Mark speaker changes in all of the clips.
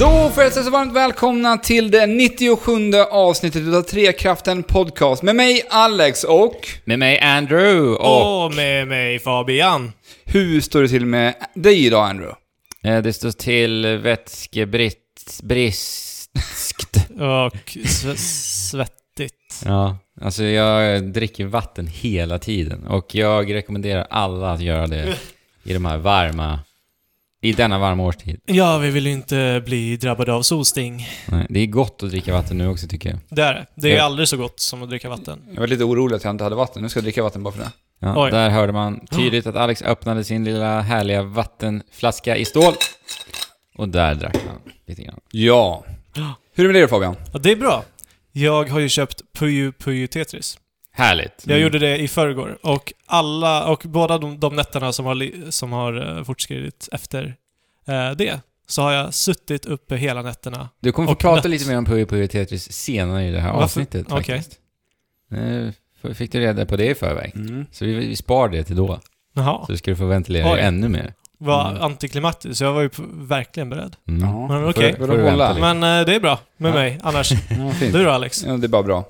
Speaker 1: Då får jag säga så varmt välkomna till det 97 avsnittet utav Trekraften Podcast med mig Alex och...
Speaker 2: Med mig Andrew och...
Speaker 3: Och med mig Fabian.
Speaker 1: Hur står det till med dig idag Andrew?
Speaker 2: Eh, Det står till vätskebriskt.
Speaker 3: Och sve- svettigt.
Speaker 2: ja, alltså jag dricker vatten hela tiden och jag rekommenderar alla att göra det i de här varma... I denna varma årstid.
Speaker 3: Ja, vi vill ju inte bli drabbade av solsting.
Speaker 2: Nej, Det är gott att dricka vatten nu också tycker jag.
Speaker 3: Det är det. Det är
Speaker 2: Ja.
Speaker 3: aldrig så gott som att dricka vatten.
Speaker 1: Jag var lite orolig att jag inte hade vatten. Nu ska jag dricka vatten bara för det.
Speaker 2: Ja,
Speaker 3: Oj.
Speaker 2: där hörde man tydligt att Alex öppnade sin lilla härliga vattenflaska i stål. Och där drack han lite grann.
Speaker 1: Ja. Hur är det med dig Fabian?
Speaker 3: Ja, det är bra. Jag har ju köpt Puyo Puyo Tetris.
Speaker 2: Härligt. Mm.
Speaker 3: Jag gjorde det i förrgår. Och alla, och båda de, de nätterna som har, li- som har eh, fortskridit efter eh, det, så har jag suttit uppe hela nätterna.
Speaker 2: Du kommer få
Speaker 3: Och
Speaker 2: prata
Speaker 3: nöt.
Speaker 2: lite mer om Puyo Puyo Tetris senare i det här
Speaker 3: Varför?
Speaker 2: avsnittet
Speaker 3: Okej.
Speaker 2: faktiskt. Nu f- fick du reda på det i förväg.
Speaker 3: Mm.
Speaker 2: Så vi, vi spar det till då.
Speaker 3: Jaha.
Speaker 2: Så ska du få ventilera
Speaker 3: Oj.
Speaker 2: det ännu mer.
Speaker 3: Var
Speaker 1: Mm.
Speaker 3: antiklimaktiskt. Jag var ju p- verkligen beredd.
Speaker 2: Mm.
Speaker 1: Ja.
Speaker 3: Men
Speaker 2: Får-
Speaker 3: okej.
Speaker 2: får
Speaker 1: Får
Speaker 2: du
Speaker 1: du hålla?
Speaker 2: vänta lite.
Speaker 3: Men eh, det är bra med
Speaker 2: Ja.
Speaker 3: mig annars.
Speaker 1: ja fint.
Speaker 3: Du då Alex?
Speaker 1: Ja, det är bara bra.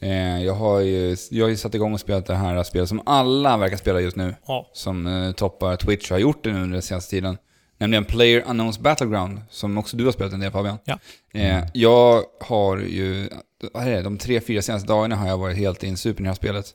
Speaker 1: Eh, Jag har ju, jag har ju satt igång och spelat det här spelet som alla verkar spela just nu.
Speaker 3: Ja.
Speaker 1: Som eh, toppar Twitch och har gjort det nu under den senaste tiden. Nämligen Player Unknowns Battleground, som också du har spelat en del Fabian.
Speaker 3: Ja.
Speaker 1: Eh, jag har ju, vad är det, de tre, fyra senaste dagarna har jag varit helt insupen i det här spelet.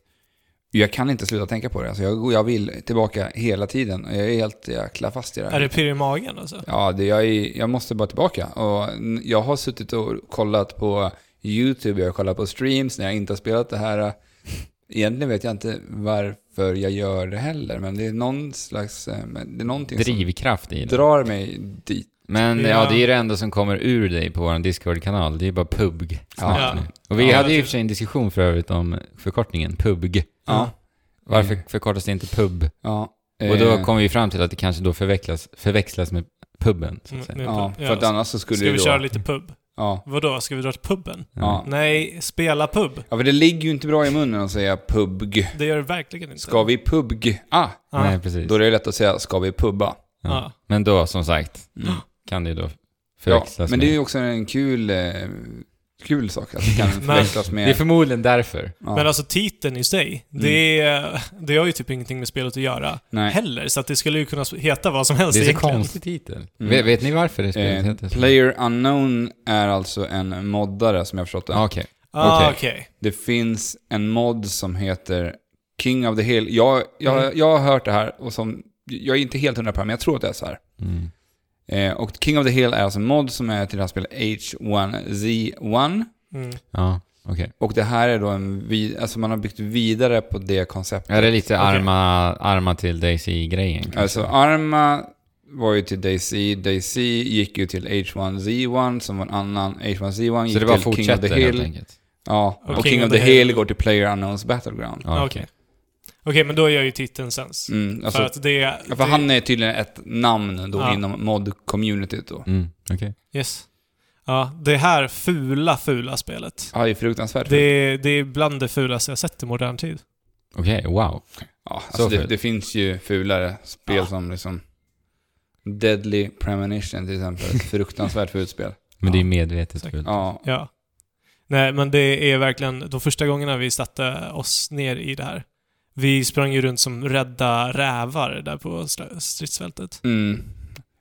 Speaker 1: Jag kan inte sluta tänka på det. Alltså jag, jag vill tillbaka hela tiden. Jag är helt jäkla fast i det här.
Speaker 3: Är det pirr i magen alltså?
Speaker 1: Ja, det, jag, är, jag måste bara tillbaka. Och n- jag har suttit och kollat på YouTube, jag har kollat på streams när jag inte har spelat det här. Egentligen vet jag inte varför jag gör det heller, men det är någon slags... eh, men Det är någonting
Speaker 2: Drivkraft i
Speaker 1: som
Speaker 2: det.
Speaker 1: drar mig dit.
Speaker 2: Men ja.
Speaker 3: Ja.
Speaker 2: det är ju det enda som kommer ur dig på vår Discord-kanal. Det är ju bara PUBG.
Speaker 1: Ja.
Speaker 2: Ja. Och vi
Speaker 3: Ja.
Speaker 2: hade ju i och för sig en diskussion för övrigt om förkortningen PUBG.
Speaker 1: Ja.
Speaker 2: Varför
Speaker 1: Mm.
Speaker 2: förkortas det inte PUB?
Speaker 1: Ja.
Speaker 2: Och då
Speaker 1: eh,
Speaker 2: kom vi fram till att det kanske då förväxlas, förväxlas med puben. Så att
Speaker 3: Mm,
Speaker 2: säga.
Speaker 3: nu-
Speaker 1: Ja,
Speaker 3: Ja,
Speaker 1: för att
Speaker 3: så-
Speaker 1: annars så skulle
Speaker 3: Ska
Speaker 1: det
Speaker 3: vi
Speaker 1: då...
Speaker 3: köra lite pub?
Speaker 1: Ja.
Speaker 3: Vadå, ska vi dra till puben?
Speaker 1: Ja.
Speaker 3: Nej, spela pub.
Speaker 1: ja, för det ligger ju inte bra i munnen att säga PUBG.
Speaker 3: Det gör det verkligen inte.
Speaker 1: Ska vi PUBG? Ah,
Speaker 3: Ja.
Speaker 2: Nej, precis.
Speaker 1: då är det lätt att säga ska vi pubba?
Speaker 2: Ja.
Speaker 3: Ja.
Speaker 2: Men då, som sagt,
Speaker 1: Mm.
Speaker 2: kan det ju då
Speaker 1: Ja,
Speaker 2: förväxlas
Speaker 1: men
Speaker 2: med...
Speaker 1: det är ju också en kul, eh, kul sak att det kan förväxlas med...
Speaker 2: det är förmodligen därför.
Speaker 1: ja,
Speaker 3: Men alltså titeln i sig, det, är, det har ju typ ingenting med spelet att göra
Speaker 1: Mm. nej.
Speaker 3: heller. Så att det skulle ju kunna heta vad som helst
Speaker 2: Det är så
Speaker 3: egentligen.
Speaker 2: konstig titel.
Speaker 1: Mm.
Speaker 2: Vet, vet ni varför det spelet
Speaker 1: Eh,
Speaker 2: heter så?
Speaker 1: Player Unknown är alltså en moddare som jag förstått det.
Speaker 2: Ja, Okej.
Speaker 3: Ah,
Speaker 2: Okej.
Speaker 3: Okej.
Speaker 1: Det finns en mod som heter King of the Hill. Jag, jag,
Speaker 3: Mm.
Speaker 1: jag har hört det här och som, jag är inte helt hundra på det här, men jag tror att det är så här.
Speaker 2: Mm.
Speaker 1: Eh, och King of the Hill är alltså en mod som är till det här spelet H1Z1.
Speaker 3: Mm.
Speaker 2: Ja, okej.
Speaker 1: Och det här är då en, vi, alltså man har byggt vidare på det konceptet.
Speaker 2: Är det lite
Speaker 3: Okej.
Speaker 2: arma, arma till Daisy-grejen? kanske?
Speaker 1: Alltså Arma var ju till DayZ, DayZ gick ju till H1Z1 som var en annan, H1Z1 gick
Speaker 2: så det bara
Speaker 1: till King of the
Speaker 2: fortsätter helt
Speaker 1: Hill.
Speaker 2: enkelt?
Speaker 1: Ja, och, King of the Hill, går till Player Unknowns Battleground.
Speaker 2: Ja,
Speaker 3: Okej. Okej, men då gör ju titeln sens.
Speaker 1: Mm, alltså,
Speaker 3: för att det...
Speaker 1: för
Speaker 3: det
Speaker 1: han är tydligen ett namn då
Speaker 3: Ja.
Speaker 1: inom mod-communityt då.
Speaker 2: Mm, okej.
Speaker 3: Yes. Ja, det här fula, fula spelet.
Speaker 1: Ja, det är fruktansvärt.
Speaker 3: Det, är- det är bland det fulaste jag sett i modern tid.
Speaker 2: Okej, wow.
Speaker 1: ja, alltså
Speaker 2: så
Speaker 1: det,
Speaker 2: fult.
Speaker 1: det finns ju fulare spel
Speaker 3: Ja.
Speaker 1: som liksom Deadly Premonition till exempel. Ett fruktansvärt fult spel.
Speaker 2: Men
Speaker 3: Ja.
Speaker 2: det är ju medvetet
Speaker 3: Säkert.
Speaker 2: fult.
Speaker 1: Ja,
Speaker 3: Ja. Nej, men det är verkligen de första gångerna vi satte oss ner i det här. Vi sprang ju runt som rädda rävar där på stra- stridsfältet.
Speaker 1: mm.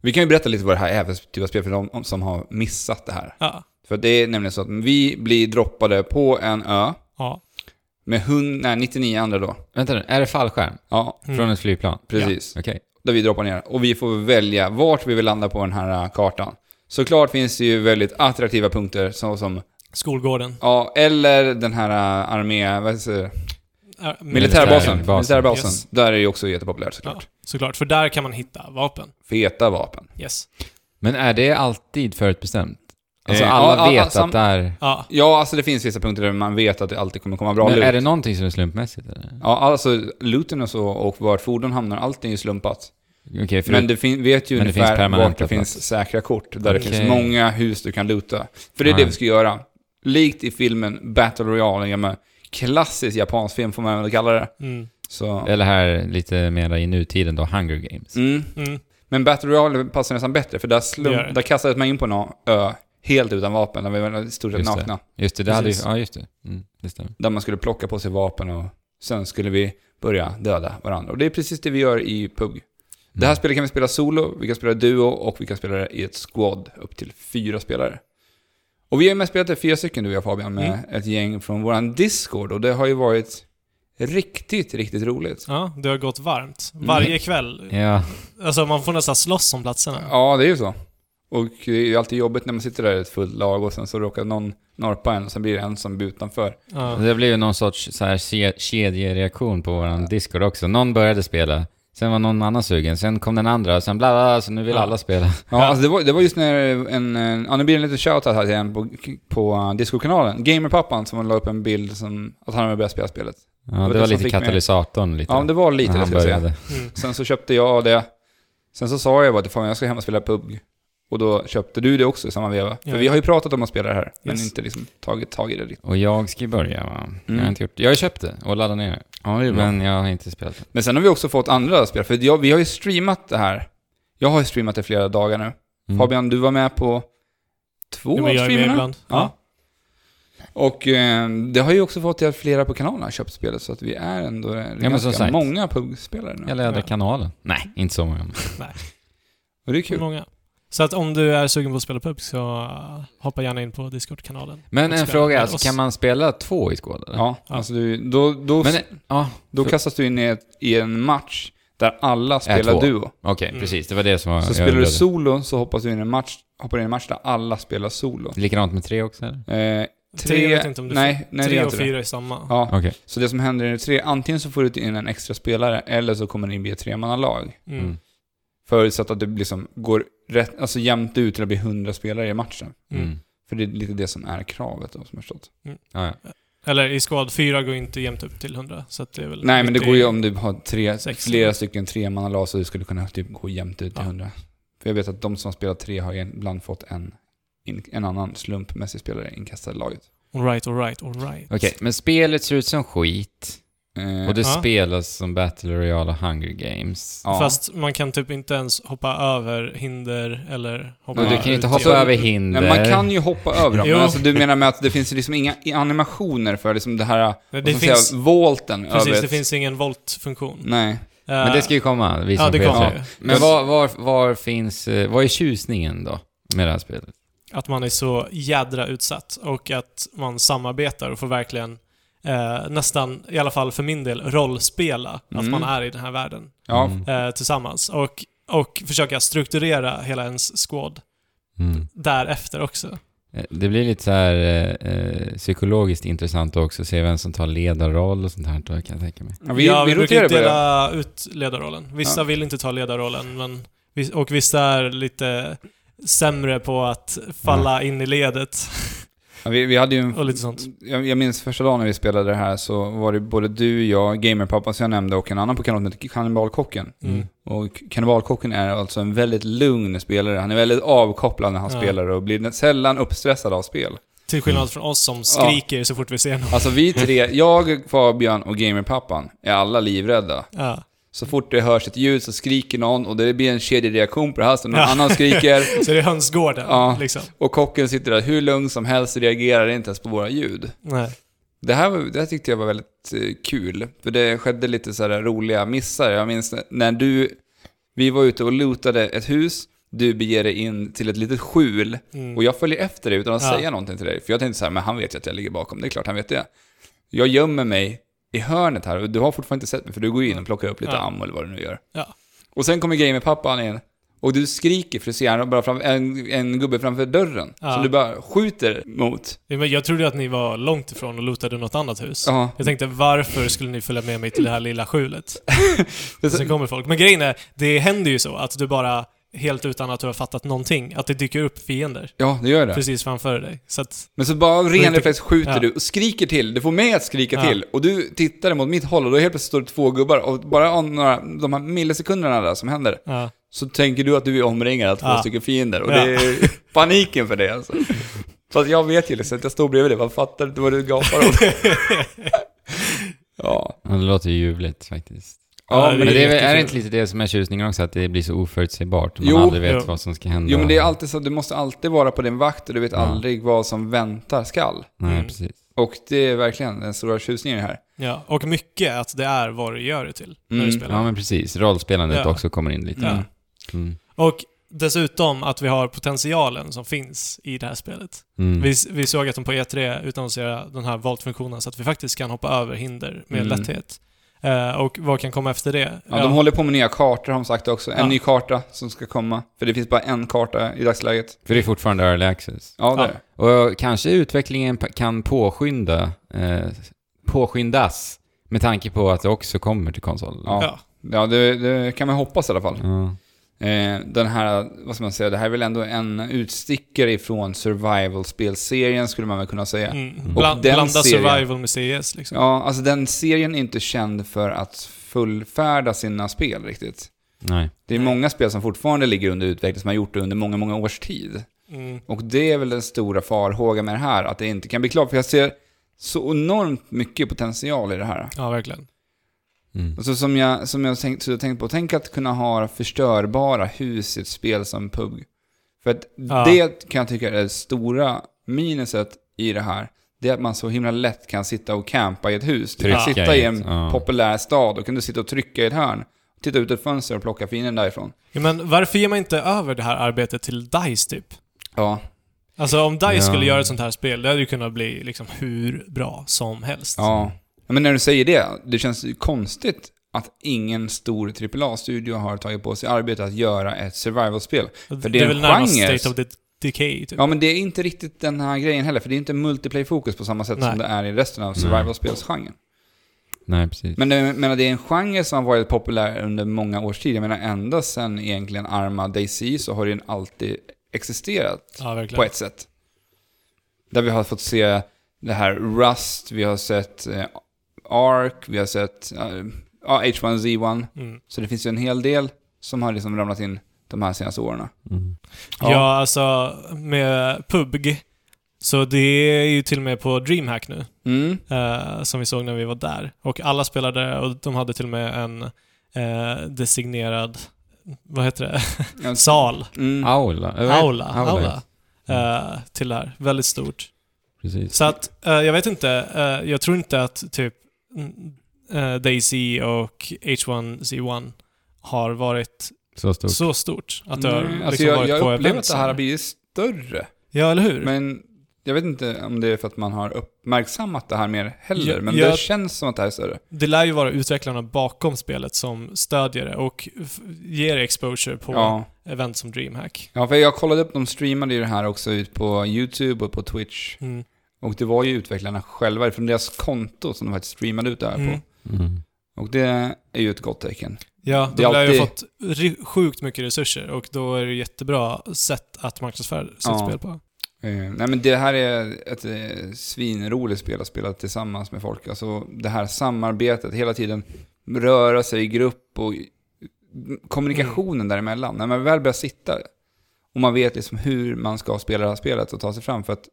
Speaker 1: Vi kan ju berätta lite vad det här är för typ av spel för de som har missat det här.
Speaker 3: Ja.
Speaker 1: För det är nämligen så att vi blir droppade på en ö
Speaker 3: Ja.
Speaker 1: med hund, nej, 99 andra då.
Speaker 2: Vänta nu, är det fallskärm?
Speaker 1: Ja,
Speaker 3: Mm.
Speaker 2: Från ett flygplan?
Speaker 1: precis.
Speaker 2: Okej.
Speaker 1: Där vi droppar ner. Och vi får välja vart vi vill landa på den här äh, kartan. Såklart finns det ju väldigt attraktiva punkter så som,
Speaker 3: Skolgården.
Speaker 1: ja, eller den här äh, armé, vad heter det?
Speaker 3: Ja, men-
Speaker 2: Militärbasen.
Speaker 1: Militärbasen. Militärbasen.
Speaker 3: Yes.
Speaker 1: Där är ju också jättepopulärt
Speaker 3: Ja,
Speaker 1: såklart.
Speaker 3: såklart. För där kan man hitta vapen.
Speaker 1: Feta vapen.
Speaker 3: Yes.
Speaker 2: Men är det alltid förutbestämt? Alltså
Speaker 1: Eh,
Speaker 2: alla
Speaker 1: ja, ja,
Speaker 2: vet
Speaker 1: sam-
Speaker 2: att det är...
Speaker 3: Ja.
Speaker 1: Ja, alltså det finns vissa punkter där man vet att det alltid kommer komma bra
Speaker 2: Men
Speaker 1: loot.
Speaker 2: är det någonting som är slumpmässigt eller?
Speaker 1: Ja, alltså looten och så och vart fordon hamnar, allting är ju slumpat.
Speaker 2: Okej, för
Speaker 1: Men det fin- vet ju
Speaker 2: Men det finns
Speaker 1: ungefär vart
Speaker 2: permanenta
Speaker 1: det finns
Speaker 2: plats.
Speaker 1: säkra kort. Där det
Speaker 2: Okej.
Speaker 1: finns många hus du kan luta. För det är det
Speaker 2: Nej.
Speaker 1: vi ska göra. Likt i filmen Battle Royale, en gammal klassisk japansk film får man väl kalla det.
Speaker 3: Mm.
Speaker 1: Så,
Speaker 2: Eller här lite mera i nutiden då, Hunger Games.
Speaker 1: mm.
Speaker 3: Mm.
Speaker 1: Men Battle Royale passar nästan bättre, för där, slum,
Speaker 3: Det gör det.
Speaker 1: där kastades man in på en ö helt utan vapen, där vi var i stort sett
Speaker 2: Just det.
Speaker 1: nakna.
Speaker 2: Just det, det hade ju...
Speaker 3: Precis.
Speaker 2: Ja, just det. Mm, det stämmer.
Speaker 1: Där man skulle plocka på sig vapen och sen skulle vi börja döda varandra. Och det är precis det vi gör i PUG. Det här
Speaker 2: Mm.
Speaker 1: spelet kan vi spela solo, vi kan spela duo och vi kan spela det i ett squad upp till fyra spelare. Och vi har ju mest spelat det fyra stycken du och jag Fabian med ett gäng från våran Discord och det har ju varit riktigt, riktigt roligt.
Speaker 3: Ja, det har gått varmt.
Speaker 2: Mm.
Speaker 3: Varje kväll.
Speaker 2: Ja,
Speaker 3: Alltså man får nästan slåss om platserna.
Speaker 1: Ja, det är ju så. Och det är ju alltid jobbigt när man sitter där i ett fullt lag och sen så råkar någon norpa en och sen blir det en som blir utanför.
Speaker 3: Ja. mm.
Speaker 2: det blev ju någon sorts så här ke- kedjereaktion på våran Discord också. Någon började spela, sen var någon annan sugen, sen kom den andra, sen bla bla, bla så nu vill
Speaker 3: Ja.
Speaker 2: alla spela.
Speaker 1: Ja, alltså det, var, det var just när en... en- Ja, nu blir det en liten shoutout här till en på, på uh, Discord-kanalen. Gamerpappan som la upp en bild som att han hade börjat spela spelet.
Speaker 2: Ja,
Speaker 1: det
Speaker 2: det var
Speaker 1: som
Speaker 2: lite
Speaker 1: fick mig-
Speaker 2: katalysatorn lite.
Speaker 1: Ja, men det var lite
Speaker 2: när
Speaker 1: det
Speaker 2: han
Speaker 1: ska jag säga.
Speaker 2: började.
Speaker 3: Mm.
Speaker 1: Sen så köpte jag det. Sen så sa jag bara till fan jag ska hem och spela PUG. Och då köpte du det också i samma veva. För
Speaker 3: Ja.
Speaker 1: vi har ju pratat om att spela det här, men
Speaker 3: Yes.
Speaker 1: inte liksom tagit tag i det riktigt.
Speaker 2: Och jag ska ju börja va? Jag
Speaker 1: Mm.
Speaker 2: har inte gjort det. Jag har köpt det och laddat ner det.
Speaker 1: Ja, det
Speaker 2: Men jag har inte spelat det.
Speaker 1: Men sen har vi också fått andra spel, för jag, vi har ju streamat det här. Jag har ju streamat det flera dagar nu.
Speaker 2: Mm.
Speaker 1: Fabian, du var med på två
Speaker 3: Jo,
Speaker 1: av
Speaker 3: men jag är med
Speaker 1: streamerna.
Speaker 3: ibland.
Speaker 1: Ja. Och eh, det har ju också fått till att flera på kanalen har köpt spelet, så att vi är ändå
Speaker 2: men som
Speaker 1: ganska
Speaker 2: sagt.
Speaker 1: många PUG-spelare nu.
Speaker 2: Jag laddade
Speaker 3: Ja.
Speaker 2: kanalen. Nej, inte så många.
Speaker 1: Och det
Speaker 3: Kul.
Speaker 1: är kul.
Speaker 3: Många. Så att om du är sugen på att spela pub så eh, hoppa gärna in på Discord-kanalen.
Speaker 2: Men en
Speaker 3: Och spela
Speaker 2: fråga,
Speaker 3: med
Speaker 2: alltså,
Speaker 3: oss.
Speaker 2: kan man spela två i skåd? eller?
Speaker 1: Ja,
Speaker 3: Ja.
Speaker 1: alltså du, då, då,
Speaker 2: Men, ja,
Speaker 1: då kastas du in i, ett, i en match där alla
Speaker 2: två.
Speaker 1: spelar duo.
Speaker 2: okej,
Speaker 3: Mm.
Speaker 2: precis. Det var det som var...
Speaker 1: Så
Speaker 2: jag
Speaker 1: spelar du
Speaker 2: undrade.
Speaker 1: solo så hoppas du in i en match, hoppar in i en match där alla spelar solo.
Speaker 2: Likadant med tre också eller?
Speaker 1: Eh,
Speaker 3: Tre, jag vet inte om du
Speaker 1: nej, nej, det
Speaker 3: tre
Speaker 1: är
Speaker 3: och
Speaker 1: inte det.
Speaker 3: fyra är samma.
Speaker 1: Ja,
Speaker 2: Okej.
Speaker 1: Så det som händer i det tre, antingen så får du in en extra spelare eller så kommer det in bli ett tremannalag.
Speaker 3: Mm.
Speaker 2: Mm.
Speaker 1: Förutsatt att det liksom går rätt, alltså jämnt ut till att bli 100 spelare i matchen.
Speaker 3: Mm.
Speaker 2: Mm.
Speaker 1: För det är lite det som är kravet då, som jag har förstått.
Speaker 2: Ja, ja.
Speaker 3: Eller i squad 4 går inte jämnt upp till 100. Så att det är väl
Speaker 1: Nej men det
Speaker 3: 90
Speaker 1: går ju om du har tre,
Speaker 3: 60.
Speaker 1: flera stycken tremannalag så du skulle kunna typ gå jämnt ut till
Speaker 3: Ja.
Speaker 1: 100. För jag vet att de som har spelat tre har ibland fått en, in- en annan slumpmässig spelare inkastad i laget.
Speaker 3: Alright, alright, alright.
Speaker 2: Okej, men spelet ser ut som skit.
Speaker 1: Eh,
Speaker 2: Och det
Speaker 3: Ja.
Speaker 2: spelas som Battle Royale och Hunger Games.
Speaker 1: ja.
Speaker 3: Fast man kan typ inte ens hoppa över hinder eller hoppa
Speaker 1: Men
Speaker 2: Och du kan ju inte
Speaker 3: ut
Speaker 2: hoppa
Speaker 1: Så-
Speaker 3: genom-
Speaker 2: över hinder.
Speaker 1: Nej, man kan ju hoppa över dem,
Speaker 3: Jo.
Speaker 1: men alltså, du menar med att det finns liksom inga animationer för liksom det här
Speaker 3: Nej,
Speaker 1: Det
Speaker 3: Det
Speaker 1: som
Speaker 3: finns,
Speaker 1: säga, volten över
Speaker 3: precis, det
Speaker 1: ett- Mm.
Speaker 3: finns ingen voltfunktion. Eh,
Speaker 1: Nej.
Speaker 2: Men det ska ju komma, vi som
Speaker 3: Ja, det
Speaker 2: vet
Speaker 3: kommer
Speaker 2: det.
Speaker 3: ju.
Speaker 2: Men var, var, var finns... eh, Vad är tjusningen då med det här spelet?
Speaker 3: Att man är så jädra utsatt och att man samarbetar och får verkligen eh, nästan, i alla fall för min del, rollspela
Speaker 1: Mm.
Speaker 3: att man är i den här världen.
Speaker 1: Ja.
Speaker 2: Mm.
Speaker 3: eh, tillsammans. Och, och försöka strukturera hela ens squad
Speaker 2: Mm.
Speaker 3: därefter också.
Speaker 2: Eh, Det blir lite så här eh, eh, psykologiskt intressant också, att se vem som tar ledarroll och sånt här, då kan jag tänka mig.
Speaker 1: Ja, vi,
Speaker 3: ja,
Speaker 1: vi
Speaker 3: brukar
Speaker 1: roterar
Speaker 3: ju
Speaker 1: på det.
Speaker 3: dela ut ledarrollen. Vissa
Speaker 1: Ja.
Speaker 3: vill inte ta ledarrollen, men, vi- och vissa är lite sämre på att falla
Speaker 1: Mm.
Speaker 3: in i ledet.
Speaker 1: Ja, vi, vi hade ju en,
Speaker 3: Och lite sånt.
Speaker 1: Jag, jag minns första dagen när vi spelade det här så var det både du, jag, Gamerpappan som jag nämnde och en annan på kanalen som heter Kannibalkocken.
Speaker 3: Mm.
Speaker 1: Och Kannibalkocken är alltså en väldigt lugn spelare. Han är väldigt avkopplad när han
Speaker 3: Ja.
Speaker 1: spelar och blir sällan uppstressad av spel.
Speaker 3: Till skillnad från oss som skriker så fort vi ser någon.
Speaker 1: Alltså vi tre, jag, Fabian och Gamerpappan är alla livrädda.
Speaker 3: Ja.
Speaker 1: Så fort det hörs ett ljud så skriker någon och det blir en kedjereaktion på det här. Så någon
Speaker 3: Ja.
Speaker 1: annan skriker
Speaker 3: Så det är hönsgården,
Speaker 1: Ja.
Speaker 3: liksom.
Speaker 1: och kocken sitter där hur lugn som helst och reagerar inte ens på våra ljud.
Speaker 3: Nej.
Speaker 1: Det här, var- det här tyckte jag var väldigt eh, kul, för det skedde lite så här roliga missar. Jag minns när- när du, vi var ute och lootade ett hus, du beger dig in till ett litet skjul
Speaker 3: Mm.
Speaker 1: och jag följer efter dig utan att
Speaker 3: Ja.
Speaker 1: säga någonting till dig. För jag tänkte så här, men han vet ju att jag ligger bakom, det är klart han vet det. Jag gömmer mig i hörnet här och du har fortfarande inte sett mig för du går in och plockar upp lite
Speaker 3: Ja.
Speaker 1: ammo eller vad du nu gör.
Speaker 3: Ja.
Speaker 1: Och sen kommer gamerpappan in och du skriker för du ser han bara fram, en, en gubbe framför dörren.
Speaker 3: Ja.
Speaker 1: Som du bara skjuter mot.
Speaker 3: Ja, men Jag trodde att ni var långt ifrån och lootade något annat hus.
Speaker 1: Ja.
Speaker 3: Jag tänkte, varför skulle ni följa med mig till det här lilla skjulet? Och sen kommer folk. Men grejen är, det händer ju så att du bara, helt utan att du har fattat någonting, att det dyker upp fiender
Speaker 1: Ja, det gör det.
Speaker 3: precis framför dig. Så att,
Speaker 1: Men så bara av ren
Speaker 3: inte-
Speaker 1: reflex skjuter
Speaker 3: ja.
Speaker 1: du och skriker till. Du får mig att skrika
Speaker 3: Ja.
Speaker 1: till. Och du tittar mot mitt håll och då helt plötsligt står det två gubbar. Och bara om några, de här millisekunderna där som händer,
Speaker 3: ja.
Speaker 1: så tänker du att du är omringad av två
Speaker 3: Ja.
Speaker 1: stycken fiender. Och
Speaker 3: Ja.
Speaker 1: det är paniken för dig alltså. Fast jag vet ju liksom att jag står bredvid dig, man fattar inte vad du gapar åt. ja.
Speaker 2: Ja, Det låter ju ljuvligt faktiskt.
Speaker 1: Ja,
Speaker 3: Ja,
Speaker 2: Men
Speaker 1: men
Speaker 2: det är,
Speaker 1: det,
Speaker 2: väl- är det
Speaker 3: jättekul.
Speaker 2: inte lite det som är tjusningen också, att det blir så oförutsägbart? Man
Speaker 1: Jo,
Speaker 2: aldrig vet
Speaker 3: ja.
Speaker 2: vad som ska hända.
Speaker 1: jo, men det är alltid så, du måste alltid vara på din vakt och du vet
Speaker 2: Ja.
Speaker 1: aldrig vad som väntar skall.
Speaker 2: Nej,
Speaker 3: Mm.
Speaker 2: precis.
Speaker 1: Och det är verkligen den stora tjusningen i det här.
Speaker 3: Ja, och mycket att det är vad du gör det till när du
Speaker 1: Mm,
Speaker 3: spelar.
Speaker 2: Ja, men precis. Rollspelandet
Speaker 3: Ja.
Speaker 2: också kommer in lite.
Speaker 3: Ja.
Speaker 1: Mm.
Speaker 2: Mm.
Speaker 3: Och dessutom att vi har potentialen som finns i det här spelet.
Speaker 2: Mm.
Speaker 3: Vi, vi såg att de på E3 utannonserade den här vault-funktionen så att vi faktiskt kan hoppa över hinder med
Speaker 1: Mm.
Speaker 3: lätthet. Eh, och vad kan komma efter det?
Speaker 1: Ja, de håller på med nya kartor har de sagt också. En
Speaker 3: Ja.
Speaker 1: ny karta som ska komma. För det finns bara en karta i dagsläget.
Speaker 2: För det är fortfarande early access.
Speaker 1: Ja, det
Speaker 3: Ja.
Speaker 1: är det.
Speaker 2: Och kanske utvecklingen pa- kan påskynda, eh, påskyndas med tanke på att det också kommer till konsolen.
Speaker 1: Ja.
Speaker 3: ja.
Speaker 1: Ja, det, det kan man hoppas i alla fall.
Speaker 2: Ja.
Speaker 1: Eh, den här, vad ska man säga, det här är väl ändå en utstickare ifrån survival-spelserien skulle man väl kunna säga.
Speaker 3: Mm.
Speaker 1: Och
Speaker 3: Bland,
Speaker 1: den
Speaker 3: blanda
Speaker 1: serien-
Speaker 3: survival med CS liksom.
Speaker 1: Ja, alltså den serien är inte känd för att fullfärda sina spel riktigt.
Speaker 2: Nej.
Speaker 1: Det är
Speaker 3: Nej.
Speaker 1: många spel som fortfarande ligger under utveckling som har gjort det under många, många års tid.
Speaker 3: Mm.
Speaker 1: Och det är väl den stora farhågan med det här, att det inte kan bli klart. För jag ser så enormt mycket potential i det här.
Speaker 3: Ja, verkligen.
Speaker 2: Mm.
Speaker 1: Alltså som jag, som jag tänkt, så jag tänkt på, tänk att kunna ha förstörbara hus i ett spel som PUG. För att
Speaker 3: Ja.
Speaker 1: det kan jag tycka är det stora minuset i det här. Det är att man så himla lätt kan sitta och campa i ett hus. Du kan
Speaker 2: Trycka
Speaker 1: sitta
Speaker 2: i
Speaker 1: i
Speaker 2: ett,
Speaker 1: en
Speaker 2: ja.
Speaker 1: populär stad och kan du sitta och trycka i ett hörn. Titta ut ett fönster och plocka fienden därifrån.
Speaker 3: Ja, men varför ger man inte över det här arbetet till DICE typ?
Speaker 1: Ja,
Speaker 3: Alltså om DICE
Speaker 2: Ja.
Speaker 3: skulle göra ett sånt här spel, det hade ju kunnat bli liksom hur bra som helst.
Speaker 1: ja. Ja, Men när du säger det, det känns ju konstigt att ingen stor AAA-studio har tagit på sig arbetet att göra ett survival-spel.
Speaker 3: För
Speaker 1: det
Speaker 3: det
Speaker 1: är
Speaker 3: är
Speaker 1: en
Speaker 3: väl närmast
Speaker 1: genre.
Speaker 3: State of the Decay typ.
Speaker 1: Ja, men det är inte riktigt den här grejen heller, för det är inte multiplayer-fokus på samma sätt
Speaker 3: Nej.
Speaker 1: som det är i resten av survival-spelsgenren.
Speaker 2: Nej, precis.
Speaker 1: Men jag menar, det är en genre som har varit populär under många års tid. Jag menar, ända sedan egentligen Arma Daisy så har den alltid existerat
Speaker 3: Ja, verkligen.
Speaker 1: på ett sätt. Där vi har fått se det här Rust, vi har sett eh, Ark, vi har sett eh, ja, H1Z1.
Speaker 3: Mm.
Speaker 1: Så det finns ju en hel del som har liksom ramlat in de här senaste åren.
Speaker 2: Mm.
Speaker 1: Ja.
Speaker 3: Ja. alltså med PubG, så det är ju till och med på DreamHack nu,
Speaker 1: Mm.
Speaker 3: eh, som vi såg när vi var där. Och alla spelade och de hade till och med en eh, designerad, vad heter det,
Speaker 1: Ja,
Speaker 3: sal,
Speaker 1: Mm.
Speaker 2: Aula. eller vad heter-
Speaker 3: aula,
Speaker 2: aula.
Speaker 3: aula eh, till det här. Väldigt stort.
Speaker 2: Precis.
Speaker 3: Så att, eh, jag vet inte. eh, jag tror inte att typ mm, eh, Daisy och H1Z1 har varit
Speaker 2: Så stort.
Speaker 3: så stort. Att det har
Speaker 1: Mm,
Speaker 3: liksom
Speaker 1: alltså jag,
Speaker 3: varit
Speaker 1: jag
Speaker 3: på
Speaker 1: upplever att
Speaker 3: events
Speaker 1: det här har
Speaker 3: eller-
Speaker 1: blivit större.
Speaker 3: Ja, eller hur?
Speaker 1: Men jag vet inte om det är för att man har uppmärksammat det här mer heller,
Speaker 3: Ja,
Speaker 1: men det
Speaker 3: jag-
Speaker 1: känns som att det här är större.
Speaker 3: Det lär ju vara utvecklarna bakom spelet som stödjer det och f- ger exposure på
Speaker 1: Ja.
Speaker 3: event som DreamHack.
Speaker 1: ja, för jag kollade upp, de streamade ju det här också ut på YouTube och på Twitch.
Speaker 3: Mm.
Speaker 1: Och det var ju utvecklarna själva, från deras konto som de faktiskt streamade ut det här
Speaker 3: Mm.
Speaker 1: på.
Speaker 2: Mm.
Speaker 1: Och det är ju ett gott tecken.
Speaker 3: Ja,
Speaker 1: Det
Speaker 3: de
Speaker 1: är
Speaker 3: lär ju ha fått
Speaker 1: alltid-
Speaker 3: ri- sjukt mycket resurser och då är det jättebra sätt att marknadsföra sitt
Speaker 1: Ja.
Speaker 3: spel på.
Speaker 1: Eh, nej men det här är ett eh, svinroligt spel att spela tillsammans med folk. Alltså det här samarbetet, hela tiden röra sig i grupp och i- kommunikationen däremellan. När man väl börjar sitta och man vet liksom hur man ska spela det här spelet och ta sig fram för att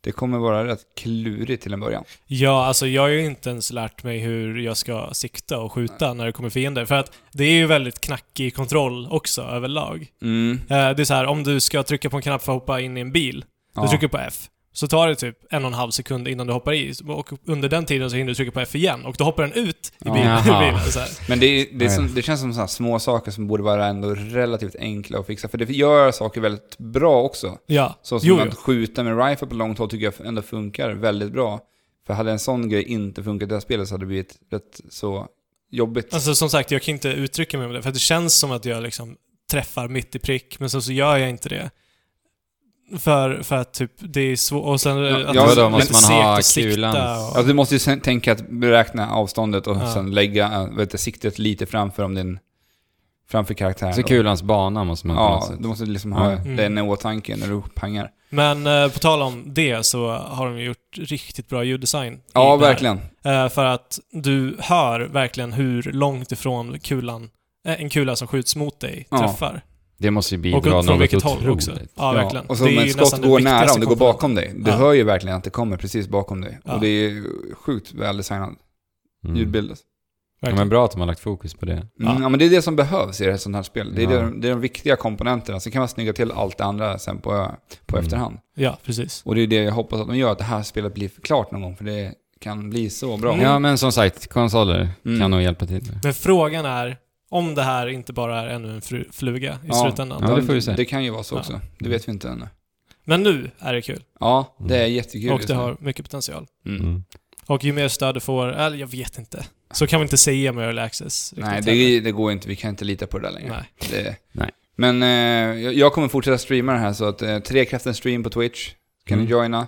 Speaker 1: det kommer vara rätt klurigt till en början.
Speaker 3: Ja, alltså jag har ju inte ens lärt mig hur jag ska sikta och skjuta när det kommer fiender. För att det är ju väldigt knackig kontroll också överlag.
Speaker 1: Mm.
Speaker 3: Eh, Det är så här, om du ska trycka på en knapp för att hoppa in i en bil,
Speaker 1: Ja.
Speaker 3: du trycker på F. Så tar det typ en och en halv sekund innan du hoppar i. Och under den tiden så hinner du trycka på F igen och då hoppar den ut i
Speaker 1: Ja.
Speaker 3: bilen.
Speaker 2: Jaha.
Speaker 3: bilen så här.
Speaker 1: Men det, är, det, är
Speaker 2: Nej.
Speaker 1: som, det känns som sådana små saker som borde vara ändå relativt enkla att fixa. För det gör saker väldigt bra också.
Speaker 3: Ja.
Speaker 1: Så som
Speaker 3: Jo,
Speaker 1: att
Speaker 3: jo.
Speaker 1: skjuta med rifle på långt håll tycker jag ändå funkar väldigt bra. För hade en sån grej inte funkat i det här spelet så hade det blivit rätt så jobbigt.
Speaker 3: Alltså som sagt, jag kan inte uttrycka mig om det. För att det känns som att jag liksom träffar mitt i prick, men sen så gör jag inte det. För, för att typ, det är svårt. Och sen...
Speaker 1: Ja,
Speaker 3: att
Speaker 1: ja,
Speaker 3: det
Speaker 1: då
Speaker 3: är
Speaker 1: måste
Speaker 2: man
Speaker 3: segt
Speaker 2: ha
Speaker 3: att sikta
Speaker 2: kulan.
Speaker 3: och-
Speaker 1: Alltså, du måste ju sen tänka att beräkna avståndet och
Speaker 3: Ja.
Speaker 1: sen lägga äh, vet, du, siktet lite framför om din, framför karaktären.
Speaker 2: Så
Speaker 1: då.
Speaker 2: kulans bana måste man på något
Speaker 1: Ja,
Speaker 2: sätt.
Speaker 1: du måste liksom ha
Speaker 3: Mm.
Speaker 1: den i åtanke när du pangar.
Speaker 3: Men eh, på tal om det så har de ju gjort riktigt bra ljuddesign. i det
Speaker 1: Ja,
Speaker 3: här.
Speaker 1: verkligen.
Speaker 3: Eh, för att du hör verkligen hur långt ifrån kulan, eh, en kula som skjuts mot dig
Speaker 1: Ja.
Speaker 3: träffar.
Speaker 2: Det måste ju bidra
Speaker 3: Och från
Speaker 2: något
Speaker 3: vilket
Speaker 2: otroligt.
Speaker 3: håll också. Ja,
Speaker 1: Ja,
Speaker 3: verkligen.
Speaker 1: Och så om
Speaker 3: Det är
Speaker 1: ett
Speaker 3: ju
Speaker 1: skott
Speaker 3: nästan den
Speaker 1: går nära, om
Speaker 3: viktigaste
Speaker 1: det går
Speaker 3: komponenten.
Speaker 1: bakom dig. Du
Speaker 3: Ja.
Speaker 1: hör ju verkligen att det kommer precis bakom dig.
Speaker 3: Ja.
Speaker 1: Och det är sjukt väldesignad
Speaker 2: Mm.
Speaker 1: ljudbild.
Speaker 2: Ja,
Speaker 3: Verkligen.
Speaker 2: men bra att de har lagt fokus på det.
Speaker 1: Mm,
Speaker 3: Ja.
Speaker 1: ja, men det är det som behövs i ett sånt här spel. Det är,
Speaker 2: Ja.
Speaker 1: de, det är de viktiga komponenterna. Sen kan man snygga till allt det andra sen på, på
Speaker 2: Mm.
Speaker 1: efterhand.
Speaker 3: Ja, precis.
Speaker 1: Och det är det jag hoppas att de gör, att det här spelet blir klart någon gång. För det kan bli så bra.
Speaker 3: Mm.
Speaker 2: Ja, men som sagt, konsoler
Speaker 1: Mm.
Speaker 2: kan nog hjälpa till.
Speaker 3: Men frågan är om det här inte bara är ännu en fru- fluga i
Speaker 1: Ja.
Speaker 3: slutändan.
Speaker 2: Ja, det får vi se.
Speaker 1: Det kan ju vara så
Speaker 3: Ja.
Speaker 1: också. Det vet vi inte ännu.
Speaker 3: Men nu är det kul.
Speaker 1: Ja, det är
Speaker 2: Mm.
Speaker 1: jättekul.
Speaker 3: och
Speaker 1: just
Speaker 3: det
Speaker 1: nu.
Speaker 3: har mycket potential.
Speaker 1: Mm.
Speaker 2: Mm.
Speaker 3: Och ju mer stöd du får, eller jag vet inte. Så kan vi inte säga med early access. riktigt
Speaker 1: Nej,
Speaker 3: heller.
Speaker 1: det, det går inte. Vi kan inte lita på det där längre.
Speaker 3: Nej.
Speaker 1: Det,
Speaker 2: Nej.
Speaker 1: Men eh, jag- jag kommer fortsätta streama det här, så att eh, Trekraften stream på Twitch. Kan
Speaker 2: Mm.
Speaker 1: ni joina?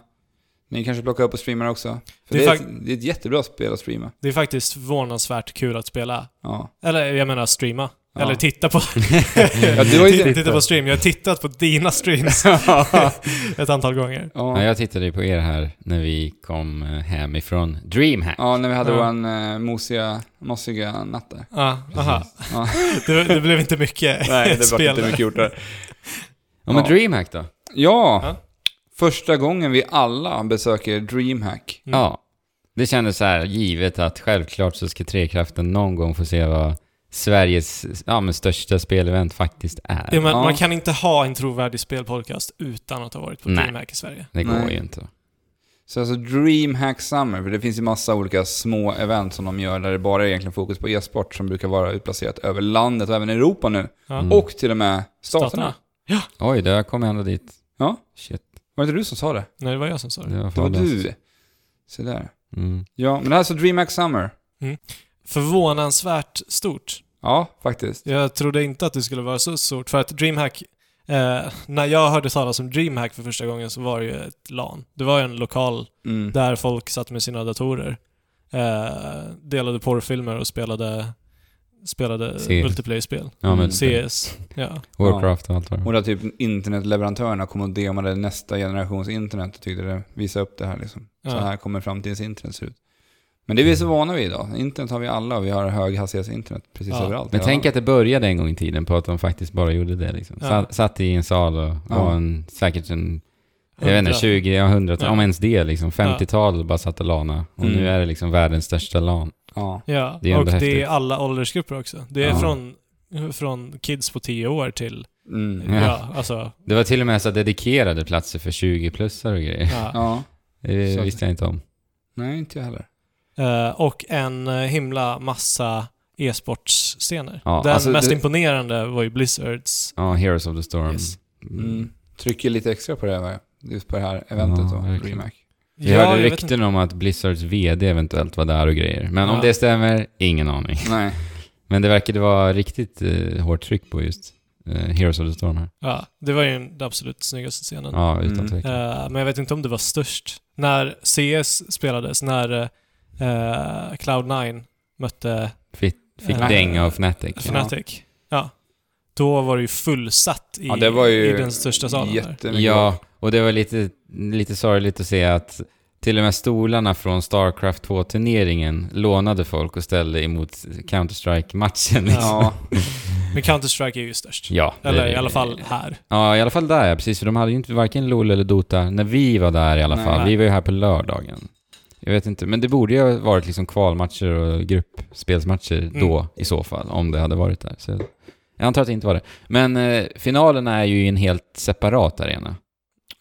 Speaker 1: Ni kanske plockar upp och streamar också. För
Speaker 3: Det
Speaker 1: det,
Speaker 3: är
Speaker 1: är ett, det är ett jättebra spel att streama.
Speaker 3: Det är faktiskt förvånansvärt kul att spela.
Speaker 1: Ja.
Speaker 3: Eller jag menar streama.
Speaker 1: Ja.
Speaker 3: Eller titta på.
Speaker 1: Ja, du har ju-
Speaker 3: Titta- titta på stream. Jag har tittat på dina streams ett antal gånger.
Speaker 2: Ja,
Speaker 1: ja.
Speaker 2: jag tittade ju på er här när vi kom eh, hem ifrån DreamHack.
Speaker 1: ja, när vi hade
Speaker 3: Ja.
Speaker 1: vår eh, mosiga, mossiga natt där.
Speaker 3: Ja, aha.
Speaker 1: Ja.
Speaker 3: Det, det blev inte mycket spel där.
Speaker 1: gjort
Speaker 2: Ja,
Speaker 1: där.
Speaker 2: men
Speaker 1: Ja. Mm.
Speaker 2: DreamHack då?
Speaker 1: Ja,
Speaker 3: Ja.
Speaker 1: första gången vi alla besöker DreamHack.
Speaker 3: Mm.
Speaker 2: Ja. Det kändes så här givet att självklart så ska Trekraften någon gång få se vad Sveriges ja, men största spelevent faktiskt är.
Speaker 3: Ja, men
Speaker 1: Ja.
Speaker 3: Man kan inte ha en trovärdig spelpodcast utan att ha varit på
Speaker 2: Nej.
Speaker 3: DreamHack i Sverige.
Speaker 2: Det går
Speaker 1: Nej.
Speaker 2: ju inte.
Speaker 1: Så alltså DreamHack Summer, för det finns ju massa olika små event som de gör där det bara är egentligen fokus på e-sport som brukar vara utplacerat över landet och även Europa nu.
Speaker 3: Ja.
Speaker 2: Mm.
Speaker 1: Och till och med staterna.
Speaker 2: Oj, då kom jag ändå dit.
Speaker 1: Ja.
Speaker 2: Shit,
Speaker 1: Var det inte du som sa det?
Speaker 3: Nej, det var jag som sa det.
Speaker 2: det var
Speaker 1: Det var
Speaker 2: Fabians.
Speaker 1: du. Se där.
Speaker 2: Mm.
Speaker 1: Ja, men det här är alltså DreamHack Summer.
Speaker 3: Förvånansvärt stort.
Speaker 1: Ja, faktiskt.
Speaker 3: Jag trodde inte att det skulle vara så stort, för att DreamHack... Eh, när jag hörde talas om DreamHack för första gången så var det ju ett LAN. Det var ju en lokal
Speaker 1: Mm.
Speaker 3: där folk satt med sina datorer, eh, delade porrfilmer och spelade, spelade
Speaker 2: CS.
Speaker 3: multiplayer-spel.
Speaker 2: Ja, men
Speaker 3: CS. Ja.
Speaker 2: Warcraft och allt vad det var.
Speaker 1: Och där typ internetleverantörerna kom och demade nästa generations internet och tyckte det visa upp det här liksom. Så
Speaker 3: Ja.
Speaker 1: här kommer framtidens internet se ut. Men det är vi så vana vid idag. Internet har vi alla och vi har höghastighetsinternet precis
Speaker 3: Ja.
Speaker 1: överallt.
Speaker 2: Men
Speaker 1: Ja.
Speaker 2: tänk att det började en gång i tiden på att de faktiskt bara gjorde det liksom.
Speaker 3: Ja.
Speaker 2: Sa- Satt i en sal och
Speaker 1: Ja.
Speaker 2: var en, säkert en, jag vet inte, 20, ja, 100,
Speaker 3: Ja.
Speaker 2: om ens det liksom. 50-tal bara satt och lana. Och
Speaker 1: Mm.
Speaker 2: nu är det liksom världens största lan.
Speaker 1: Ja.
Speaker 3: Ja,
Speaker 2: Det är
Speaker 3: och
Speaker 2: ändå
Speaker 3: det
Speaker 2: häftigt.
Speaker 3: är alla åldersgrupper också. Det är
Speaker 2: Ja.
Speaker 3: från, från kids på 10 år till,
Speaker 1: Mm.
Speaker 3: ja,
Speaker 2: Ja.
Speaker 3: alltså,
Speaker 2: Det var till och med så dedikerade platser för 20-plussare och grejer.
Speaker 3: ja.
Speaker 1: Ja.
Speaker 2: Det
Speaker 1: Så-
Speaker 2: visste jag inte om.
Speaker 1: Nej, inte jag heller.
Speaker 3: Eh, och en eh, himla massa e-sportscener.
Speaker 2: Ja,
Speaker 3: Den
Speaker 1: alltså
Speaker 3: mest
Speaker 1: det-
Speaker 3: imponerande var ju Blizzards.
Speaker 2: Ja, Heroes of the Storm.
Speaker 3: Yes.
Speaker 1: Mm. Trycker lite extra på det här, just på det här eventet
Speaker 2: Ja,
Speaker 1: då,
Speaker 2: verkligen.
Speaker 1: DreamHack.
Speaker 2: Vi
Speaker 3: Ja,
Speaker 2: hörde
Speaker 3: jag vet inte.
Speaker 2: rykten om att Blizzards VD eventuellt var där och grejer. Men
Speaker 3: Ja.
Speaker 2: om det stämmer, ingen aning.
Speaker 1: Nej.
Speaker 2: Men det verkade vara riktigt eh, hårt tryck på just eh, Heroes of the Storm här.
Speaker 3: Ja, det var ju den absolut snyggaste scenen.
Speaker 2: Ja, utan
Speaker 1: Mm.
Speaker 2: tvekan.
Speaker 3: Eh, men jag vet inte om det var störst. När CS spelades, när eh, Cloud9 mötte
Speaker 2: Fick
Speaker 3: eh,
Speaker 2: dänga av Fnatic.
Speaker 3: Fnatic. Ja. Då var det ju fullsatt i,
Speaker 1: Ja, det var ju
Speaker 3: i den största salen där.
Speaker 1: Jättemycket.
Speaker 2: Ja, och det var lite, lite sorgligt att se att till och med stolarna från Starcraft 2-turneringen lånade folk och ställde emot Counter-Strike-matchen. Liksom. Ja,
Speaker 1: Ja.
Speaker 3: Men Counter-Strike är ju störst.
Speaker 2: det-
Speaker 3: Eller i alla fall här.
Speaker 2: Ja, i alla fall där, ja, precis. För de hade ju inte varken LOL eller Dota när vi var där i alla
Speaker 1: Nej.
Speaker 2: fall. Vi var ju här på lördagen. Jag vet inte, men det borde ju ha varit liksom kvalmatcher och gruppspelsmatcher
Speaker 3: Mm.
Speaker 2: då i så fall, om det hade varit där. Så jag antar att det inte var det. Men eh, finalerna är ju i en helt separat arena.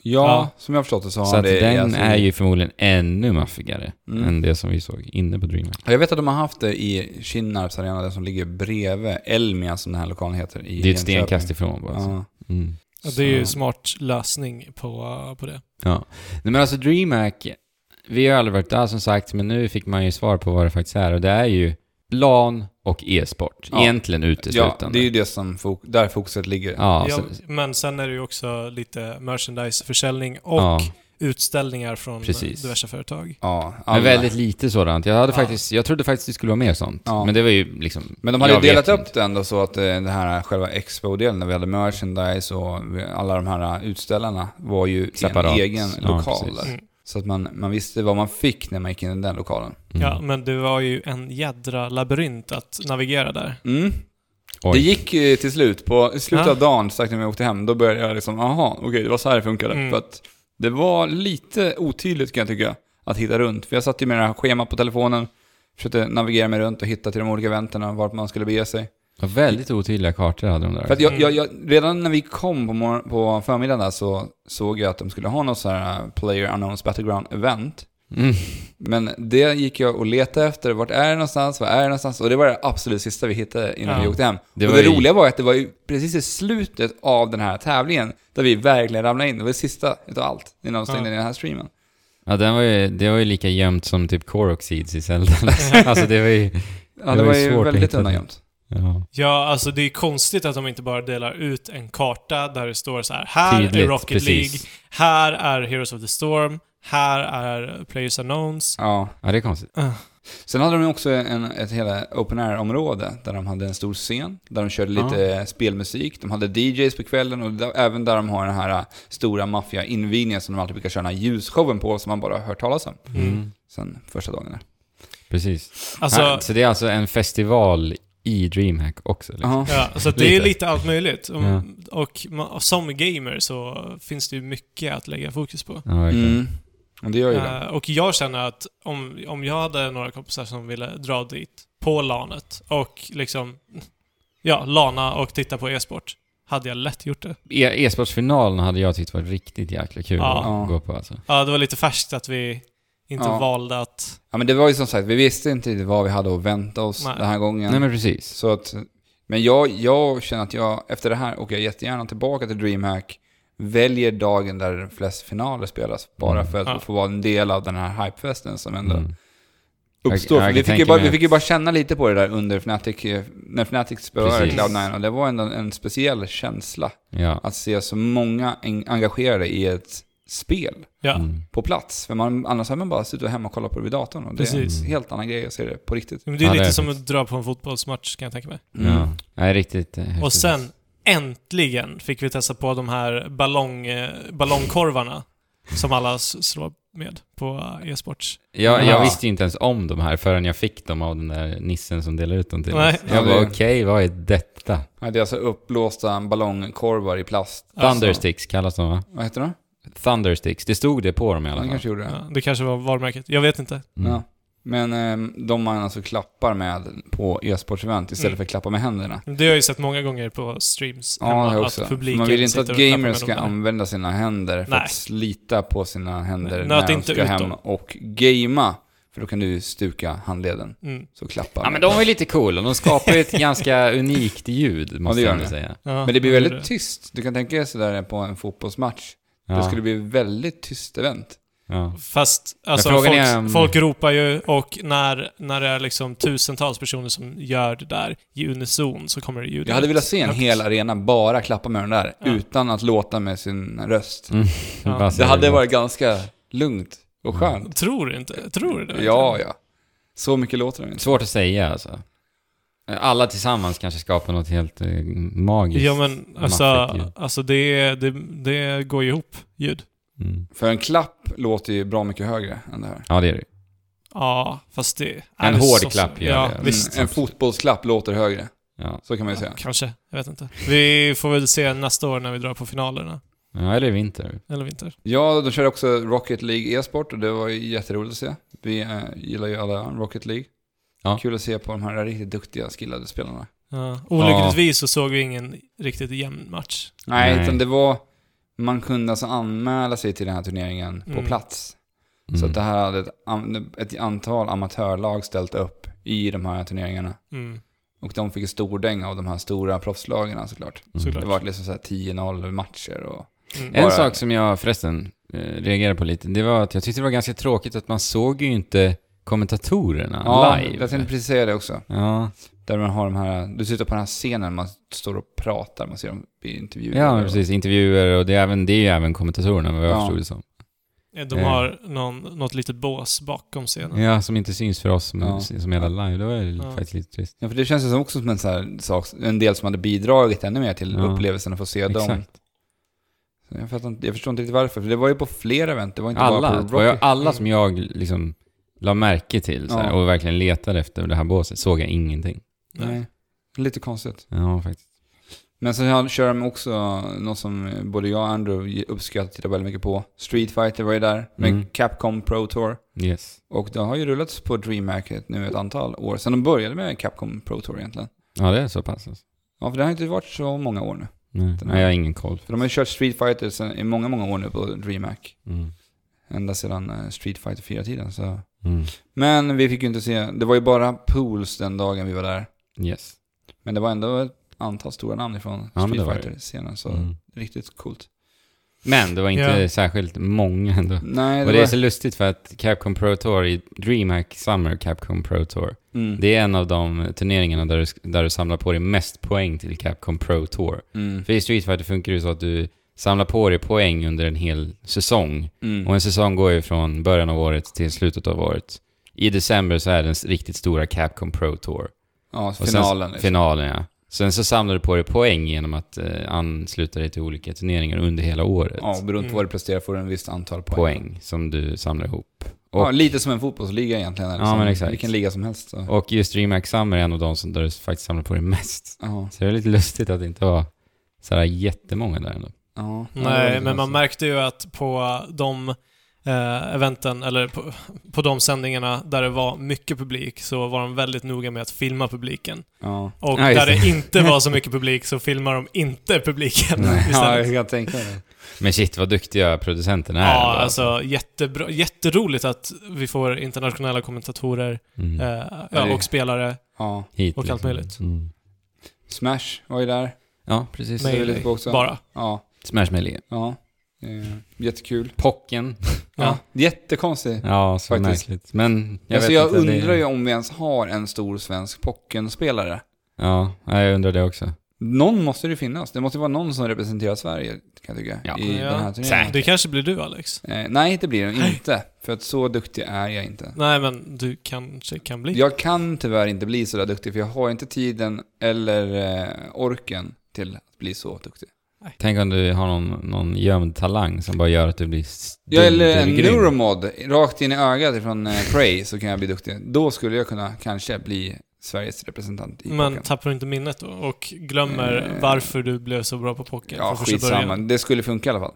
Speaker 1: ja,
Speaker 3: Ja.
Speaker 1: som jag har förstått det så har
Speaker 2: så
Speaker 1: han
Speaker 2: att
Speaker 1: det i-
Speaker 2: den
Speaker 1: alltså-
Speaker 2: är ju förmodligen ännu maffigare
Speaker 1: Mm.
Speaker 2: än det som vi såg inne på DreamHack.
Speaker 1: Ja, Jag vet att de har haft det i Kinnarps arena, den som ligger bredvid Elmia som den här lokalen heter. I
Speaker 2: Det är ett
Speaker 1: Jönköping.
Speaker 2: stenkast ifrån bara. så.
Speaker 1: Ja.
Speaker 2: Mm.
Speaker 3: Ja, Det är ju en
Speaker 1: Så-
Speaker 3: smart lösning på, på det.
Speaker 2: Ja. Nej, men alltså DreamHack, vi har aldrig varit där som sagt, men nu fick man ju svar på vad det faktiskt är och det är ju LAN och e-sport.
Speaker 1: Ja.
Speaker 2: Egentligen
Speaker 1: Ja,
Speaker 2: uteslutande.
Speaker 1: det är ju det som fok- där fokuset ligger.
Speaker 2: Ja,
Speaker 3: Ja,
Speaker 2: så,
Speaker 3: men sen är det ju också lite merchandiseförsäljning och
Speaker 2: ja.
Speaker 3: utställningar från
Speaker 2: Precis.
Speaker 3: diverse företag.
Speaker 1: Ja, alla.
Speaker 2: Men väldigt lite sådant. Jag, hade
Speaker 3: Ja.
Speaker 2: faktiskt, jag trodde faktiskt det skulle vara mer sånt.
Speaker 1: Ja.
Speaker 2: Men det var ju liksom...
Speaker 1: Men de hade ju
Speaker 2: jag vet
Speaker 1: delat
Speaker 2: inte.
Speaker 1: upp det ändå så att eh, den här själva expo-delen, när vi hade merchandise och vi- alla de här utställarna var ju
Speaker 2: Separat.
Speaker 1: i en egen
Speaker 2: Ja,
Speaker 1: lokal.
Speaker 2: precis.
Speaker 1: där.
Speaker 3: Mm.
Speaker 1: så att man, man visste vad man fick när man gick in i den lokalen.
Speaker 2: Mm.
Speaker 3: Ja, men det var ju en jädra labyrint att navigera där.
Speaker 1: Mm.
Speaker 2: Oj.
Speaker 1: Det gick eh, till slut. På i slutet
Speaker 3: Ja.
Speaker 1: av dagen, strax när vi åkte hem, då började jag liksom, aha, okej, det var så här det funkade.
Speaker 3: Mm.
Speaker 1: För att det var lite otydligt kan jag tycka, att hitta runt. För jag satt ju med det här schemat på telefonen, Försökte navigera mig runt och hitta till de olika eventerna, vart man skulle bege sig.
Speaker 2: Ja, väldigt otydliga kartor hade de där.
Speaker 1: För att jag, jag, jag, redan när vi kom på, morgon, på förmiddagen där så såg jag att de skulle ha något så här eh, Player Unknowns Battleground event.
Speaker 2: mm.
Speaker 1: Men det gick jag och letade efter. Vart är det någonstans? Vad är det någonstans? Och det var det absolut sista vi hittade innan
Speaker 3: Ja.
Speaker 1: vi åkte hem.
Speaker 2: Det
Speaker 1: och
Speaker 2: var
Speaker 1: det
Speaker 2: ju-
Speaker 1: roliga var ju att det var ju precis i slutet av den här tävlingen där vi verkligen ramlade in. Det var det sista utav allt innan de stängde
Speaker 3: Ja.
Speaker 1: ner den här streamen.
Speaker 2: Ja, den var ju, det var ju lika gömt som typ Korok Seeds i Zelda. alltså det var ju...
Speaker 1: Ja,
Speaker 2: var
Speaker 1: det, var
Speaker 2: ju svårt
Speaker 1: ju
Speaker 2: att
Speaker 1: väldigt
Speaker 2: hitta det.
Speaker 1: undangömt.
Speaker 2: Ja.
Speaker 3: Ja, alltså det är konstigt att de inte bara delar ut en karta där det står så här. Här är
Speaker 2: Tydligt,
Speaker 3: Rocket League,
Speaker 2: precis.
Speaker 3: här är Heroes of the Storm, här är Players Unknowns.
Speaker 1: Ja.
Speaker 2: Ja, det är konstigt.
Speaker 1: Sen hade de ju också en, ett hela open air-område där de hade en stor scen, där de körde lite spelmusik, de hade DJs på kvällen och där, även där de har den här äh, stora maffia-invigningen som de alltid brukar köra den här ljusshowen på som man bara har hört talas om
Speaker 3: Mm.
Speaker 2: Mm.
Speaker 1: sen första dagen där.
Speaker 2: Precis.
Speaker 3: Alltså,
Speaker 2: ja, så det är alltså en festival i DreamHack också? Liksom.
Speaker 1: Jaha.
Speaker 3: ja, så att det är
Speaker 2: Lite.
Speaker 3: lite allt möjligt. Och, och, man, och som gamer så finns det ju mycket att lägga fokus på.
Speaker 2: Ja, verkligen.
Speaker 1: Mm. Och det gör ju det.
Speaker 3: Eh, och jag känner att om, om jag hade några kompisar som ville dra dit på LANet och liksom, ja, LANa och titta på e-sport, hade jag lätt gjort det.
Speaker 2: E- E-sportsfinalen hade jag tyckt var riktigt jäkla kul
Speaker 3: Ja.
Speaker 2: att gå på alltså.
Speaker 3: Ja, det var lite färskt att vi inte
Speaker 1: Ja.
Speaker 3: valde att...
Speaker 1: Ja men det var ju som sagt, vi visste inte riktigt vad vi hade att vänta oss
Speaker 3: Nej.
Speaker 1: den här gången.
Speaker 2: Nej men precis.
Speaker 1: Så att, men jag, jag känner att jag, efter det här åker jag jättegärna tillbaka till DreamHack, väljer dagen där flest finaler spelas, bara
Speaker 2: Mm.
Speaker 1: för att
Speaker 3: Ja.
Speaker 1: få vara en del av den här hypefesten som ändå
Speaker 2: Mm.
Speaker 1: uppstår.
Speaker 2: Jag- jag kan
Speaker 1: För vi, fick ju
Speaker 2: tänka
Speaker 1: bara,
Speaker 2: mig
Speaker 1: vi fick ju
Speaker 2: att-
Speaker 1: bara känna lite på det där under Fnatic, eh, när Fnatic spelade
Speaker 2: Precis.
Speaker 1: Cloud9 och det var ändå en speciell känsla
Speaker 2: Ja.
Speaker 1: att se så många en- engagerade i ett spel
Speaker 3: Ja,
Speaker 2: Mm.
Speaker 1: på plats. För man, annars hade man bara suttit hemma och kollat på det vid datorn och det
Speaker 3: Precis.
Speaker 1: är en helt annan grej att se det på riktigt.
Speaker 3: men det är
Speaker 2: Ja, det
Speaker 3: lite
Speaker 2: är
Speaker 3: som att dra på en fotbollsmatch kan jag tänka mig.
Speaker 1: Mm.
Speaker 2: Ja. Nej, riktigt eh,
Speaker 3: Och
Speaker 2: häftigt.
Speaker 3: sen, äntligen fick vi testa på de här ballong, eh, ballongkorvarna som alla s- slår med på eh, e-sports.
Speaker 2: Jag,
Speaker 1: Ja.
Speaker 2: jag visste ju inte ens om de här förrän jag fick dem av den där nissen som delade ut dem till
Speaker 3: Nej.
Speaker 2: oss.
Speaker 1: Ja,
Speaker 2: Jag bara
Speaker 1: det-
Speaker 2: okej, vad är detta?
Speaker 1: Ja, det är alltså uppblåsta ballongkorvar i plast.
Speaker 3: Alltså.
Speaker 2: Thundersticks kallas de va?
Speaker 1: Vad heter de?
Speaker 2: Thundersticks, det stod det på dem i
Speaker 1: Ja,
Speaker 2: alla
Speaker 1: de
Speaker 2: fall.
Speaker 1: kanske gjorde det.
Speaker 3: alltså, Ja, det kanske var varumärket. Jag vet inte.
Speaker 2: Mm.
Speaker 1: Ja. Men ehm, de man alltså klappar med på e-sportsevent istället
Speaker 3: Mm.
Speaker 1: för att klappa med händerna.
Speaker 3: Det har jag ju sett många gånger på streams.
Speaker 1: Ja,
Speaker 3: hemma,
Speaker 1: jag också.
Speaker 3: Att
Speaker 1: För
Speaker 3: publiken
Speaker 1: Man vill inte
Speaker 3: sitter
Speaker 1: att
Speaker 3: och klappar
Speaker 1: gamers
Speaker 3: med
Speaker 1: ska
Speaker 3: dem där.
Speaker 1: använda sina händer för
Speaker 3: Nej.
Speaker 1: att slita på sina händer
Speaker 3: Nej, nöt
Speaker 1: när de
Speaker 3: inte
Speaker 1: ska
Speaker 3: ut
Speaker 1: hem
Speaker 3: dem.
Speaker 1: och gamea. För då kan du stuka handleden.
Speaker 3: Mm.
Speaker 1: Så klappar
Speaker 2: Ja men de var ju lite coola, de skapar ju ett ganska unikt ljud måste
Speaker 1: gör
Speaker 2: jag
Speaker 1: de.
Speaker 2: ändå säga.
Speaker 3: Ja,
Speaker 1: Men det blir
Speaker 3: jag
Speaker 1: väldigt
Speaker 3: gjorde
Speaker 1: tyst. Du kan tänka dig sådär på en fotbollsmatch.
Speaker 2: Ja.
Speaker 1: Det skulle bli väldigt tyst event.
Speaker 2: ja.
Speaker 3: Fast alltså,
Speaker 2: frågan
Speaker 3: folk,
Speaker 2: är, um,
Speaker 3: folk ropar ju och när, när det är liksom tusentals personer som gör det där i unison så kommer det ljud
Speaker 1: Jag hade
Speaker 3: ut.
Speaker 1: velat se en
Speaker 3: Högt.
Speaker 1: hel arena bara klappa med den där,
Speaker 3: Ja.
Speaker 1: utan att låta med sin röst.
Speaker 2: Mm.
Speaker 3: Ja.
Speaker 2: Bara
Speaker 1: Det
Speaker 2: säger
Speaker 1: hade
Speaker 2: det.
Speaker 1: varit ganska lugnt
Speaker 3: Mm.
Speaker 1: och skönt.
Speaker 3: Tror du inte? Tror du det?
Speaker 1: Ja, ja. Så mycket låter den inte.
Speaker 2: Svårt att säga alltså. Alla tillsammans kanske skapar något helt eh, magiskt.
Speaker 3: Ja men
Speaker 2: Maffigt
Speaker 3: alltså,
Speaker 2: ljud.
Speaker 3: alltså det, det, det går ju ihop, ljud.
Speaker 2: Mm.
Speaker 1: För en klapp låter ju bra mycket högre än det här.
Speaker 2: Ja det är det
Speaker 3: Ja, fast det...
Speaker 2: En
Speaker 3: det är
Speaker 2: hård
Speaker 3: så-
Speaker 2: klapp gör
Speaker 3: Ja,
Speaker 2: det.
Speaker 1: Mm,
Speaker 3: visst.
Speaker 1: en fotbollsklapp låter högre,
Speaker 2: ja.
Speaker 1: så kan man ju säga.
Speaker 3: Kanske, jag vet inte. Vi får väl se nästa år när vi drar på finalerna.
Speaker 2: ja, eller vinter.
Speaker 3: Eller vinter.
Speaker 1: Ja, de körde också Rocket League e-sport och det var ju jätteroligt att se. Vi eh, gillar ju alla Rocket League.
Speaker 2: Ja.
Speaker 1: Kul att se på de här riktigt duktiga, skillade spelarna.
Speaker 3: Ja. Olyckligtvis så såg vi ingen riktigt jämn match.
Speaker 1: Nej,
Speaker 2: Nej.
Speaker 1: utan det var... Man kunde alltså anmäla sig till den här turneringen
Speaker 3: Mm.
Speaker 1: på plats.
Speaker 2: Mm.
Speaker 1: Så att det här hade ett, an- ett antal amatörlag ställt upp i de här turneringarna.
Speaker 3: Mm,
Speaker 1: Och de fick en stor dänga av de här stora proffslagarna såklart.
Speaker 3: såklart.
Speaker 1: Det var liksom så här 10-0 matcher och...
Speaker 3: Mm.
Speaker 2: Mm. En
Speaker 1: Bara-
Speaker 2: sak som jag förresten eh, reagerade på lite, det var att jag tyckte det var ganska tråkigt att man såg ju inte kommentatorerna live.
Speaker 1: jag tänkte precis säga det också.
Speaker 2: Ja,
Speaker 1: Där man har de här, du sitter på den här scenen, man står och pratar, man ser dem i intervjuer.
Speaker 2: ja men precis. Intervjuer och det är, även, det är ju även kommentatorerna vad jag
Speaker 1: Ja.
Speaker 2: förstod det som.
Speaker 3: Eh, De har någon, något litet bås bakom scenen.
Speaker 2: Ja, som inte syns för oss men
Speaker 1: Ja.
Speaker 2: som är live. Det var ju
Speaker 3: Ja.
Speaker 2: faktiskt lite trist.
Speaker 1: Ja, för det känns ju som också som en, så här sak, en del som hade bidragit ännu mer till
Speaker 2: Ja.
Speaker 1: upplevelsen att få se dem.
Speaker 2: Exakt.
Speaker 1: Så Jag, fattar inte, jag förstår inte riktigt varför, för det var ju på flera event, det var inte
Speaker 2: Alla,
Speaker 1: bara
Speaker 2: det
Speaker 1: på
Speaker 2: var ju
Speaker 1: Rocket.
Speaker 2: alla som jag liksom la märke till så här,
Speaker 1: Ja.
Speaker 2: och verkligen letade efter det här båset såg jag ingenting.
Speaker 3: Nej.
Speaker 1: Nej. Lite konstigt.
Speaker 2: Ja, faktiskt.
Speaker 1: Men sen har- kör de också något som både jag och Andrew uppskattar att titta väldigt mycket på. Street Fighter var ju där med
Speaker 2: Mm.
Speaker 1: Capcom Pro Tour.
Speaker 2: Yes.
Speaker 1: Och det har ju rullats på DreamHack nu ett antal år. Sen de började med Capcom Pro Tour egentligen.
Speaker 2: Ja, det är så pass alltså.
Speaker 1: Ja, för det har inte varit så många år nu.
Speaker 2: Nej, nej, jag har ingen koll.
Speaker 1: För de har ju kört Street Fighter sen, i många, många år nu på DreamHack.
Speaker 2: Mm.
Speaker 1: Ända sedan eh, Street Fighter 4-tiden. Så.
Speaker 2: Mm.
Speaker 1: Men vi fick ju inte se, det var ju bara pools den dagen vi var där.
Speaker 2: Yes.
Speaker 1: Men det var ändå ett antal stora namn ifrån
Speaker 2: men det
Speaker 1: Street
Speaker 2: var det.
Speaker 1: Fighter-scenen. Så
Speaker 2: Mm.
Speaker 1: riktigt coolt.
Speaker 2: Men det var inte
Speaker 3: Ja.
Speaker 2: särskilt många ändå.
Speaker 1: Nej, det,
Speaker 2: Och det är
Speaker 1: var...
Speaker 2: så lustigt för att Capcom Pro Tour i DreamHack Summer Capcom Pro Tour,
Speaker 1: Mm.
Speaker 2: det är en av de turneringarna där du, där du samlar på dig mest poäng till Capcom Pro Tour.
Speaker 1: Mm.
Speaker 2: För i Street Fighter funkar det ju så att du samlar på dig poäng under en hel säsong.
Speaker 1: Mm.
Speaker 2: Och en säsong går ju från början av året till slutet av året. I december så är den riktigt stora Capcom Pro Tour.
Speaker 1: Ja,
Speaker 2: Och sen-
Speaker 1: finalen. liksom.
Speaker 2: Finalen, ja. Sen så samlar du på dig poäng genom att eh, ansluta dig till olika turneringar under hela året.
Speaker 1: Ja, beroende på
Speaker 3: Mm.
Speaker 1: vad du presterar får du en visst antal poäng.
Speaker 2: poäng som du samlar ihop.
Speaker 1: ja, lite som en fotbollsliga egentligen. eller
Speaker 2: Ja,
Speaker 1: som
Speaker 2: men exakt.
Speaker 1: Vilken liga som helst. Så.
Speaker 2: Och just DreamHack Summer är en av de som där du faktiskt samlar på dig mest.
Speaker 1: Ja,
Speaker 2: Så det är lite lustigt att det inte var sådär jättemånga där ändå.
Speaker 1: ja, Ja, det alltså- var
Speaker 3: Nej,
Speaker 1: lite
Speaker 3: men man
Speaker 1: konstigt.
Speaker 3: märkte ju att på de eh, eventen, eller på, på de sändningarna där det var mycket publik, så var de väldigt noga med att filma publiken.
Speaker 1: Ja.
Speaker 3: Och
Speaker 2: Ja, just
Speaker 3: där det
Speaker 2: det.
Speaker 3: inte var så mycket publik så filmar de inte publiken
Speaker 1: ja,
Speaker 3: istället.
Speaker 1: jag kan tänka mig det.
Speaker 2: Men shit vad duktiga producenterna är.
Speaker 3: Ja,
Speaker 2: ändå.
Speaker 3: alltså jättebra. Jätteroligt att vi får internationella kommentatorer
Speaker 2: Mm.
Speaker 3: eh,
Speaker 1: Ja, det-
Speaker 3: ja, och spelare.
Speaker 1: Ja.
Speaker 2: Hit,
Speaker 3: och allt möjligt.
Speaker 2: Mm.
Speaker 1: Smash var ju där.
Speaker 2: Ja, precis.
Speaker 1: Nej.
Speaker 3: Melee
Speaker 1: lite på också.
Speaker 3: bara.
Speaker 1: Ja,
Speaker 2: Smash Melee.
Speaker 1: ja. Eh, jättekul.
Speaker 2: Pocken.
Speaker 1: Ja.
Speaker 3: Ja.
Speaker 1: Jättekonstigt.
Speaker 2: Ja, så
Speaker 1: Faktiskt.
Speaker 2: märkligt. Men jag
Speaker 1: Jag, alltså,
Speaker 2: vet
Speaker 1: jag
Speaker 2: inte, det-
Speaker 1: undrar ju om vi ens har en stor svensk pockenspelare.
Speaker 2: Ja, ja, jag undrar det också.
Speaker 1: Någon måste det ju finnas. Det måste vara någon som representerar Sverige, kan jag tycka,
Speaker 2: Ja.
Speaker 1: i
Speaker 3: Ja.
Speaker 1: den här turneringen.
Speaker 2: Säkert.
Speaker 3: Det kanske blir du, Alex?
Speaker 1: Eh, nej, det blir det inte. För att så duktig är jag inte.
Speaker 3: Nej, men du kanske kan bli.
Speaker 1: Jag kan tyvärr inte bli så där duktig, för jag har inte tiden eller eh, orken till att bli så duktig.
Speaker 2: Tänk om du har någon, någon gömd talang som bara gör att du blir s-
Speaker 1: Ja,
Speaker 2: dum
Speaker 1: eller en
Speaker 2: till grym.
Speaker 1: neuromod rakt in i ögat från eh, Prey så kan jag bli duktig. Då skulle jag kunna kanske bli Sveriges representant i
Speaker 3: Men
Speaker 1: poker.
Speaker 3: tappar du inte minnet då och glömmer
Speaker 1: Eh.
Speaker 3: varför du blev så bra på poker
Speaker 1: Ja,
Speaker 3: från första
Speaker 1: skitsamma.
Speaker 3: början?
Speaker 1: Det skulle funka i alla fall.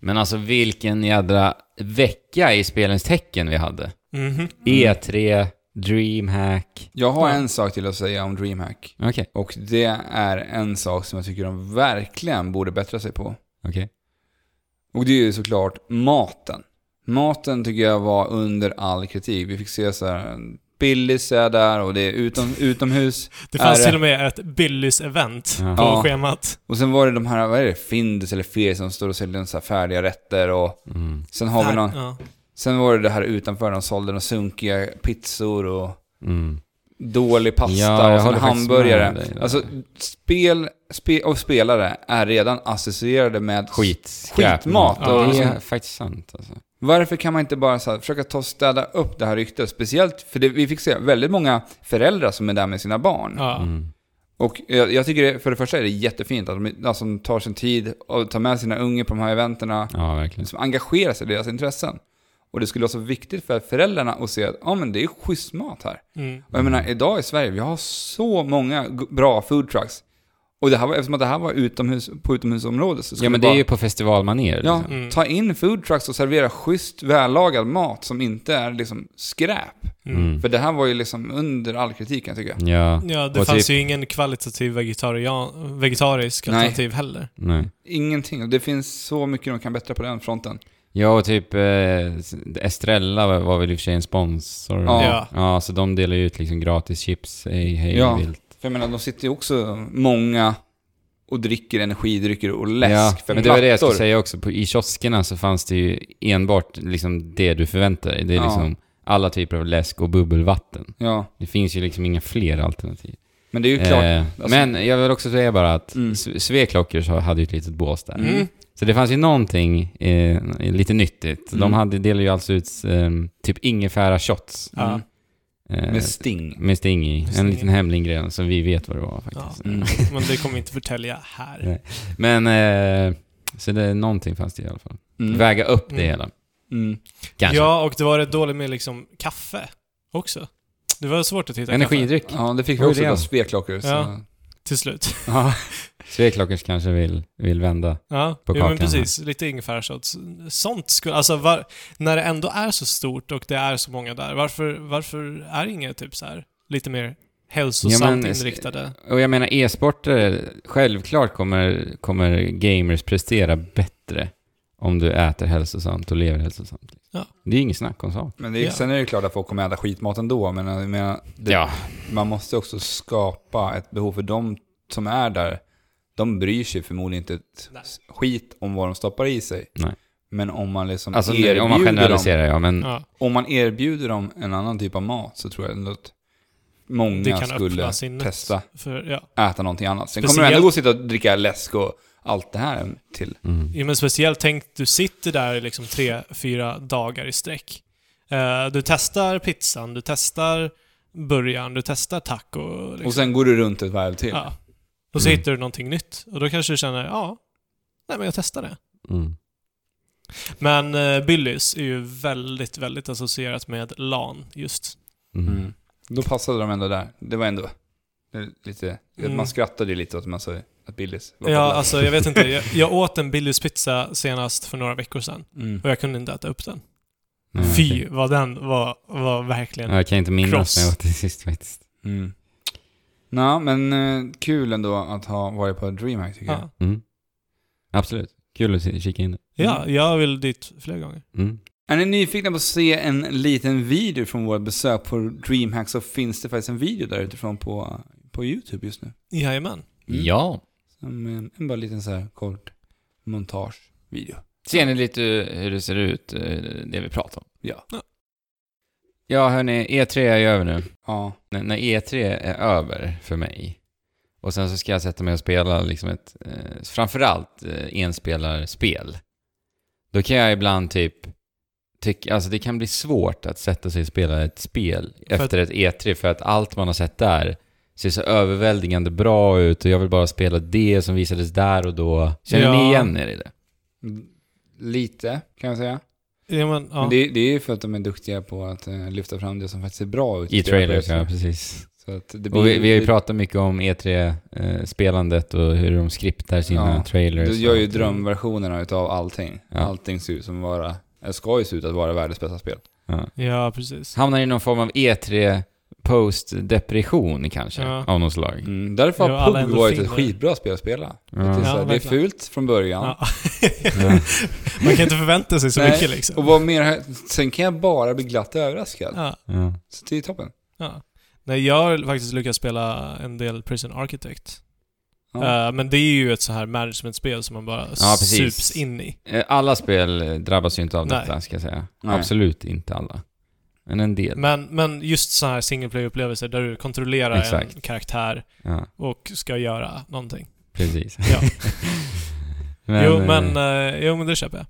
Speaker 2: Men alltså vilken jädra vecka i spelens tecken vi hade.
Speaker 1: Mm.
Speaker 3: Mhm.
Speaker 2: E3, DreamHack.
Speaker 1: Jag har
Speaker 3: Ja.
Speaker 1: en sak till att säga om DreamHack.
Speaker 2: Okej,
Speaker 1: Och det är en sak som jag tycker de verkligen borde bättra sig på.
Speaker 2: okej.
Speaker 1: Och det är ju såklart maten. Maten tycker jag var under all kritik. Vi fick se så här, Billys är där och det är utom, utomhus.
Speaker 3: Det fanns
Speaker 1: Är det-
Speaker 3: till och med ett Billys-event
Speaker 2: Ja.
Speaker 3: på
Speaker 1: Ja.
Speaker 3: schemat.
Speaker 1: Och sen var det de här, vad är det, Findus eller Fir som står och säljer så här färdiga rätter och
Speaker 2: Mm.
Speaker 1: sen har vi
Speaker 3: Där-
Speaker 1: någon,
Speaker 3: ja.
Speaker 1: sen var det det här utanför, de sålde några sunkiga pizzor och
Speaker 2: Mm.
Speaker 1: dålig pasta
Speaker 2: Ja, jag
Speaker 1: och sen
Speaker 2: håller faktiskt med
Speaker 1: hamburgare.
Speaker 2: dig där.
Speaker 1: Alltså, spel, spe, och spelare är redan associerade med
Speaker 2: Skit.
Speaker 1: Skitmat liksom-
Speaker 2: Ja,
Speaker 3: och-
Speaker 2: det är faktiskt sant alltså.
Speaker 1: Varför kan man inte bara så här, försöka ta och städa upp det här ryktet? Speciellt för det, vi fick se väldigt många föräldrar som är där med sina barn.
Speaker 3: Ja.
Speaker 2: Mm.
Speaker 1: Och jag, jag tycker det, för det första är det jättefint att de alltså, de tar sin tid och tar med sina unga på de här eventerna.
Speaker 2: Ja, verkligen.
Speaker 1: Liksom engagerar sig i deras intressen. Och det skulle vara så viktigt för föräldrarna att se att ja men det är schysst mat här.
Speaker 3: Mm.
Speaker 1: Och jag menar, idag i Sverige, vi har så många g- bra food trucks. Och det här var, eftersom att det här var utomhus, på utomhusområdet så skulle
Speaker 2: Ja, men det är ju på festivalmanér.
Speaker 1: Ja,
Speaker 2: liksom.
Speaker 3: Mm.
Speaker 1: ta in food trucks och servera schysst vällagad mat som inte är liksom skräp.
Speaker 3: Mm.
Speaker 1: För det här var ju liksom under all kritik kan jag tycka.
Speaker 2: Ja,
Speaker 3: Ja, det
Speaker 2: Och
Speaker 3: fanns
Speaker 2: typ-
Speaker 3: ju ingen kvalitativ vegetarian, vegetarisk
Speaker 1: Nej.
Speaker 3: alternativ heller.
Speaker 2: nej.
Speaker 1: Ingenting. Och Det finns så mycket de kan bättra på den fronten.
Speaker 2: Ja, och typ eh, Estrella var, var väl i och för sig en sponsor.
Speaker 1: Ja.
Speaker 3: Ja.
Speaker 2: Ja, så de delar ju ut liksom gratis chips, hej, hej,
Speaker 1: Ja.
Speaker 2: vilt.
Speaker 1: För jag menar, de sitter ju också många och dricker energidrycker och läsk
Speaker 2: ja,
Speaker 1: för
Speaker 2: men det
Speaker 1: plattor.
Speaker 2: var det jag skulle säga också. På, I kioskerna så fanns det ju enbart liksom det du förväntar dig. Det är
Speaker 1: Ja.
Speaker 2: liksom alla typer av läsk och bubbelvatten.
Speaker 1: Ja,
Speaker 2: Det finns ju liksom inga fler alternativ.
Speaker 1: men det är ju klart.
Speaker 2: Eh,
Speaker 1: alltså-
Speaker 2: Men jag vill också säga bara att
Speaker 1: Mm.
Speaker 2: mm. Sveklockor så hade ju ett litet bås där.
Speaker 1: Mm.
Speaker 3: Mm.
Speaker 2: Så det fanns ju någonting eh, lite nyttigt.
Speaker 1: Mm.
Speaker 2: De hade, delade ju alltså ut eh, typ ingefära shots.
Speaker 3: Ja.
Speaker 1: Mm.
Speaker 2: Eh,
Speaker 1: Med sting.
Speaker 2: med sting i.
Speaker 3: Med
Speaker 2: En
Speaker 3: sting i.
Speaker 2: liten hemlig ingrediens som vi vet vad det var faktiskt.
Speaker 1: Mm.
Speaker 3: Men det kommer vi inte förtälja här.
Speaker 2: Nej. Men, eh, så det, någonting fanns det i alla fall.
Speaker 1: Mm.
Speaker 2: Väga upp det
Speaker 3: Mm.
Speaker 2: hela.
Speaker 1: Mm.
Speaker 2: Kanske.
Speaker 3: Ja, och det var rätt dåligt med liksom kaffe också. Det var svårt att hitta
Speaker 2: Energidryck.
Speaker 1: Ja, det fick vi
Speaker 2: Vad är
Speaker 1: också
Speaker 2: det?
Speaker 1: av speklockor. Så.
Speaker 3: Ja. till slut.
Speaker 2: Ja. Sveklockers kanske vill, vill vända.
Speaker 3: Ja,
Speaker 2: På
Speaker 3: jo, men
Speaker 2: kakan här.
Speaker 3: precis. Lite ingefärsås. Sånt skulle... Alltså, var, när det ändå är så stort och det är så många där, varför, varför är inget typ så här lite mer hälsosamt
Speaker 2: Ja, men-
Speaker 3: inriktade?
Speaker 2: Och jag menar e-sportare, självklart kommer, kommer gamers prestera bättre om du äter hälsosamt och lever hälsosamt.
Speaker 3: Ja.
Speaker 2: Det är inget snack om saken.
Speaker 1: Men det är,
Speaker 3: Ja.
Speaker 1: sen är det klart att folk kommer äta skitmat ändå, men jag menar, det,
Speaker 2: Ja,
Speaker 1: man måste också skapa ett behov för de som är där. De bryr sig förmodligen inte ett
Speaker 3: Nej.
Speaker 1: skit om vad de stoppar i sig.
Speaker 2: Nej.
Speaker 1: Men om man, liksom
Speaker 2: alltså nu,
Speaker 1: erbjuder
Speaker 2: om man
Speaker 1: dem,
Speaker 2: generaliserar ja, men
Speaker 3: Ja,
Speaker 1: om man erbjuder dem en annan typ av mat så tror jag ändå att
Speaker 3: det
Speaker 1: många
Speaker 3: kan
Speaker 1: skulle
Speaker 3: öppna sinnet.
Speaker 1: testa
Speaker 3: För, ja.
Speaker 1: äta någonting annat. Sen kommer
Speaker 3: Speciellt-
Speaker 1: du ändå gå och sitta och dricka läsk och allt det här till.
Speaker 2: mm.
Speaker 3: Ja, men speciellt tänk, du sitter där i liksom tre, fyra dagar i sträck. Eh, du testar pizzan, du testar burgaren, du testar taco. Liksom.
Speaker 1: Och sen går du runt ett varv till.
Speaker 3: ja. Och så
Speaker 2: Mm.
Speaker 3: hittar du någonting nytt. Och då kanske du känner, ja, nej men jag testar det.
Speaker 2: Mm.
Speaker 3: Men uh, Billys är ju väldigt, väldigt associerat med LAN just.
Speaker 2: Mm.
Speaker 1: Mm. Då passade de ändå där. Det var ändå lite...
Speaker 3: Mm.
Speaker 1: Man skrattade ju lite åt att man sa att Billys var
Speaker 3: Ja,
Speaker 1: populärt.
Speaker 3: alltså jag vet inte. Jag, jag åt en Billys pizza senast för några veckor sedan.
Speaker 1: Mm.
Speaker 3: Och jag kunde inte äta upp den.
Speaker 2: Nej,
Speaker 3: Fy
Speaker 2: okej.
Speaker 3: vad den var, var verkligen...
Speaker 2: Ja, jag kan inte minnas
Speaker 3: Kross.
Speaker 2: när jag åt det sist faktiskt.
Speaker 1: Mm. Nå, men eh, kul ändå att ha varit på DreamHack tycker jag.
Speaker 3: Ja.
Speaker 2: Mm. Absolut. Kul att se- kika in det.
Speaker 3: ja,
Speaker 1: Mm.
Speaker 3: jag vill dit fler gånger.
Speaker 2: Mm.
Speaker 1: Är ni nyfikna på att se en liten video från vårt besök på DreamHack så finns det faktiskt en video där utifrån på, på YouTube just nu.
Speaker 3: Jajamän.
Speaker 1: Mm.
Speaker 2: Ja.
Speaker 1: Som en, en bara liten så här kort montagevideo.
Speaker 2: Ser ni lite hur det ser ut, eh, det vi pratar om?
Speaker 1: Ja.
Speaker 2: Ja, hörni, E3 är ju över nu.
Speaker 1: Ja.
Speaker 2: när, när E3 är över för mig och sen så ska jag sätta mig och spela liksom ett, eh, framförallt eh, enspelarspel, då kan jag ibland typ tycka, alltså det kan bli svårt att sätta sig och spela ett spel
Speaker 3: att-
Speaker 2: efter ett E3 för att allt man har sett där ser så överväldigande bra ut och jag vill bara spela det som visades där och då. Känner
Speaker 3: Ja.
Speaker 2: ni igen er i det?
Speaker 1: Mm. Lite, kan jag säga.
Speaker 3: Ja, men, ja.
Speaker 1: Men det, det är ju för att de är duktiga på att eh, lyfta fram det som faktiskt ser bra ut.
Speaker 2: I trailers, ja precis.
Speaker 1: Så att det blir,
Speaker 2: Och vi, vi har ju
Speaker 1: det-
Speaker 2: pratat mycket om E E3-spelandet och hur de skriptar sina
Speaker 1: Ja,
Speaker 2: trailers.
Speaker 1: Du gör
Speaker 2: och
Speaker 1: ju
Speaker 2: allt.
Speaker 1: drömversionerna utav allting.
Speaker 2: eh, Ja.
Speaker 1: Allting ser ut som vara, eller ska ju se ut att vara världens bästa spel.
Speaker 2: Ja.
Speaker 3: ja, precis.
Speaker 2: Hamnar i någon form av E3 post-depression kanske,
Speaker 3: Ja.
Speaker 2: av något slag.
Speaker 1: Mm, därför
Speaker 3: Jo, alla
Speaker 1: har PUG
Speaker 3: ändå
Speaker 1: varit ett
Speaker 3: finner.
Speaker 1: skitbra spel att spela.
Speaker 2: Ja.
Speaker 1: Det, är så
Speaker 3: Ja,
Speaker 1: här, det är
Speaker 3: verkligen.
Speaker 1: fult från början.
Speaker 3: Ja. Man kan inte förvänta sig så
Speaker 1: Nej,
Speaker 3: mycket liksom.
Speaker 1: Och vad mer, sen kan jag bara bli glatt överraskad.
Speaker 3: Ja,
Speaker 2: Ja.
Speaker 1: Så det är toppen.
Speaker 3: ja. Nej, jag har faktiskt lyckats spela en del Prison Architect.
Speaker 1: Ja.
Speaker 3: Eh, men det är ju ett så här managementspel som man bara
Speaker 2: Ja, precis.
Speaker 3: sups in i.
Speaker 2: Eh, Alla spel eh, drabbas ju inte av
Speaker 3: Nej.
Speaker 2: detta, ska jag säga.
Speaker 1: Nej.
Speaker 2: Absolut inte alla. Men en del.
Speaker 3: Men, men just så här single player-upplevelser där du kontrollerar en
Speaker 2: Exakt.
Speaker 3: karaktär
Speaker 2: Ja,
Speaker 3: och ska göra någonting.
Speaker 2: precis.
Speaker 3: Ja.
Speaker 2: men,
Speaker 3: jo,
Speaker 2: eh,
Speaker 3: men, eh, jo, men det köper jag.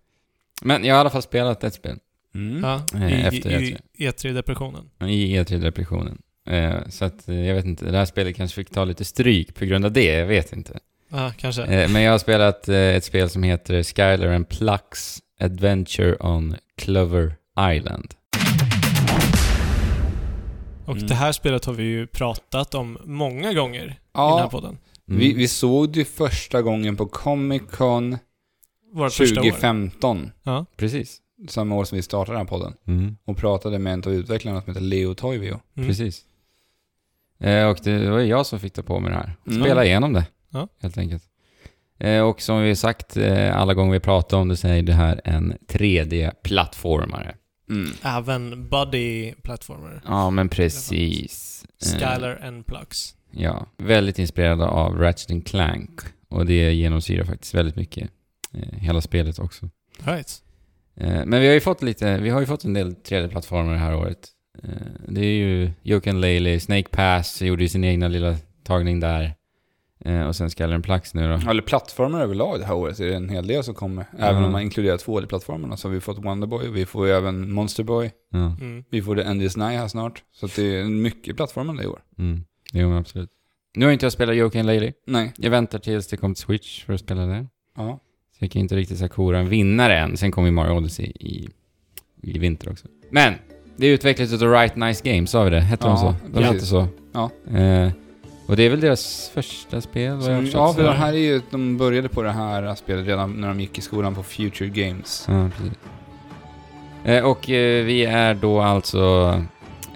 Speaker 2: men jag har i alla fall spelat ett spel
Speaker 1: Mm.
Speaker 3: Ja,
Speaker 2: Eh,
Speaker 3: I
Speaker 2: efter
Speaker 3: i E E3-depressionen.
Speaker 2: i E3-depressionen. Eh, Så att, eh, jag vet inte, det här spelet kanske fick ta lite stryk på grund av det, jag vet inte.
Speaker 3: Ja, kanske.
Speaker 2: Eh, Men jag har spelat eh, ett spel som heter Skylar and Plux Adventure on Clover Island.
Speaker 3: och
Speaker 1: Mm.
Speaker 3: det här spelet har vi ju pratat om många gånger i den här
Speaker 1: Ja,
Speaker 3: podden.
Speaker 2: Mm.
Speaker 1: vi, vi såg det ju första gången på Comic Con
Speaker 3: Vårt första år.
Speaker 1: 2015.
Speaker 3: Ja.
Speaker 2: Precis.
Speaker 1: Samma år som vi startade den här podden.
Speaker 2: Mm.
Speaker 1: Och pratade med en av utvecklarna som heter Leo Toivio.
Speaker 3: Mm.
Speaker 2: Precis. Eh, och det var ju jag som fick ta på mig det här.
Speaker 1: Mm.
Speaker 2: Spela igenom det,
Speaker 3: Ja.
Speaker 2: helt enkelt. Eh, och som vi har sagt eh, alla gånger vi pratar om det så är det här en 3D-plattformare.
Speaker 1: Mm.
Speaker 3: Även Buddy Platformer.
Speaker 2: Ja, men precis.
Speaker 3: Skylar and Plux.
Speaker 2: Eh, Ja, väldigt inspirerade av Ratchet and Clank. Och det genomsyrar faktiskt väldigt mycket eh, hela spelet också.
Speaker 3: Right.
Speaker 2: Eh, men vi har ju fått lite, vi har ju fått en del 3D-plattformar det här året. Eh, det är ju Joken Laley, Snake Pass gjorde ju sin egna lilla tagning där. Eh, och sen Skylar and Plax nu då.
Speaker 1: Ja, Eller plattformar överlag det här året är det en hel del som kommer. Även
Speaker 2: Mm.
Speaker 1: om man inkluderar 2D-plattformarna så har vi fått Wonderboy, vi får ju även Monsterboy,
Speaker 2: Ja,
Speaker 3: Mm.
Speaker 1: vi får The Endless Night här snart. Så att det är mycket plattformande i år.
Speaker 2: mm. Jo men absolut. Nu har inte jag spelat Joken Laley.
Speaker 1: Nej,
Speaker 2: Jag väntar tills det kommer till Switch för att spela det.
Speaker 1: ja.
Speaker 2: Så jag kan inte riktigt säga kora en vinnare än. Sen kommer ju Mario Odyssey i, i vinter också. Men! Det är utvecklat utav Right Nice Games, sa vi det? Hette
Speaker 1: Ja,
Speaker 2: de så? De
Speaker 1: precis.
Speaker 2: hette så.
Speaker 1: Ja.
Speaker 2: Eh, Och det är väl deras första spel, vad jag har
Speaker 1: Som,
Speaker 2: förstått.
Speaker 1: ja, för
Speaker 3: så.
Speaker 1: det här är ju, de började på det här spelet redan när de gick i skolan på Future Games.
Speaker 2: Ja, precis. Eh, Och eh, vi är då alltså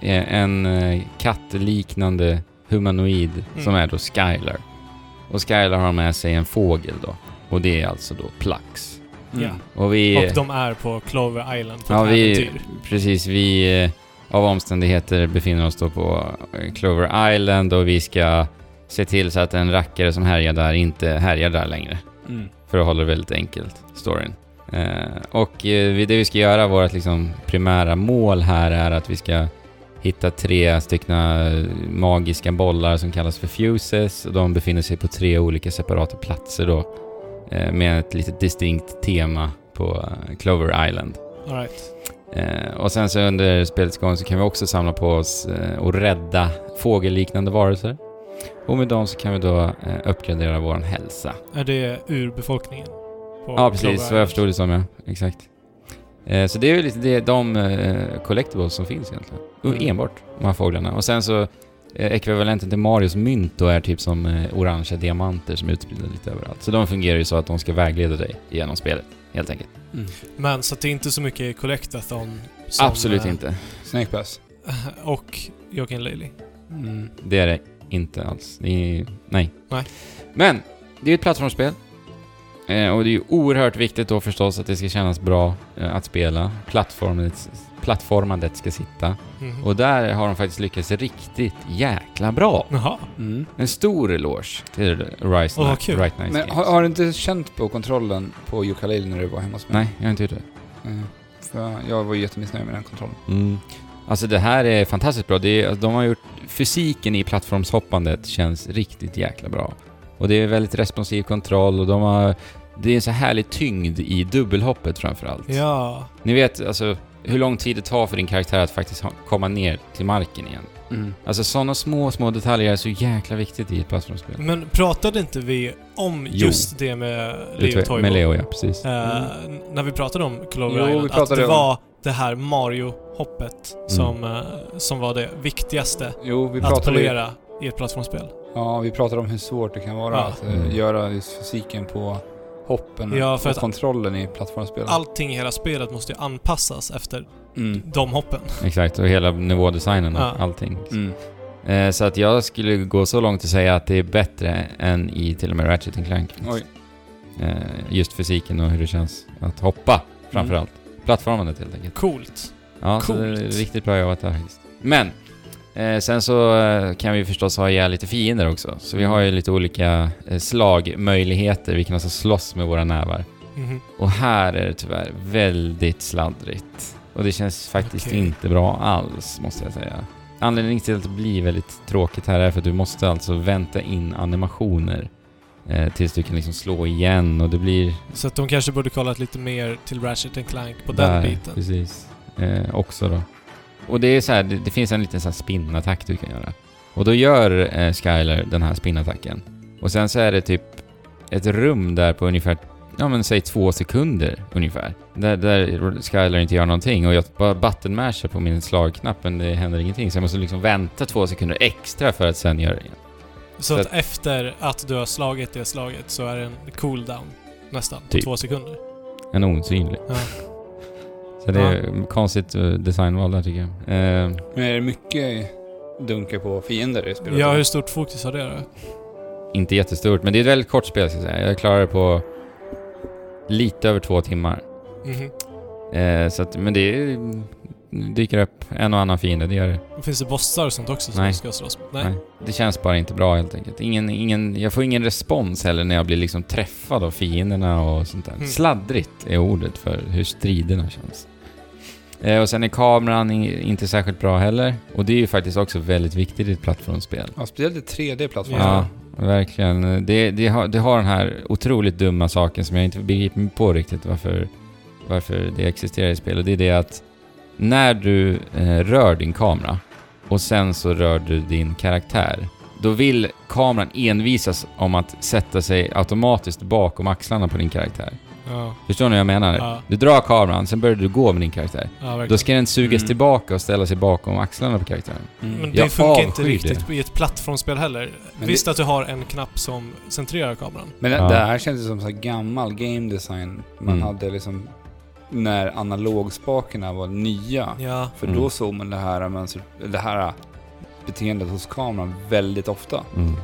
Speaker 2: eh, en eh, kattliknande humanoid
Speaker 3: Mm.
Speaker 2: som är då Skylar. Och Skylar har med sig en fågel då. Och det är alltså då Plax.
Speaker 3: Ja.
Speaker 2: Och vi... eh,
Speaker 3: Och de är på Clover Island på
Speaker 2: ja,
Speaker 3: ett
Speaker 2: vi,
Speaker 3: äventyr.
Speaker 2: precis. Vi eh, av omständigheter befinner oss då på eh, Clover Island och vi ska se till så att en rackare som härjar där inte härjar där längre.
Speaker 1: Mm.
Speaker 2: För att hålla det väldigt enkelt, storyn. Eh, och eh, vi- det vi ska göra, vårt liksom primära mål här är att vi ska hitta tre stycken eh, magiska bollar som kallas för fuses. Och de befinner sig på tre olika separata platser då. Eh, med ett lite distinkt tema på eh, Clover Island.
Speaker 3: All right.
Speaker 2: Eh, och sen så under spelets gång så kan vi också samla på oss eh, och rädda fågelliknande varelser. Och med dem så kan vi då eh, uppgradera vår hälsa.
Speaker 3: Är det urbefolkningen? På
Speaker 2: Ja, precis.
Speaker 3: Clover
Speaker 2: Vad jag
Speaker 3: Island?
Speaker 2: förstod det som, ja. Exakt. Eh, så det är ju lite det, de eh, collectibles som finns egentligen. Och
Speaker 3: Mm.
Speaker 2: enbart de här fåglarna. Och sen så eh, ekvivalenten till Marios mynt då är typ som eh, orangea diamanter som är utspridda lite överallt. Så de fungerar ju så att de ska vägleda dig genom spelet, helt enkelt.
Speaker 1: Mm.
Speaker 3: Men så att det är inte så mycket Collectathon som,
Speaker 2: Absolut
Speaker 3: eh,
Speaker 2: inte.
Speaker 1: Snake Pass.
Speaker 3: Och Joakim Lely.
Speaker 1: Mm.
Speaker 2: Det är det inte alls. Det är, nej.
Speaker 3: Nej.
Speaker 2: Men, det är ju ett plattformsspel. Eh, och det är ju oerhört viktigt då förstås att det ska kännas bra eh, att spela. Plattformandet, plattformandet ska sitta.
Speaker 3: Mhm.
Speaker 2: Och där har de faktiskt lyckats riktigt jäkla bra.
Speaker 3: Jaha.
Speaker 1: Mm.
Speaker 2: En stor eloge till Rise
Speaker 3: Åh,
Speaker 2: oh,
Speaker 3: vad kul.
Speaker 2: Right Nice
Speaker 1: Men
Speaker 2: Games.
Speaker 1: har, har du inte känt på kontrollen på ukulele när du var hemma hos mig?
Speaker 2: Nej, jag har inte gjort det.
Speaker 1: Nej. För jag var ju jättemissnöjd med den kontrollen.
Speaker 2: Mm. Alltså det här är fantastiskt bra. Det är, alltså, de har gjort... Fysiken i plattformshoppandet känns riktigt jäkla bra. Och det är väldigt responsiv kontroll och de har... Det är en så härlig tyngd i dubbelhoppet framförallt.
Speaker 3: Ja.
Speaker 2: Ni vet alltså hur lång tid det tar för din karaktär att faktiskt ha, komma ner till marken igen. Alltså sådana små, små detaljer är så jäkla viktigt i ett plattformsspel.
Speaker 3: Men pratade inte vi om
Speaker 2: Jo.
Speaker 3: just det med Leo
Speaker 2: Utve-
Speaker 3: Toivo?
Speaker 2: Med Leo, ja. Precis.
Speaker 3: Eh, n- När vi pratade om Clover
Speaker 1: Mm. Jo, vi
Speaker 3: Island, att
Speaker 1: pratade
Speaker 3: det
Speaker 1: om-
Speaker 3: var det här Mario-hoppet
Speaker 2: Mm.
Speaker 3: som, eh, som var det viktigaste
Speaker 1: Jo, vi
Speaker 3: att
Speaker 1: pratade, ju,
Speaker 3: polera i ett plattformsspel.
Speaker 1: ja, vi pratade om hur svårt det kan vara
Speaker 3: Ja.
Speaker 1: att eh,
Speaker 2: Mm.
Speaker 1: göra just fysiken på hoppen
Speaker 3: Ja, för
Speaker 1: och
Speaker 3: att-
Speaker 1: kontrollen i plattformsspelen.
Speaker 3: Allting i hela spelet måste ju anpassas efter
Speaker 1: Mm.
Speaker 3: de hoppen.
Speaker 2: Exakt, och hela nivådesignen och
Speaker 3: Ja.
Speaker 2: allting.
Speaker 1: Mm.
Speaker 2: Eh, så att jag skulle gå så långt att säga att det är bättre än i till och med Ratchet Clank.
Speaker 1: Oj.
Speaker 2: Eh, just fysiken och hur det känns att hoppa
Speaker 1: Mm.
Speaker 2: framförallt. Plattformandet helt enkelt.
Speaker 3: Coolt.
Speaker 2: Ja, så det är
Speaker 3: Coolt.
Speaker 2: riktigt bra jobbat där faktiskt. Men! Eh, sen så eh, kan vi förstås ha ihjäl lite fiender också. Så vi har ju lite olika eh, slagmöjligheter. Vi kan alltså slåss med våra nävar.
Speaker 3: Mhm.
Speaker 2: Och här är det tyvärr väldigt sladdrigt. Och det känns faktiskt
Speaker 3: Okej.
Speaker 2: inte bra alls, måste jag säga. Anledningen till att det blir väldigt tråkigt här är för att du måste alltså vänta in animationer eh, tills du kan liksom slå igen och det blir...
Speaker 3: Så att de kanske borde kollat lite mer till Ratchet and Clank på den
Speaker 2: där,
Speaker 3: biten.
Speaker 2: Precis. Eh, också då. Och det är så här, det, det finns en liten så här spinnattack du kan göra. Och då gör eh, Skyler den här spinnattacken. Och sen så är det typ ett rum där på ungefär, ja men säg två sekunder ungefär. Där, där Skyler inte gör någonting och jag bara buttonmashar på min slagknapp men det händer ingenting. Så jag måste liksom vänta två sekunder extra för att sen göra det igen.
Speaker 3: Så att
Speaker 2: Så
Speaker 3: efter att du har slagit det slaget så är det en cooldown nästan, på
Speaker 2: Typ.
Speaker 3: två sekunder.
Speaker 2: En osynlig.
Speaker 3: Ja.
Speaker 2: Så det är konstigt eh, designval där tycker jag. Eh,
Speaker 1: Mm. Men är det mycket dunker på fiender i spelet?
Speaker 3: Ja, hur stort fokus har det då?
Speaker 2: inte jättestort, men det är ett väldigt kort spel ska jag säga. Jag klarar det på lite över två timmar.
Speaker 3: Mhm.
Speaker 2: Eh, så att, men det är, dyker upp en och annan fiende, det gör det.
Speaker 3: Finns det bossar och sånt också som
Speaker 2: Nej.
Speaker 3: du ska slåss med? Nej.
Speaker 2: Nej. Det känns bara inte bra helt enkelt. Ingen, ingen, jag får ingen respons heller när jag blir liksom träffad av fienderna och sånt där.
Speaker 3: Mm.
Speaker 2: Sladdrigt är ordet för hur striderna känns. Eh, och sen är kameran i- inte särskilt bra heller. Och det är ju faktiskt också väldigt viktigt i ett plattformsspel.
Speaker 1: Ja, speciellt i 3D-plattformar.
Speaker 2: Ja, verkligen. Det, det, har, det har den här otroligt dumma saken som jag inte begriper mig på riktigt varför, varför det existerar i spel. Och det är det att när du eh, rör din kamera och sen så rör du din karaktär, då vill kameran envisas om att sätta sig automatiskt bakom axlarna på din karaktär.
Speaker 3: Ja,
Speaker 2: Förstår ni vad jag menar?
Speaker 3: ja,
Speaker 2: Du drar kameran, sen börjar du gå med din karaktär.
Speaker 3: ja
Speaker 2: Då
Speaker 3: verkligen.
Speaker 2: ska den sugas
Speaker 1: Mm.
Speaker 2: tillbaka och ställa sig bakom axlarna på karaktären.
Speaker 3: Men
Speaker 2: Mm. Jag
Speaker 3: det funkar inte
Speaker 2: avskyr
Speaker 3: riktigt i ett plattformsspel heller.
Speaker 1: Men
Speaker 3: Visst att du har en knapp som centrerar kameran.
Speaker 1: Men det-
Speaker 2: Ja.
Speaker 1: det här kändes som så här gammal game design. Man
Speaker 2: Mm.
Speaker 1: hade liksom när analogspakerna var nya.
Speaker 3: Ja.
Speaker 1: För
Speaker 2: Mm.
Speaker 1: då såg man det här, mönster, det här beteendet hos kameran väldigt ofta.
Speaker 2: Mm.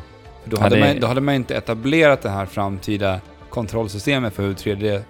Speaker 1: För då,
Speaker 2: Ja,
Speaker 1: hade
Speaker 2: det-
Speaker 1: man, då hade man inte etablerat det här framtida kontrollsystemet för hur 3D,
Speaker 2: Mm.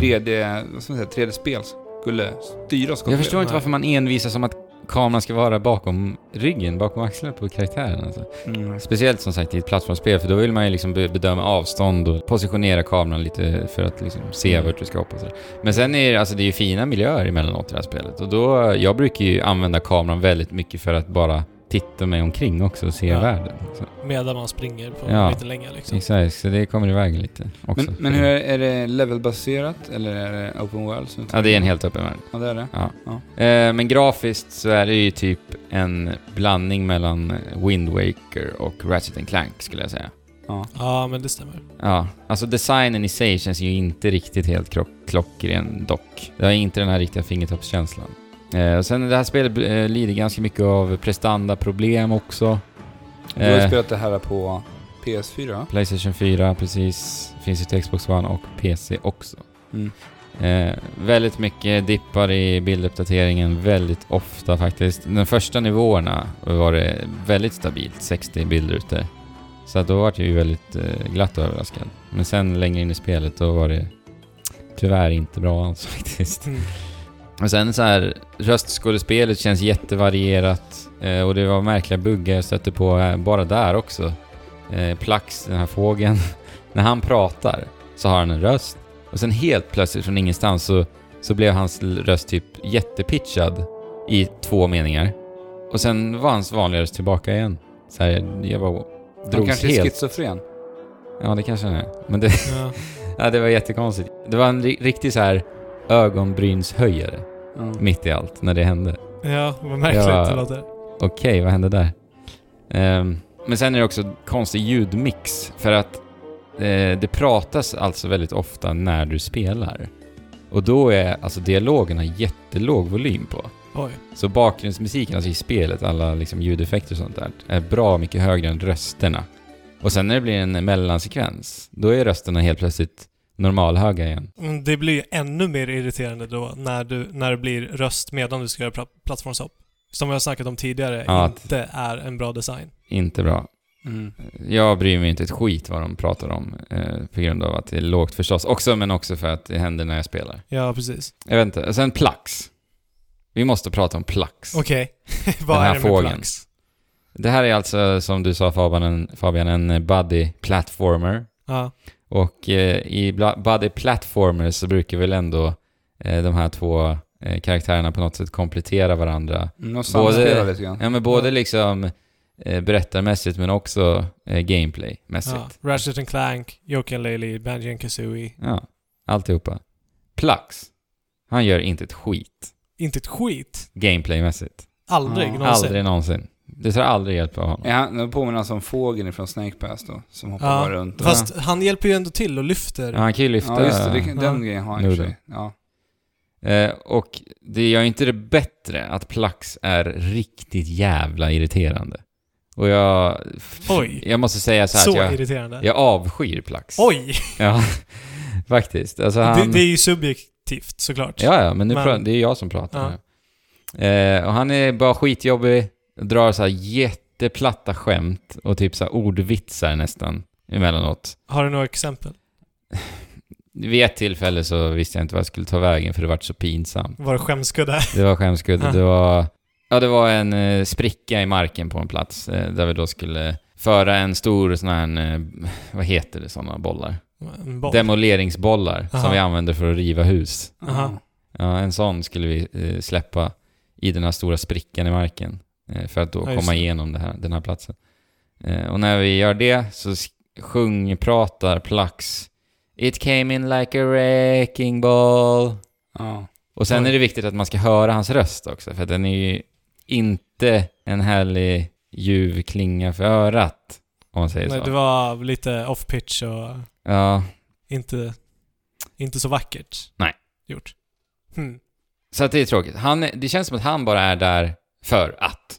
Speaker 1: 3D, vad ska man säga, 3D-spel skulle styras.
Speaker 2: Jag förstår inte
Speaker 3: Nej.
Speaker 2: varför man envisas om att kameran ska vara bakom ryggen, bakom axlarna på karaktären. Alltså.
Speaker 1: Mm.
Speaker 2: Speciellt som sagt i ett plattformsspel, för då vill man ju liksom be- bedöma avstånd och positionera kameran lite för att liksom
Speaker 1: Mm.
Speaker 2: se vart du ska hoppa. och sådär. Men sen är det, alltså, det är ju fina miljöer emellanåt i det här spelet. Och då, jag brukar ju använda kameran väldigt mycket för att bara titta mig omkring också och se
Speaker 3: Ja.
Speaker 2: världen. Så,
Speaker 3: Medan man springer på
Speaker 2: Ja.
Speaker 3: en liten länga liksom.
Speaker 2: exakt, så det kommer iväg lite också.
Speaker 1: Men, men hur är, är det levelbaserat eller är det open world? som-
Speaker 2: Ja, det är en helt öppen värld.
Speaker 1: Ja, det är det.
Speaker 2: Eh, Men grafiskt så är det ju typ en blandning mellan Wind Waker och Ratchet and Clank skulle jag säga.
Speaker 3: Ja, men det stämmer.
Speaker 2: Ja, alltså designen i sig känns ju inte riktigt helt krock, klockren dock. Det har inte den här riktiga fingertoppskänslan. Eh, och sen det här spelet eh, lider ganska mycket av prestandaproblem också.
Speaker 1: Du har ju
Speaker 2: Eh,
Speaker 1: spelat det här på PS4 va?
Speaker 2: Playstation 4, precis. Finns ju till Xbox One och PC också.
Speaker 1: Mm.
Speaker 2: Eh, väldigt mycket dippar i bilduppdateringen, väldigt ofta faktiskt. De första nivåerna var det väldigt stabilt, 60 bildrutor. Så att då var jag ju väldigt eh, glatt överraskad. Men sen längre in i spelet, då var det tyvärr inte bra alls faktiskt.
Speaker 3: Mm.
Speaker 2: Och sen så här, röstskådespelet känns jättevarierat eh, och det var märkliga buggar jag stötte på eh, bara där också. Eh, Plax, den här fågeln, när han pratar så har han en röst och sen helt plötsligt från ingenstans så, så blev hans l- röst typ jättepitchad i två meningar. Och sen var hans vanliga röst tillbaka igen. Så här, jag bara
Speaker 1: Han
Speaker 2: drogs
Speaker 1: kanske är
Speaker 2: helt.
Speaker 1: schizofren.
Speaker 2: Ja, det kanske han är. Men det,
Speaker 3: Ja.
Speaker 2: ja, det var jättekonstigt. Det var en ri- riktig så här ögonbrynshöjare
Speaker 1: Ja.
Speaker 2: mitt i allt när det hände.
Speaker 3: ja, vad märkligt
Speaker 2: Ja.
Speaker 3: det låter.
Speaker 2: Okej, vad hände där? Ehm, men sen är det också konstig ljudmix för att eh, det pratas alltså väldigt ofta när du spelar. Och då är alltså dialogerna jättelåg volym på.
Speaker 3: Oj.
Speaker 2: Så bakgrundsmusiken, alltså i spelet, alla liksom ljudeffekter och sånt där, är bra mycket högre än rösterna. Och sen när det blir en mellansekvens, då är rösterna helt plötsligt normalhöga igen.
Speaker 3: Men Mm, det blir ju ännu mer irriterande då när, du, när det blir röst medan du ska göra pla- plattformshopp. Som vi har snackat om tidigare,
Speaker 2: Ja,
Speaker 3: inte är en bra design.
Speaker 2: Inte bra.
Speaker 1: Mm.
Speaker 2: Jag bryr mig inte ett skit vad de pratar om eh, på grund av att det är lågt förstås. Också, men också för att det händer när jag spelar.
Speaker 3: Ja, precis.
Speaker 2: Jag vet inte. Sen Plax. Vi måste prata om Plax.
Speaker 3: Okej. Vad
Speaker 2: Den här
Speaker 3: är det med
Speaker 2: fågeln.
Speaker 3: plax? det
Speaker 2: Det här är alltså, som du sa Fabian, en, Fabian, en eh, buddy platformer.
Speaker 3: Ja.
Speaker 2: Och eh, i bla- buddy platformer så brukar väl ändå eh, de här två eh, karaktärerna på något sätt komplettera varandra.
Speaker 1: Mm, och samspelar lite grann.
Speaker 2: Ja, men både liksom eh, berättarmässigt men också eh, gameplaymässigt.
Speaker 3: ja. Ratchet and Clank, Joken Laley, Banjo and Kazooie.
Speaker 2: Ja, alltihopa. Plax, han gör inte ett skit
Speaker 3: Inte ett skit.
Speaker 2: gameplaymässigt.
Speaker 3: Aldrig
Speaker 1: Ja.
Speaker 3: någonsin.
Speaker 2: Aldrig någonsin. Det tar aldrig hjälp av honom.
Speaker 1: Ja, nu påminner alltså om fågeln från Snake Pass då, som hoppar
Speaker 3: Ja,
Speaker 1: bara runt. och-
Speaker 3: Fast han hjälper ju ändå till och lyfter.
Speaker 2: Ja, han kan ju lyfta.
Speaker 1: ja, just det, det, kan-
Speaker 3: Ja.
Speaker 1: den grejen har han i och för
Speaker 2: Nu
Speaker 1: sig. Ja.
Speaker 2: Eh, och det gör ju inte det bättre att Plax är riktigt jävla irriterande. Och jag...
Speaker 3: Oj.
Speaker 2: Jag måste säga så
Speaker 3: Så,
Speaker 2: här att jag,
Speaker 3: irriterande.
Speaker 2: jag avskyr Plax.
Speaker 3: Oj!
Speaker 2: Ja, faktiskt. Alltså
Speaker 3: Det,
Speaker 2: han...
Speaker 3: det är ju subjektivt såklart.
Speaker 2: Ja, ja, men nu
Speaker 3: Men-
Speaker 2: pra- det är jag som pratar
Speaker 3: Ja.
Speaker 2: nu. Eh, och han är bara skitjobbig, drar så här jätteplatta skämt och typ så här ordvitsar nästan emellanåt.
Speaker 3: Har du några exempel?
Speaker 2: Vid ett tillfälle så visste jag inte vad jag skulle ta vägen för det vart så pinsamt.
Speaker 3: Var det skämskudde?
Speaker 2: Det var skämskudde,
Speaker 3: Ja.
Speaker 2: det var... Ja, det var en eh, spricka i marken på en plats eh, där vi då skulle föra en stor sån här, eh, vad heter det, sådana bollar?
Speaker 3: En boll?
Speaker 2: Demoleringsbollar som
Speaker 3: Aha.
Speaker 2: vi använder för att riva hus.
Speaker 3: Aha.
Speaker 2: Ja, en sån skulle vi eh, släppa i den här stora sprickan i marken eh, för att då
Speaker 3: Ja, just
Speaker 2: komma
Speaker 3: det.
Speaker 2: igenom det här, den här platsen. Eh, och när vi gör det så sk- sjungpratar Plax It came in like a wrecking ball.
Speaker 1: Ja.
Speaker 2: Och sen
Speaker 3: Oj.
Speaker 2: är det viktigt att man ska höra hans röst också för att den är ju inte en härlig ljuv klinga för örat. Om man säger
Speaker 3: Nej,
Speaker 2: så.
Speaker 3: det var lite off-pitch och
Speaker 2: Ja,
Speaker 3: inte Inte så vackert.
Speaker 2: Nej.
Speaker 3: Gjort. Hmm.
Speaker 2: Så att det är tråkigt. Han, är- det känns som att han bara är där för att.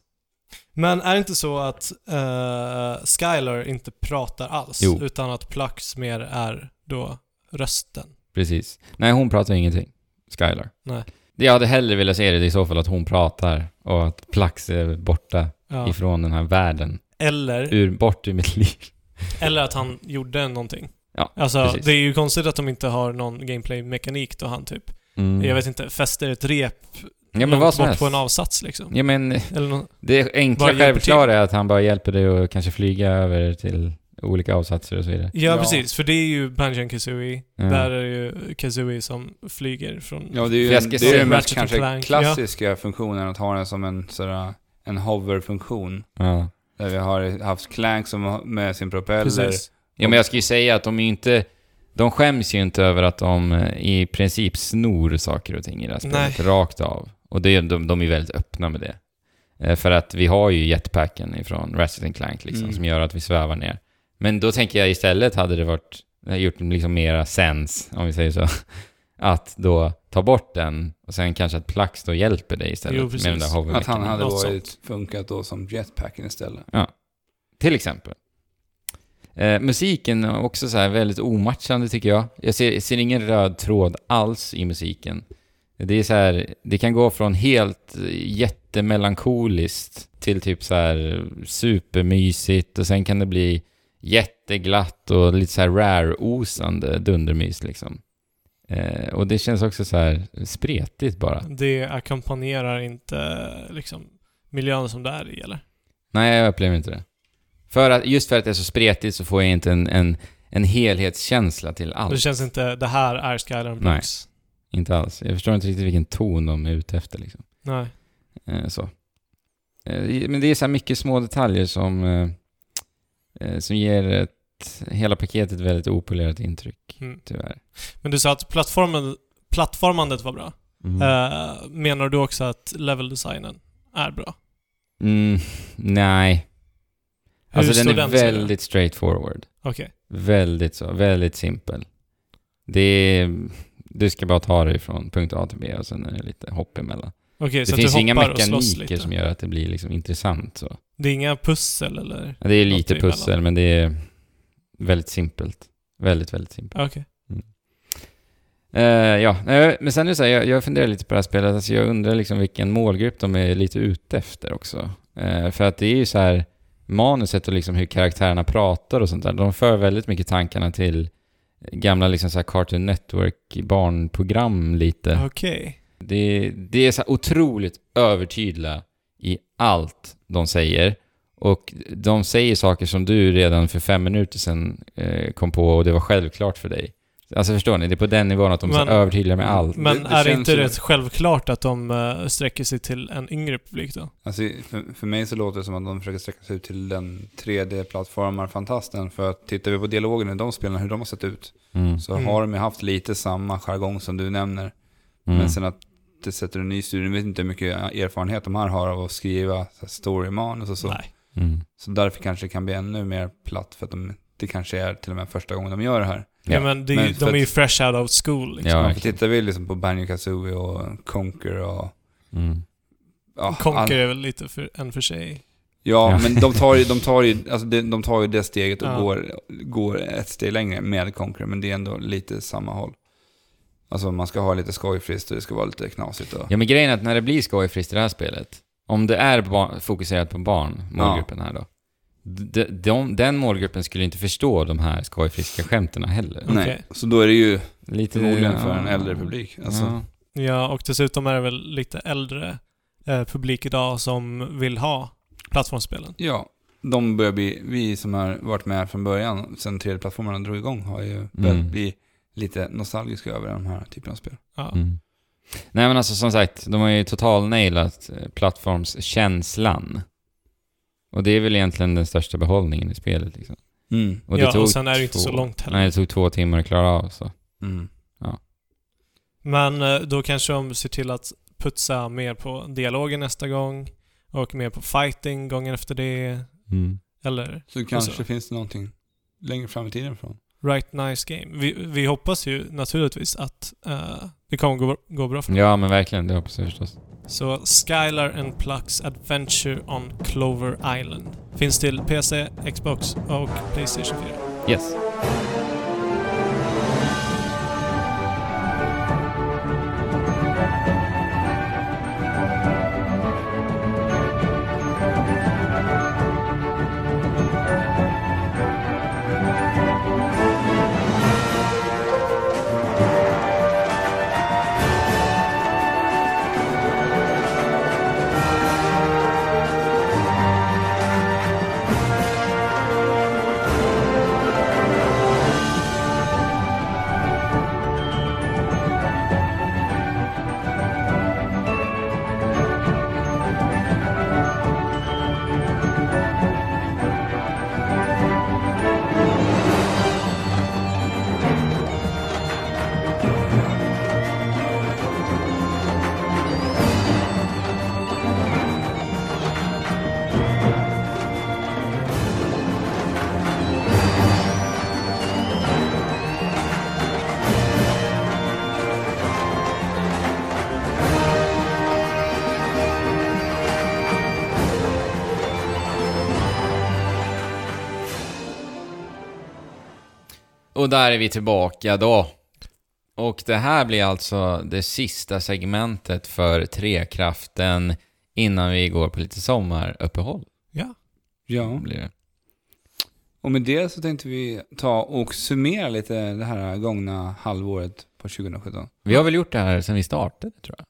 Speaker 3: Men är det inte så att uh, Skylar inte pratar alls?
Speaker 2: Jo.
Speaker 3: Utan att Plux mer är då rösten?
Speaker 2: Precis. Nej, hon pratar ingenting. Skylar.
Speaker 3: Nej.
Speaker 2: Det Jag hade hellre velat se det i så fall att hon pratar och att Plax är borta
Speaker 3: Ja.
Speaker 2: ifrån den här världen.
Speaker 3: Eller,
Speaker 2: Ur, bort ur mitt liv.
Speaker 3: eller att han gjorde någonting.
Speaker 2: Ja,
Speaker 3: Alltså,
Speaker 2: precis.
Speaker 3: det är ju konstigt att de inte har någon gameplay-mekanik då han typ,
Speaker 2: Mm.
Speaker 3: jag vet inte, fäster ett rep
Speaker 2: ja, men
Speaker 3: långt
Speaker 2: vad som
Speaker 3: bort
Speaker 2: helst.
Speaker 3: på en avsats liksom.
Speaker 2: Ja, men
Speaker 3: Eller nå-
Speaker 2: det enkla
Speaker 3: Bara hjälper
Speaker 2: självklara är att han bara hjälper dig att kanske flyga över till olika avsatser och så vidare.
Speaker 3: ja,
Speaker 1: Ja.
Speaker 3: precis. För det är ju Banjan Kazooie.
Speaker 2: Mm.
Speaker 3: Där är det ju Kazooie som flyger från...
Speaker 1: Ja, det är ju
Speaker 2: Jag
Speaker 1: en,
Speaker 2: ska
Speaker 1: det är
Speaker 2: säga
Speaker 1: ju den mest
Speaker 3: Ratchet
Speaker 1: kanske
Speaker 3: Clank,
Speaker 1: klassiska funktionen, att ha den som en, sådär, en hover-funktion.
Speaker 2: Ja.
Speaker 1: Där vi har haft Clank som, har- med sin propeller.
Speaker 3: Precis.
Speaker 2: ja, men jag ska ju säga att de är ju inte... De skäms ju inte över att de eh, i princip snor saker och ting i det här spelet, rakt av. Och det, är- de, de är ju väldigt öppna med det. Eh, För att vi har ju jetpacken ifrån Ratchet Clank liksom,
Speaker 1: Mm.
Speaker 2: som gör att vi svävar ner. Men då tänker jag istället hade det varit, det hade gjort liksom mera sens, om vi säger så, att då ta bort den och sen kanske att Plax då hjälper dig istället
Speaker 3: Jo,
Speaker 2: med
Speaker 3: precis.
Speaker 2: den där
Speaker 1: Att han
Speaker 2: hovermekanismen.
Speaker 1: hade
Speaker 3: Något
Speaker 1: varit funkat då som jetpacken istället.
Speaker 2: Till exempel. Eh, musiken är också så här väldigt omatchande tycker jag. Jag ser, ser ingen röd tråd alls i musiken. Det är så här, det kan gå från helt eh, jättemelankoliskt till typ så här supermysigt och sen kan det bli jätteglatt och lite så här rare-osande dundermys liksom. Eh, och det känns också så här spretigt bara.
Speaker 3: Det ackompanjerar inte liksom miljön som det är i eller?
Speaker 2: Nej, jag upplever inte det. För att, just för att det är så spretigt så får jag inte en, en, en helhetskänsla till
Speaker 3: Det
Speaker 2: allt.
Speaker 3: känns inte, det här är Skylar
Speaker 2: Nej.
Speaker 3: Blocks.
Speaker 2: Inte alls. Jag förstår inte riktigt vilken ton de är ute efter liksom.
Speaker 3: Nej.
Speaker 2: Eh, så. Eh, men det är så här mycket små detaljer som, eh, eh, som ger ett, hela paketet väldigt opolerat intryck,
Speaker 3: Mm.
Speaker 2: tyvärr.
Speaker 3: Men du sa att plattformen, plattformandet var bra.
Speaker 2: Mm.
Speaker 3: Eh, menar du också att leveldesignen är bra?
Speaker 2: Mm, nej.
Speaker 3: Hur
Speaker 2: Alltså
Speaker 3: står
Speaker 2: den är
Speaker 3: den, säger du?
Speaker 2: väldigt straightforward.
Speaker 3: Okej.
Speaker 2: Väldigt så, väldigt simpel. Det är, du ska bara ta dig från punkt A till B och sen är det lite hopp emellan.
Speaker 3: Okej,
Speaker 2: Det
Speaker 3: så att
Speaker 2: finns
Speaker 3: du
Speaker 2: inga
Speaker 3: hoppar och slåss
Speaker 2: mekaniker
Speaker 3: lite.
Speaker 2: som gör att det blir liksom intressant så.
Speaker 3: Det är inga pussel eller?
Speaker 2: Ja, Det är
Speaker 3: Något
Speaker 2: lite
Speaker 3: emellan.
Speaker 2: pussel, men det är väldigt simpelt. Väldigt, väldigt simpelt.
Speaker 3: Okej.
Speaker 2: Eh, ja, nej, men sen är det så här, jag, jag funderar lite på det här spelet. Alltså, jag undrar liksom vilken målgrupp de är lite ute efter också. Eh, för att det är ju så här, manuset och liksom hur karaktärerna pratar och sånt där, de för väldigt mycket tankarna till gamla liksom så här Cartoon Network barnprogram lite.
Speaker 3: Okej.
Speaker 2: Det, det är så här otroligt övertydliga i allt de säger. Och de säger saker som du redan för fem minuter sedan eh, kom på och det var självklart för dig. Alltså förstår ni? Det är på den nivån att de är så
Speaker 3: Men-
Speaker 2: övertydliga med allt.
Speaker 3: Men
Speaker 1: Det- det
Speaker 3: är det
Speaker 1: känns
Speaker 3: inte
Speaker 1: ju-
Speaker 3: rätt självklart att de eh, sträcker sig till en yngre publik då?
Speaker 1: Alltså, för, för mig så låter det som att de försöker sträcka sig ut till den 3D-plattformar-fantasten. För att tittar vi på dialogen i de spelen, hur de har sett ut,
Speaker 2: Mm.
Speaker 1: så
Speaker 3: Mm.
Speaker 1: har de ju haft lite samma jargong som du nämner.
Speaker 2: Mm.
Speaker 1: Men sen att det sätter en ny studie, jag vet inte hur mycket erfarenhet de här har av att skriva så här storymanus och så.
Speaker 3: Nej.
Speaker 2: Mm.
Speaker 1: Så därför kanske det kan bli ännu mer platt för att de, det kanske är till och med första gången de gör det här.
Speaker 2: Ja.
Speaker 3: Ja, men, det, är ju-
Speaker 1: Men för
Speaker 3: de är ju
Speaker 1: att-
Speaker 3: fresh out of school liksom.
Speaker 2: Ja,
Speaker 1: Ja, för
Speaker 2: verkligen.
Speaker 1: tittar vi liksom på Banjo Kazooie och Conquer och...
Speaker 2: Mm.
Speaker 1: Ja,
Speaker 3: Conker
Speaker 1: all-
Speaker 3: är väl lite för, en för sig.
Speaker 1: ja
Speaker 2: Ja.
Speaker 1: men de tar ju, de tar ju, alltså de, de tar ju det steget och
Speaker 3: Ja.
Speaker 1: går, går ett steg längre med Conquer, men det är ändå lite samma håll. Alltså man ska ha lite skojfriskt och det ska vara lite knasigt och...
Speaker 2: Ja, men grejen är att när det blir skojfriskt i det här spelet, om det är ba- fokuserat på barn, målgruppen här då, de, de, den målgruppen skulle inte förstå de här skojfriska skämten heller.
Speaker 3: Mm.
Speaker 1: Nej,
Speaker 3: okej.
Speaker 1: så då är det ju
Speaker 2: Lite,
Speaker 1: förmodligen för
Speaker 2: ja.
Speaker 1: en äldre publik. Alltså,
Speaker 2: Ja.
Speaker 3: Ja, och dessutom är det väl lite äldre eh, publik idag som vill ha plattformsspelen.
Speaker 1: Ja, de börjar bli, vi som har varit med från början, sen 3D-plattformarna drog igång, har ju börjat
Speaker 2: Mm.
Speaker 1: bli lite nostalgiska över den här typen av spel.
Speaker 3: Ja.
Speaker 2: Mm. Nej men alltså som sagt, de har ju total-nailat eh, plattformskänslan. Och det är väl egentligen den största behållningen i spelet liksom.
Speaker 1: Mm.
Speaker 2: Och det
Speaker 3: ja,
Speaker 2: tog
Speaker 3: och sen är det ju inte
Speaker 2: två-
Speaker 3: så långt heller.
Speaker 2: Nej, det tog två timmar att klara av så.
Speaker 1: Mm.
Speaker 3: Men eh, då kanske de ser till att putsa mer på dialogen nästa gång och mer på fighting gången efter det. Eller
Speaker 2: Mm.
Speaker 1: Så kanske
Speaker 3: Och så-
Speaker 1: finns det någonting längre fram i tiden från.
Speaker 3: Right Nice Game. Vi, vi hoppas ju naturligtvis att eh, det kommer gå, gå bra för dem.
Speaker 2: Ja, men verkligen. Det hoppas jag förstås.
Speaker 3: Så Skylar and Plucks Adventure on Clover Island. Finns till PC, Xbox och Playstation 4.
Speaker 2: Yes. Och där är vi tillbaka då. Och det här blir alltså det sista segmentet för Trekraften innan vi går på lite sommaruppehåll.
Speaker 3: Ja.
Speaker 1: Ja.
Speaker 2: Blir det.
Speaker 1: Och med det så tänkte vi ta och summera lite det här gångna halvåret på 2017.
Speaker 2: Vi har väl gjort det här sedan vi startarde, tror jag.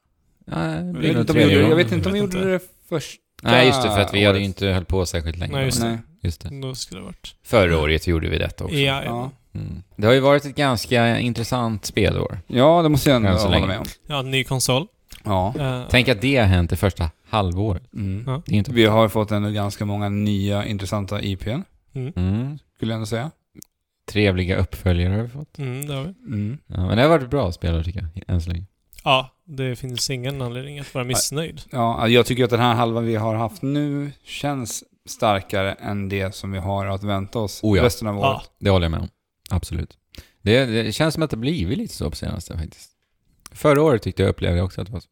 Speaker 2: Nej, det
Speaker 1: Jag
Speaker 2: blir
Speaker 1: vet
Speaker 2: nog
Speaker 1: inte om vi
Speaker 2: tredje
Speaker 1: gjorde, jag
Speaker 2: gången.
Speaker 1: vet inte om vi
Speaker 3: Jag vet
Speaker 1: gjorde det första
Speaker 2: Nej, just det, för att vi hade ju
Speaker 1: året.
Speaker 2: inte höll på särskilt länge.
Speaker 3: Nej, just det.
Speaker 1: Nej.
Speaker 2: Just det.
Speaker 3: Då skulle det varit... E
Speaker 2: Förra året gjorde vi detta också.
Speaker 3: Ja,
Speaker 1: Ja.
Speaker 3: ja.
Speaker 2: Mm. Det har ju varit ett ganska intressant spelår.
Speaker 1: ja, det måste jag ändå
Speaker 2: Än så
Speaker 1: hålla
Speaker 2: länge.
Speaker 1: med om.
Speaker 3: ja, ny konsol.
Speaker 1: Ja.
Speaker 3: Eh,
Speaker 2: Tänk att det har hänt det första halvåret.
Speaker 1: Mm.
Speaker 3: Ja.
Speaker 2: Det är inte...
Speaker 1: Vi har fått ändå ganska många nya intressanta IPn,
Speaker 2: Mm.
Speaker 1: skulle jag ändå säga.
Speaker 2: Trevliga uppföljare har vi fått.
Speaker 3: mm, det har vi.
Speaker 1: Mm.
Speaker 2: Ja, men det har varit bra spelare tycker jag, än så länge.
Speaker 3: Ja, det finns ingen anledning att vara missnöjd.
Speaker 1: Ja, alltså, jag tycker att den här halvan vi har haft nu känns starkare än det som vi har att vänta oss
Speaker 2: Oh ja.
Speaker 1: resten av
Speaker 3: Ja,
Speaker 1: året.
Speaker 2: Det håller jag med om. Absolut. Det, det känns som att det blivit lite så på senaste faktiskt. Förra året tyckte jag upplevde också att det var så.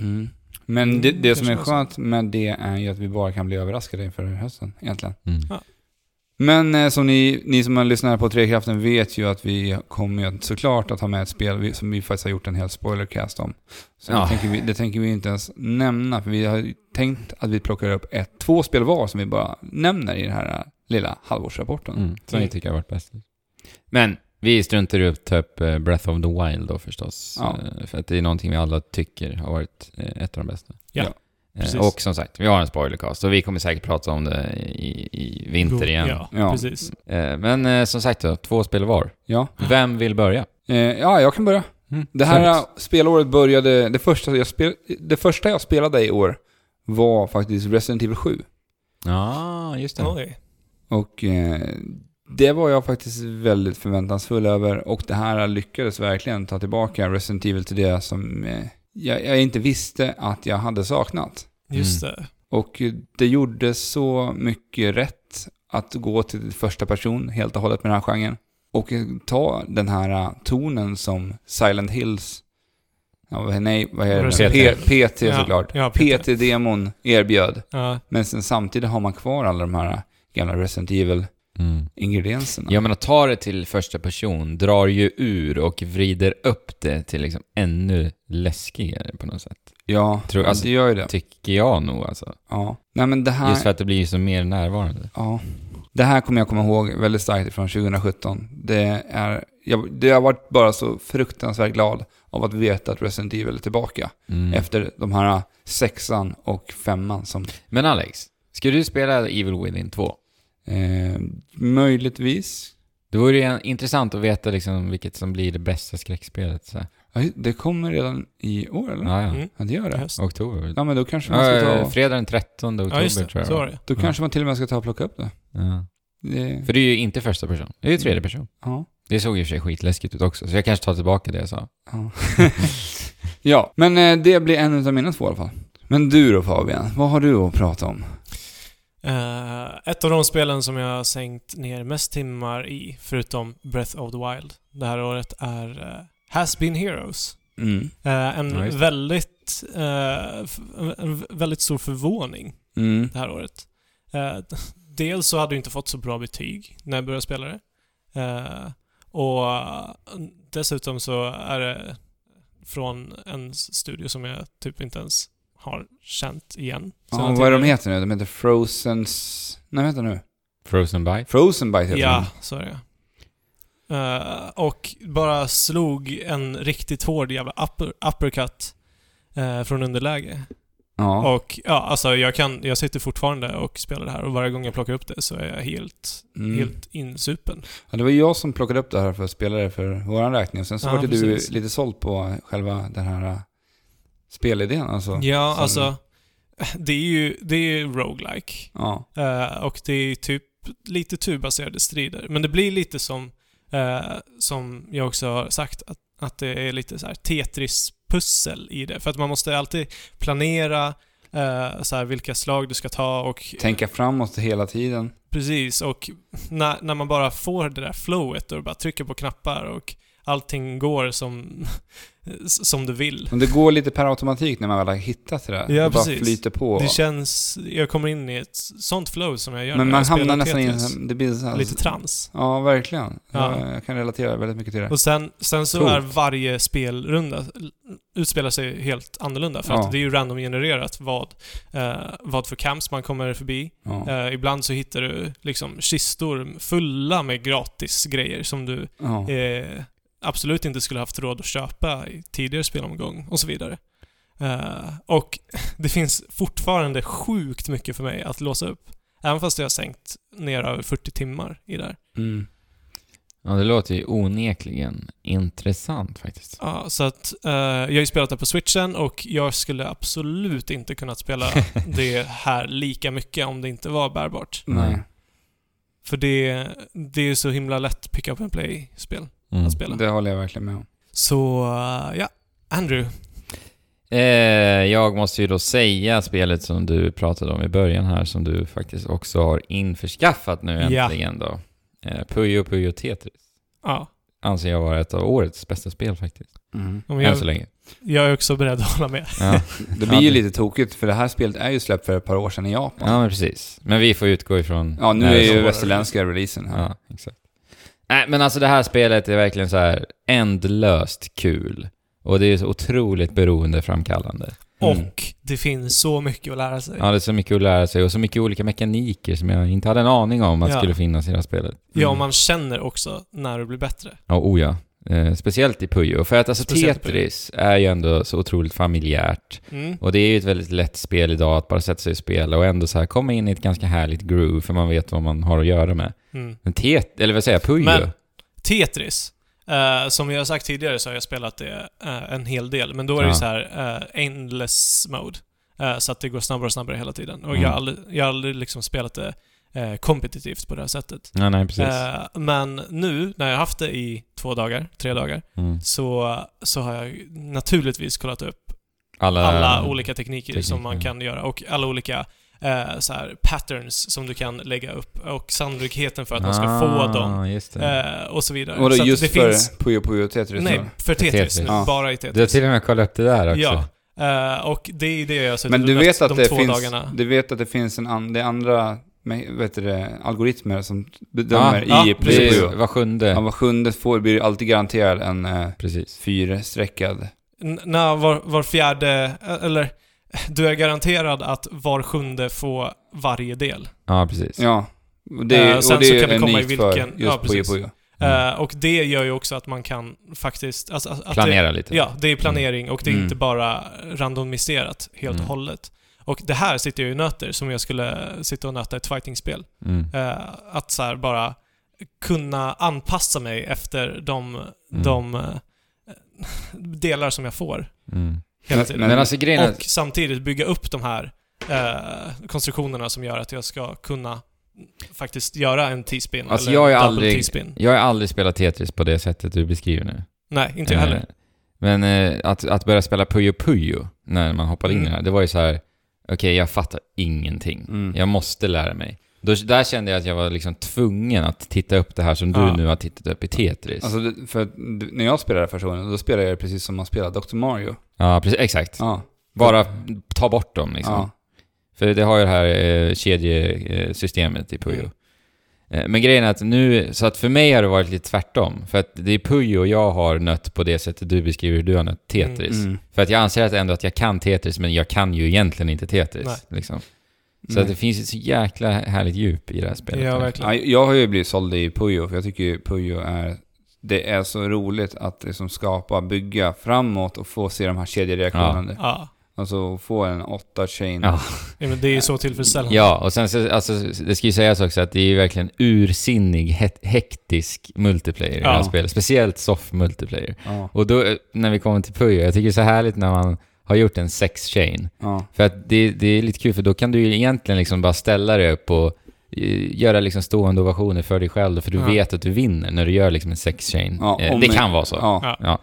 Speaker 1: Mm. Men
Speaker 3: Mm,
Speaker 1: det, det som är
Speaker 3: kanske var
Speaker 1: skönt med det är ju att vi bara kan bli överraskade inför hösten egentligen.
Speaker 2: Mm.
Speaker 3: Ja.
Speaker 1: Men eh, som ni, ni som har lyssnat på Trekraften vet ju att vi kommer ju såklart att ha med ett spel vi- som vi faktiskt har gjort en hel spoilercast om. Så
Speaker 2: Ja.
Speaker 1: det, tänker vi, det tänker vi inte ens nämna, för vi har ju tänkt att vi plockar upp ett, två spel var som vi bara nämner i den här eh, lilla halvårsrapporten.
Speaker 2: Mm. Så
Speaker 3: Mm.
Speaker 2: det tycker jag har varit bäst. Men vi struntar i att ta upp eh, Breath of the Wild då förstås.
Speaker 1: Ja.
Speaker 2: Eh, För att det är någonting vi alla tycker har varit eh, ett av de bästa.
Speaker 3: Ja,
Speaker 1: Ja.
Speaker 2: Eh,
Speaker 3: precis.
Speaker 2: Och som sagt, vi har en spoilercast och vi kommer säkert prata om det i, i vinter igen.
Speaker 3: Ja,
Speaker 1: Ja.
Speaker 3: precis.
Speaker 2: Eh, Men eh, som sagt då, två spel var.
Speaker 1: Ja.
Speaker 2: Vem vill börja?
Speaker 1: Eh, ja, jag kan börja.
Speaker 2: Mm,
Speaker 1: Det här spelåret började, det första, jag spel, det första jag spelade i år var faktiskt Resident Evil 7.
Speaker 2: Ja, just det.
Speaker 3: Oj.
Speaker 1: Och eh, det var jag faktiskt väldigt förväntansfull över och det här lyckades verkligen ta tillbaka Resident Evil till det som eh, jag, jag inte visste att jag hade saknat.
Speaker 3: Just
Speaker 2: Mm.
Speaker 3: det.
Speaker 1: Och eh, det gjorde så mycket rätt att gå till första person helt och hållet med den här genren. Och eh, ta den här eh, tonen som Silent Hills, ja, vad- nej vad heter
Speaker 3: Resident
Speaker 1: det?
Speaker 3: Evil.
Speaker 1: P- PT såklart.
Speaker 3: Ja, ja, PT.
Speaker 1: PT-demon erbjöd.
Speaker 3: Ja,
Speaker 1: Men sen samtidigt har man kvar alla de här eh, gamla Resident
Speaker 2: Mm.
Speaker 1: Evil-ingredienserna.
Speaker 2: Jag menar, ta det till första person, drar ju ur och vrider upp det till liksom ännu läskigare på något sätt.
Speaker 1: Ja,
Speaker 2: Tror-
Speaker 1: alltså, det gör ju det.
Speaker 2: Tycker jag nog alltså.
Speaker 1: Ja. Nej men det här...
Speaker 2: Just för att det blir så mer närvarande.
Speaker 1: Ja. Det här kommer jag komma ihåg väldigt starkt från 2017. Det är, jag, det har varit bara så fruktansvärt glad av att veta att Resident Evil är tillbaka.
Speaker 2: Mm.
Speaker 1: Efter de här sexan och femman som
Speaker 2: Men Alex, ska du spela Evil Within 2?
Speaker 1: eh, möjligtvis...
Speaker 2: Det vore ju intressant att veta liksom vilket som blir det bästa skräckspelet. Så. här.
Speaker 1: Ja, Det kommer redan i år eller?
Speaker 2: Ja, ja.
Speaker 3: Mm.
Speaker 1: Ja, det gör det.
Speaker 3: Just.
Speaker 2: Oktober.
Speaker 1: Ja, men då kanske man ska
Speaker 2: Ja, eh,
Speaker 1: ta...
Speaker 2: fredag den 13 oktober
Speaker 3: Ja, just
Speaker 2: tror
Speaker 3: det.
Speaker 2: jag.
Speaker 3: Så var det.
Speaker 1: Då kanske man till och med ska ta och plocka upp det.
Speaker 2: Ja.
Speaker 1: det
Speaker 2: För det är ju inte första person, det är ju tredje person.
Speaker 1: ja.
Speaker 2: Det såg ju i och för sig skitläskigt ut också, så jag kanske tar tillbaka det jag sa.
Speaker 1: Ja. ja, men eh, det blir en av mina två i alla fall. Men du då Fabian, vad har du att prata om?
Speaker 3: Eh, ett av de spelen som jag har sänkt ner mest timmar i, förutom Breath of the Wild, det här året är eh, Has Been Heroes.
Speaker 1: Mm.
Speaker 3: Eh, en,
Speaker 2: Ja, just det.
Speaker 3: väldigt, eh, f- en väldigt stor förvåning
Speaker 1: Mm.
Speaker 3: det här året. Eh, dels så hade jag inte fått så bra betyg när jag började spela det. Eh, och eh, dessutom så är det från en studio som jag typ inte ens har känt igen.
Speaker 1: Ja,
Speaker 3: Sen
Speaker 1: vad är de
Speaker 3: tidigare.
Speaker 1: heter nu? De heter Frozens... Nej, vänta nu.
Speaker 2: Frozen by.
Speaker 1: Frozen Bite heter
Speaker 3: Ja, så är det. Eh, och bara slog en riktigt hård jävla upper, uppercut eh, från underläge.
Speaker 1: den. Ja.
Speaker 3: Och ja, alltså jag, kan, jag sitter fortfarande och spelar det här och varje gång jag plockar upp det så är jag helt,
Speaker 1: Mm.
Speaker 3: helt insupen.
Speaker 1: ja. Det var jag som plockade upp det här för att spela det för vår räkning. Och sen så
Speaker 3: Ja,
Speaker 1: var det du
Speaker 3: precis.
Speaker 1: lite såld på själva den här äh, spelidén alltså.
Speaker 3: Ja,
Speaker 1: Som-
Speaker 3: alltså det är ju det är ju roguelike.
Speaker 1: Ja.
Speaker 3: Eh, och det är typ lite turbaserade strider. Men det blir lite som, eh, som jag också har sagt, att, att det är lite så här Tetris-pussel i det. För att man måste alltid planera eh, så här, vilka slag du ska ta och
Speaker 1: Tänka framåt hela tiden.
Speaker 3: precis. Och när, när man bara får det där flowet och bara trycker på knappar och allting går som, som du vill.
Speaker 1: Men det går lite per automatik när man väl har hittat det där.
Speaker 3: Ja,
Speaker 1: det bara
Speaker 3: precis.
Speaker 1: flyter på.
Speaker 3: Det känns, jag kommer in i ett sånt flow som jag gör
Speaker 1: Men
Speaker 3: när
Speaker 1: man
Speaker 3: jag spelar
Speaker 1: hamnar nästan i
Speaker 3: Tetris.
Speaker 1: en... Det blir så här,
Speaker 3: Lite trams.
Speaker 1: Ja, verkligen.
Speaker 3: Ja.
Speaker 1: Jag, jag kan relatera väldigt mycket till det.
Speaker 3: Och sen, sen så
Speaker 1: Coolt.
Speaker 3: är varje spelrunda utspelar sig helt annorlunda för
Speaker 1: Ja.
Speaker 3: att det är ju randomgenererat vad, eh, vad för camps man kommer förbi.
Speaker 1: Ja.
Speaker 3: Eh, ibland så hittar du liksom kistor fulla med gratis grejer som du
Speaker 1: Ja.
Speaker 3: eh, absolut inte skulle haft råd att köpa i tidigare spelomgång och så vidare. Eh, och det finns fortfarande sjukt mycket för mig att låsa upp. Även fast jag har sänkt ner över 40 timmar i det här.
Speaker 1: Mm.
Speaker 2: Ja, det låter ju onekligen intressant faktiskt.
Speaker 3: Ja, så att eh, jag har ju spelat det på switchen och jag skulle absolut inte kunnat spela det här lika mycket om det inte var bärbart.
Speaker 1: Nej.
Speaker 3: För det, det är så himla lätt pick up and play-spel
Speaker 2: Mm.
Speaker 3: att spela.
Speaker 1: Det håller jag verkligen med om.
Speaker 3: Så eh, ja, Andrew.
Speaker 2: Eh, jag måste ju då säga spelet som du pratade om i början här, som du faktiskt också har införskaffat nu
Speaker 3: Ja.
Speaker 2: äntligen då. Eh, Puyo Puyo Tetris
Speaker 3: Ja,
Speaker 2: anser jag vara ett av årets bästa spel faktiskt.
Speaker 1: Mm.
Speaker 3: om
Speaker 2: Än så
Speaker 3: jag,
Speaker 2: länge.
Speaker 3: jag är också beredd att hålla med.
Speaker 2: Ja,
Speaker 1: Det blir ju
Speaker 2: Ja, det-
Speaker 1: lite tokigt för det här spelet är ju släppt för ett par år sedan i Japan.
Speaker 2: ja men precis. Men vi får utgå ifrån...
Speaker 1: Ja, nu
Speaker 2: när
Speaker 1: är
Speaker 2: det-
Speaker 1: ju västerländska releasen här.
Speaker 2: Ja, exakt. Nej, men alltså det här spelet är verkligen så här ändlöst kul. Och det är så otroligt beroendeframkallande.
Speaker 1: Mm.
Speaker 3: Och det finns så mycket att lära sig.
Speaker 2: Ja, det är så mycket att lära sig och så mycket olika mekaniker som jag inte hade en aning om att
Speaker 3: Ja.
Speaker 2: skulle finnas i det här spelet. Mm.
Speaker 3: Ja, och man känner också när du blir bättre.
Speaker 2: Ja, oh ja. Eh, speciellt i Puyo. För att alltså
Speaker 3: Speciellt i Puyo.
Speaker 2: Tetris är ju ändå så otroligt familjärt.
Speaker 3: Mm.
Speaker 2: Och det är ju ett väldigt lätt spel idag att bara sätta sig och spela och ändå så här komma in i ett ganska härligt groove för man vet vad man har att göra med.
Speaker 3: Mm.
Speaker 2: Men Tet... Eller vad säger jag? Puyo?
Speaker 3: Men- Tetris. Eh, som jag har sagt tidigare så har jag spelat det eh, en hel del, men då är det
Speaker 2: Ja.
Speaker 3: ju så här eh, endless mode. Eh, så att det går snabbare och snabbare hela tiden. Och
Speaker 2: Mm.
Speaker 3: jag har aldrig, jag har aldrig liksom spelat det eh, kompetitivt på det här sättet.
Speaker 2: Ja, nej, precis.
Speaker 3: Eh, men nu, när jag har haft det i två dagar, tre dagar,
Speaker 2: Mm.
Speaker 3: så, så har jag ju naturligtvis kollat upp
Speaker 2: Alla,
Speaker 3: alla olika tekniker som man
Speaker 2: Ah, tekniker.
Speaker 3: kan göra och alla olika eh, så här patterns som du kan lägga upp och sannolikheten för att man ska
Speaker 2: Ah,
Speaker 3: få dem.
Speaker 2: Just det.
Speaker 3: Eh, och så vidare.
Speaker 1: Och då
Speaker 3: så att
Speaker 1: just
Speaker 3: det
Speaker 1: för
Speaker 3: finns...
Speaker 1: Puyo Puyo Tetris?
Speaker 3: Nej,
Speaker 1: nu.
Speaker 3: för Tetris,
Speaker 2: Tetris.
Speaker 3: nu.
Speaker 1: Ja.
Speaker 3: Bara i
Speaker 2: Du har
Speaker 3: Tetris.
Speaker 2: till och med kollat upp det där också.
Speaker 3: Ja. Eh, och det är det jag har suttit
Speaker 1: Men
Speaker 3: och
Speaker 1: du
Speaker 3: mött
Speaker 1: vet, att
Speaker 3: de
Speaker 1: det
Speaker 3: två
Speaker 1: finns,
Speaker 3: dagarna.
Speaker 1: du vet att det finns en an, det är andra me- vet du det, algoritmer som bedömer
Speaker 3: Ja,
Speaker 1: i
Speaker 3: ja,
Speaker 1: Puyo
Speaker 2: Ah, precis.
Speaker 1: Puyo?
Speaker 2: Var sjunde.
Speaker 1: Ja, var sjunde får, blir alltid garanterad en eh,
Speaker 2: Precis.
Speaker 1: fyrstreckad.
Speaker 3: N- när var, var fjärde, eh, eller du är garanterad att var sjunde får varje del.
Speaker 2: Ja, precis.
Speaker 1: Ja. Och det, är-
Speaker 3: Eh, sen
Speaker 1: och det
Speaker 3: så
Speaker 1: är
Speaker 3: kan vi
Speaker 1: unikt
Speaker 3: komma i
Speaker 1: för
Speaker 3: vilken-
Speaker 1: just
Speaker 3: ja,
Speaker 1: Puyo
Speaker 3: precis.
Speaker 1: Puyo.
Speaker 2: Mm.
Speaker 3: Eh, och det gör ju också att man kan faktiskt... Alltså, att- att
Speaker 2: Planera lite.
Speaker 3: Det, ja, det är planering och det är
Speaker 1: Mm.
Speaker 3: inte bara randomiserat helt
Speaker 2: Mm.
Speaker 3: och hållet. Och det här sitter jag ju och nöter som jag skulle sitta och nöta ett fightingspel.
Speaker 2: Mm.
Speaker 3: Eh, att så här bara kunna anpassa mig efter de,
Speaker 2: Mm.
Speaker 3: de eh, delar som jag får
Speaker 2: Mm.
Speaker 3: hela
Speaker 1: Men-
Speaker 3: tiden.
Speaker 2: Men, alltså grejen är...
Speaker 3: och samtidigt bygga upp de här eh, konstruktionerna som gör att jag ska kunna faktiskt göra en T-spin
Speaker 2: Alltså,
Speaker 3: eller
Speaker 2: jag har ju
Speaker 3: double
Speaker 2: aldrig-
Speaker 3: T-spin.
Speaker 2: Jag har aldrig spelat Tetris på det sättet du beskriver nu.
Speaker 3: Nej, inte jag heller.
Speaker 2: Eh, Men eh, att, att börja spela Puyo Puyo när man hoppade in i
Speaker 3: Mm.
Speaker 2: det här, det var ju så här... okej, jag fattar ingenting.
Speaker 1: Mm.
Speaker 2: Jag måste lära mig. Då, där kände jag att jag var liksom tvungen att titta upp det här som du
Speaker 3: Ja.
Speaker 2: nu har tittat upp i Tetris.
Speaker 1: Alltså, det- för att du- när jag spelade första gången, då spelade jag det precis som man spelar Dr. Mario.
Speaker 2: ja, precis, exakt.
Speaker 1: Ja.
Speaker 2: Bara ta bort dem liksom.
Speaker 1: ja.
Speaker 2: För det har ju det här eh, kedjesystemet i Puyo. Eh, Men grejen är att nu, så att för mig har det varit lite tvärtom. För att det är Puyo jag har nött på det sättet du beskriver hur du har nött Tetris.
Speaker 1: Mm.
Speaker 2: För att jag anser att ändå att jag kan Tetris, men jag kan ju egentligen inte
Speaker 3: Nej.
Speaker 2: Tetris. Liksom. Så
Speaker 1: Nej.
Speaker 2: att det finns ett så jäkla härligt djup i det här spelet.
Speaker 3: Ja,
Speaker 1: Ja,
Speaker 3: verkligen.
Speaker 1: jag har ju blivit såld i Puyo, för jag tycker ju Puyo är... Det är så roligt att liksom skapa, bygga framåt och få se de här kedjereaktionerna.
Speaker 3: Ja.
Speaker 1: Alltså få en åtta chain.
Speaker 2: Ja.
Speaker 3: ja men det är ju så tillfredsställande.
Speaker 2: Ja, och sen så, alltså, det ska ju sägas också att det är ju verkligen ursinnig, he- hektisk multiplayer i det här
Speaker 3: Ja.
Speaker 2: spelet. Speciellt soft multiplayer.
Speaker 1: Ja.
Speaker 2: Och då, eh, när vi kommer till Puyo, jag tycker det är så härligt när man har gjort en sex-chain.
Speaker 1: Ja.
Speaker 2: För att det, det är lite kul, för då kan du ju egentligen liksom bara ställa dig upp och eh, göra liksom stående ovationer för dig själv, för du
Speaker 3: Ja.
Speaker 2: vet att du vinner när du gör liksom en sex-chain.
Speaker 1: Ja,
Speaker 2: eh,
Speaker 1: om
Speaker 2: det
Speaker 1: vi-
Speaker 2: kan vara så.
Speaker 1: Ja.
Speaker 3: Ja.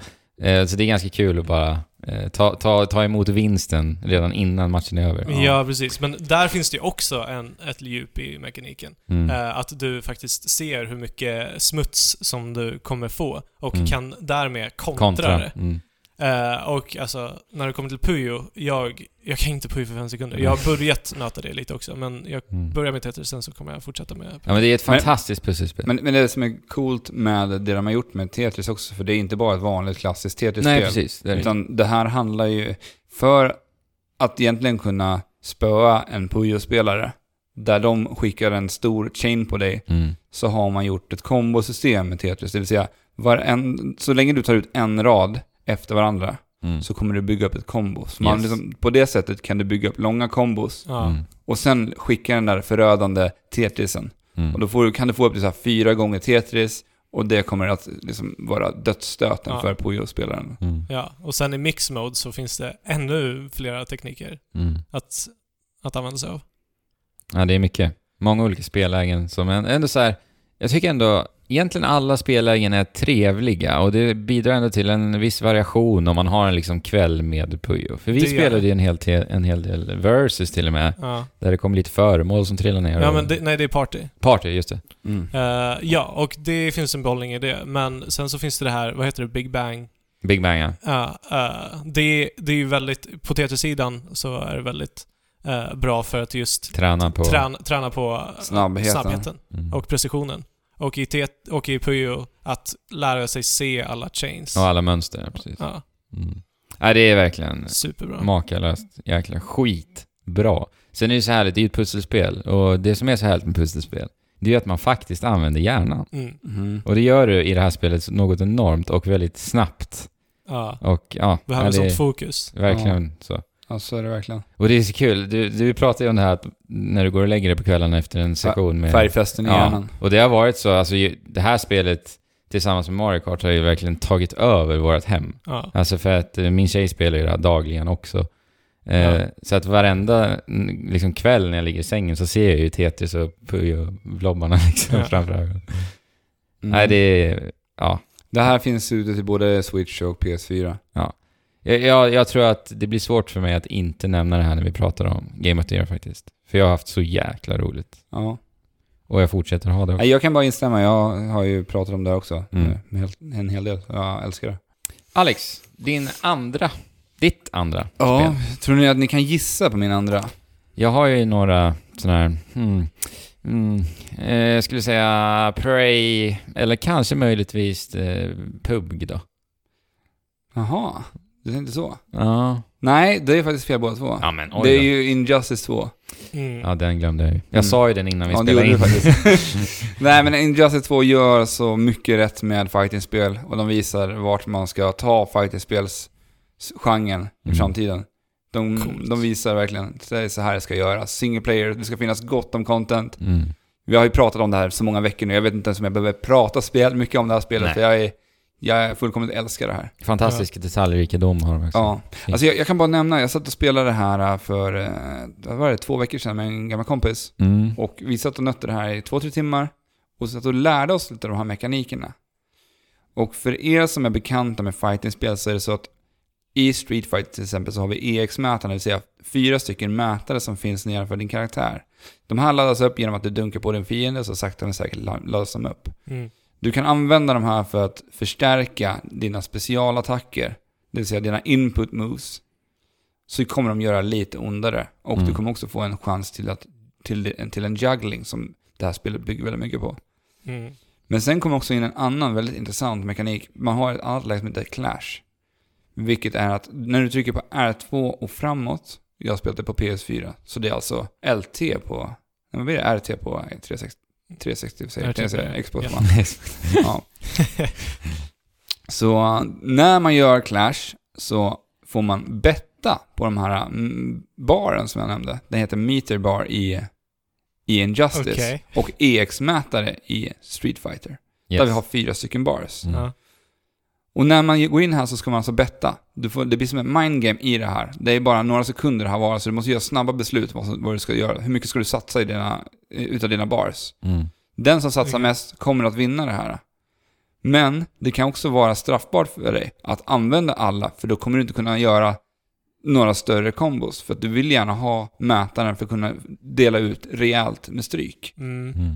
Speaker 2: Eh, så det är ganska kul att bara eh, ta, ta, ta emot vinsten redan innan matchen är över.
Speaker 3: Ja, precis. Men där finns det ju också en, ett djup i mekaniken.
Speaker 2: Mm.
Speaker 3: Eh, Att du faktiskt ser hur mycket smuts som du kommer få och
Speaker 2: Mm.
Speaker 3: kan därmed kontra,
Speaker 2: Kontra.
Speaker 3: det.
Speaker 2: Mm.
Speaker 3: Eh, och alltså, när det kommer till Puyo, jag, jag kan inte Puyo för fem sekunder. Jag har börjat nöta det lite också, men jag
Speaker 2: Mm.
Speaker 3: börjar med Tetris, sen så kommer jag fortsätta med...
Speaker 2: Ja, men det är ett
Speaker 1: Men-
Speaker 2: fantastiskt pusselspel.
Speaker 1: Men, men det som är coolt med det de har gjort med Tetris också, för det är inte bara ett vanligt klassiskt
Speaker 2: Nej,
Speaker 1: Tetris-spel.
Speaker 2: precis. Det Mm. är det.
Speaker 1: Utan det här handlar ju... För att egentligen kunna spöa en Puyo-spelare, där de skickar en stor chain på dig,
Speaker 2: Mm.
Speaker 1: så har man gjort ett kombosystem med Tetris. Det vill säga, varen, så länge du tar ut en rad efter varandra
Speaker 2: Mm.
Speaker 1: så kommer du bygga upp ett kombo. Så man
Speaker 2: Yes.
Speaker 1: liksom, på det sättet kan du bygga upp långa kombos
Speaker 3: Ja.
Speaker 2: Mm.
Speaker 1: och sen skicka den där förödande Tetrisen.
Speaker 2: Mm.
Speaker 1: Och då får, du- kan du få upp till så här fyra gånger Tetris och det kommer att liksom vara dödsstöten
Speaker 3: Ja.
Speaker 1: för Puyo-spelaren.
Speaker 2: Mm.
Speaker 3: ja. Och sen i Mix Mode så finns det ännu flera tekniker
Speaker 2: Mm.
Speaker 3: att, att använda sig av.
Speaker 2: Ja, det är mycket. Många olika spellägen som en- ändå så här, jag tycker ändå, egentligen alla spellägen är trevliga och det bidrar ändå till en viss variation om man har en liksom kväll med Puyo. För vi
Speaker 3: Det gör
Speaker 2: spelade
Speaker 3: det.
Speaker 2: ju en hel, te- en hel del versus till och med,
Speaker 3: Ja,
Speaker 2: där det kom lite föremål som trillade ner.
Speaker 3: ja
Speaker 2: och-
Speaker 3: men det, nej, det är Party.
Speaker 2: Party, just det.
Speaker 3: Eh, ja, och det finns en behållning i det. Men sen så finns det det här, vad heter det, Big Bang?
Speaker 2: Big Bang, ja.
Speaker 3: Ja, eh, det, det är ju väldigt, på teatersidan så är det väldigt eh, bra för att just
Speaker 2: Träna på...
Speaker 3: träna, träna på eh,
Speaker 1: Snabbheten.
Speaker 3: snabbheten
Speaker 2: Mm.
Speaker 3: och precisionen. Och i, tet, och i Puyo att lära sig se alla chains.
Speaker 2: Och alla mönster, ja, precis.
Speaker 3: Ja,
Speaker 2: Mm. Ja, det är verkligen
Speaker 3: superbra.
Speaker 2: makalöst jäkla skitbra. Sen är det ju så härligt, det är ju ett pusselspel och det som är så härligt med pusselspel, det är ju att man faktiskt använder hjärnan.
Speaker 3: Mm,
Speaker 1: Mm.
Speaker 2: Och det gör du i det här spelet något enormt och väldigt snabbt.
Speaker 3: ja,
Speaker 2: Och ja,
Speaker 3: behöver
Speaker 2: ja, det
Speaker 3: sånt
Speaker 2: är
Speaker 3: fokus.
Speaker 2: verkligen så.
Speaker 1: Ja, så är det verkligen.
Speaker 2: Och det är så kul, du, du pratar ju om det här att när du går och lägger dig på kvällen efter en session med...
Speaker 1: Färgfesten i hjärnan.
Speaker 2: Och det har varit så, alltså ju, det här spelet tillsammans med Mario Kart har ju verkligen tagit över vårt hem.
Speaker 3: Ja,
Speaker 2: Alltså för att eh, min tjej spelar ju det här dagligen också. Eh,
Speaker 3: Ja.
Speaker 2: Så att varenda mm, liksom, kväll när jag ligger i sängen så ser jag ju Tetris och Puyo-blobbarna liksom
Speaker 3: Ja.
Speaker 2: framför ögonen.
Speaker 1: Mm.
Speaker 2: Nej, det är... Ja.
Speaker 1: det här finns ute till både Switch och PS4.
Speaker 2: Jag, jag, jag tror att det blir svårt för mig att inte nämna det här när vi pratar om Game of the Year faktiskt. För jag har haft så jäkla roligt.
Speaker 1: Ja.
Speaker 2: Och jag fortsätter ha det också.
Speaker 1: Nej, jag kan bara instämma, jag har ju pratat om det också.
Speaker 2: Mm.
Speaker 1: eh, med helt- En hel del, jag älskar det.
Speaker 2: Alex, din andra, ditt andra spel.
Speaker 1: tror ni att ni kan gissa på min andra?
Speaker 2: Jag har ju några sådana här, hmm, mm, eh, jag skulle säga Prey, eller kanske möjligtvis eh, PUBG då.
Speaker 1: Jaha, du tänkte så?
Speaker 2: Ja,
Speaker 1: Nej, det är faktiskt fel båda två.
Speaker 2: ja men oj
Speaker 1: det är
Speaker 2: då.
Speaker 1: ju Injustice 2.
Speaker 3: mm,
Speaker 2: Ja, den glömde jag ju. Jag
Speaker 1: Mm.
Speaker 2: sa ju den innan vi
Speaker 1: Ja, det
Speaker 2: spelade
Speaker 1: gjorde
Speaker 2: in.
Speaker 1: du faktiskt. Nej, men Injustice 2 gör så mycket rätt med fightingspel och de visar vart man ska ta fightingspelsgenren i
Speaker 2: Mm.
Speaker 1: framtiden. De,
Speaker 3: Coolt.
Speaker 1: de visar verkligen, det är så här det ska göras. Single player, det ska finnas gott om content.
Speaker 2: Mm.
Speaker 1: Vi har ju pratat om det här så många veckor nu, jag vet inte ens om jag behöver prata spel mycket om det här spelet,
Speaker 2: Nej.
Speaker 1: för jag är, jag är fullkomligt älskar det här.
Speaker 2: Fantastisk detaljrikedom har de också.
Speaker 1: Ja, alltså jag, jag kan bara nämna, jag satt och spelade det här äh, för, äh, vad var det, två veckor sedan med en gammal kompis.
Speaker 2: Mm.
Speaker 1: Och vi satt och nötte det här i två, tre timmar och satt och lärde oss lite av de här mekanikerna. Och för er som är bekanta med fightingspel så är det så att I Street Fighter till exempel så har vi EX-mätarna, det vill säga fyra stycken mätare som finns nedanför din karaktär. De här laddas upp genom att du dunkar på din fiende, så sakta men säkert la- laddas de upp.
Speaker 3: Mm.
Speaker 1: Du kan använda de här för att förstärka dina specialattacker, det vill säga dina input moves. Så kommer de göra lite ondare. Och du
Speaker 2: Mm.
Speaker 1: kommer också få en chans till, att, till, till en juggling som det här spelet bygger väldigt mycket på.
Speaker 3: Mm.
Speaker 1: Men sen kom också in en annan väldigt intressant mekanik. Man har ett annat läge som heter Clash. Vilket är att när du trycker på R2 och framåt, jag spelade på PS4, så det är alltså LT på, nej, vad blir det? RT på 360, 360 säger jag,
Speaker 3: RT,
Speaker 1: säger
Speaker 3: ja.
Speaker 1: Xbox
Speaker 3: Ja.
Speaker 1: One. Ja. Så äh, när man gör Clash så får man betta på de här mm, baren som jag nämnde. Den heter Meter Bar i, i Injustice
Speaker 3: Okej.
Speaker 1: och EX-mätare i Street Fighter.
Speaker 2: Yes.
Speaker 1: Där vi har fyra stycken bars.
Speaker 2: Mm.
Speaker 3: Ja.
Speaker 1: Och när man går in här så ska man alltså betta. Du får, det blir som en mindgame i det här. Det är bara några sekunder här vara, så du måste göra snabba beslut vad, som- vad du ska göra. Hur mycket ska du satsa i dina, eh, utav dina bars?
Speaker 2: Mm.
Speaker 1: Den som satsar
Speaker 3: Okej.
Speaker 1: mest kommer att vinna det här. Men det kan också vara straffbart för dig att använda alla, för då kommer du inte kunna göra några större kombos. För att du vill gärna ha mätaren för att kunna dela ut rejält med stryk.
Speaker 3: Mm.
Speaker 2: Mm.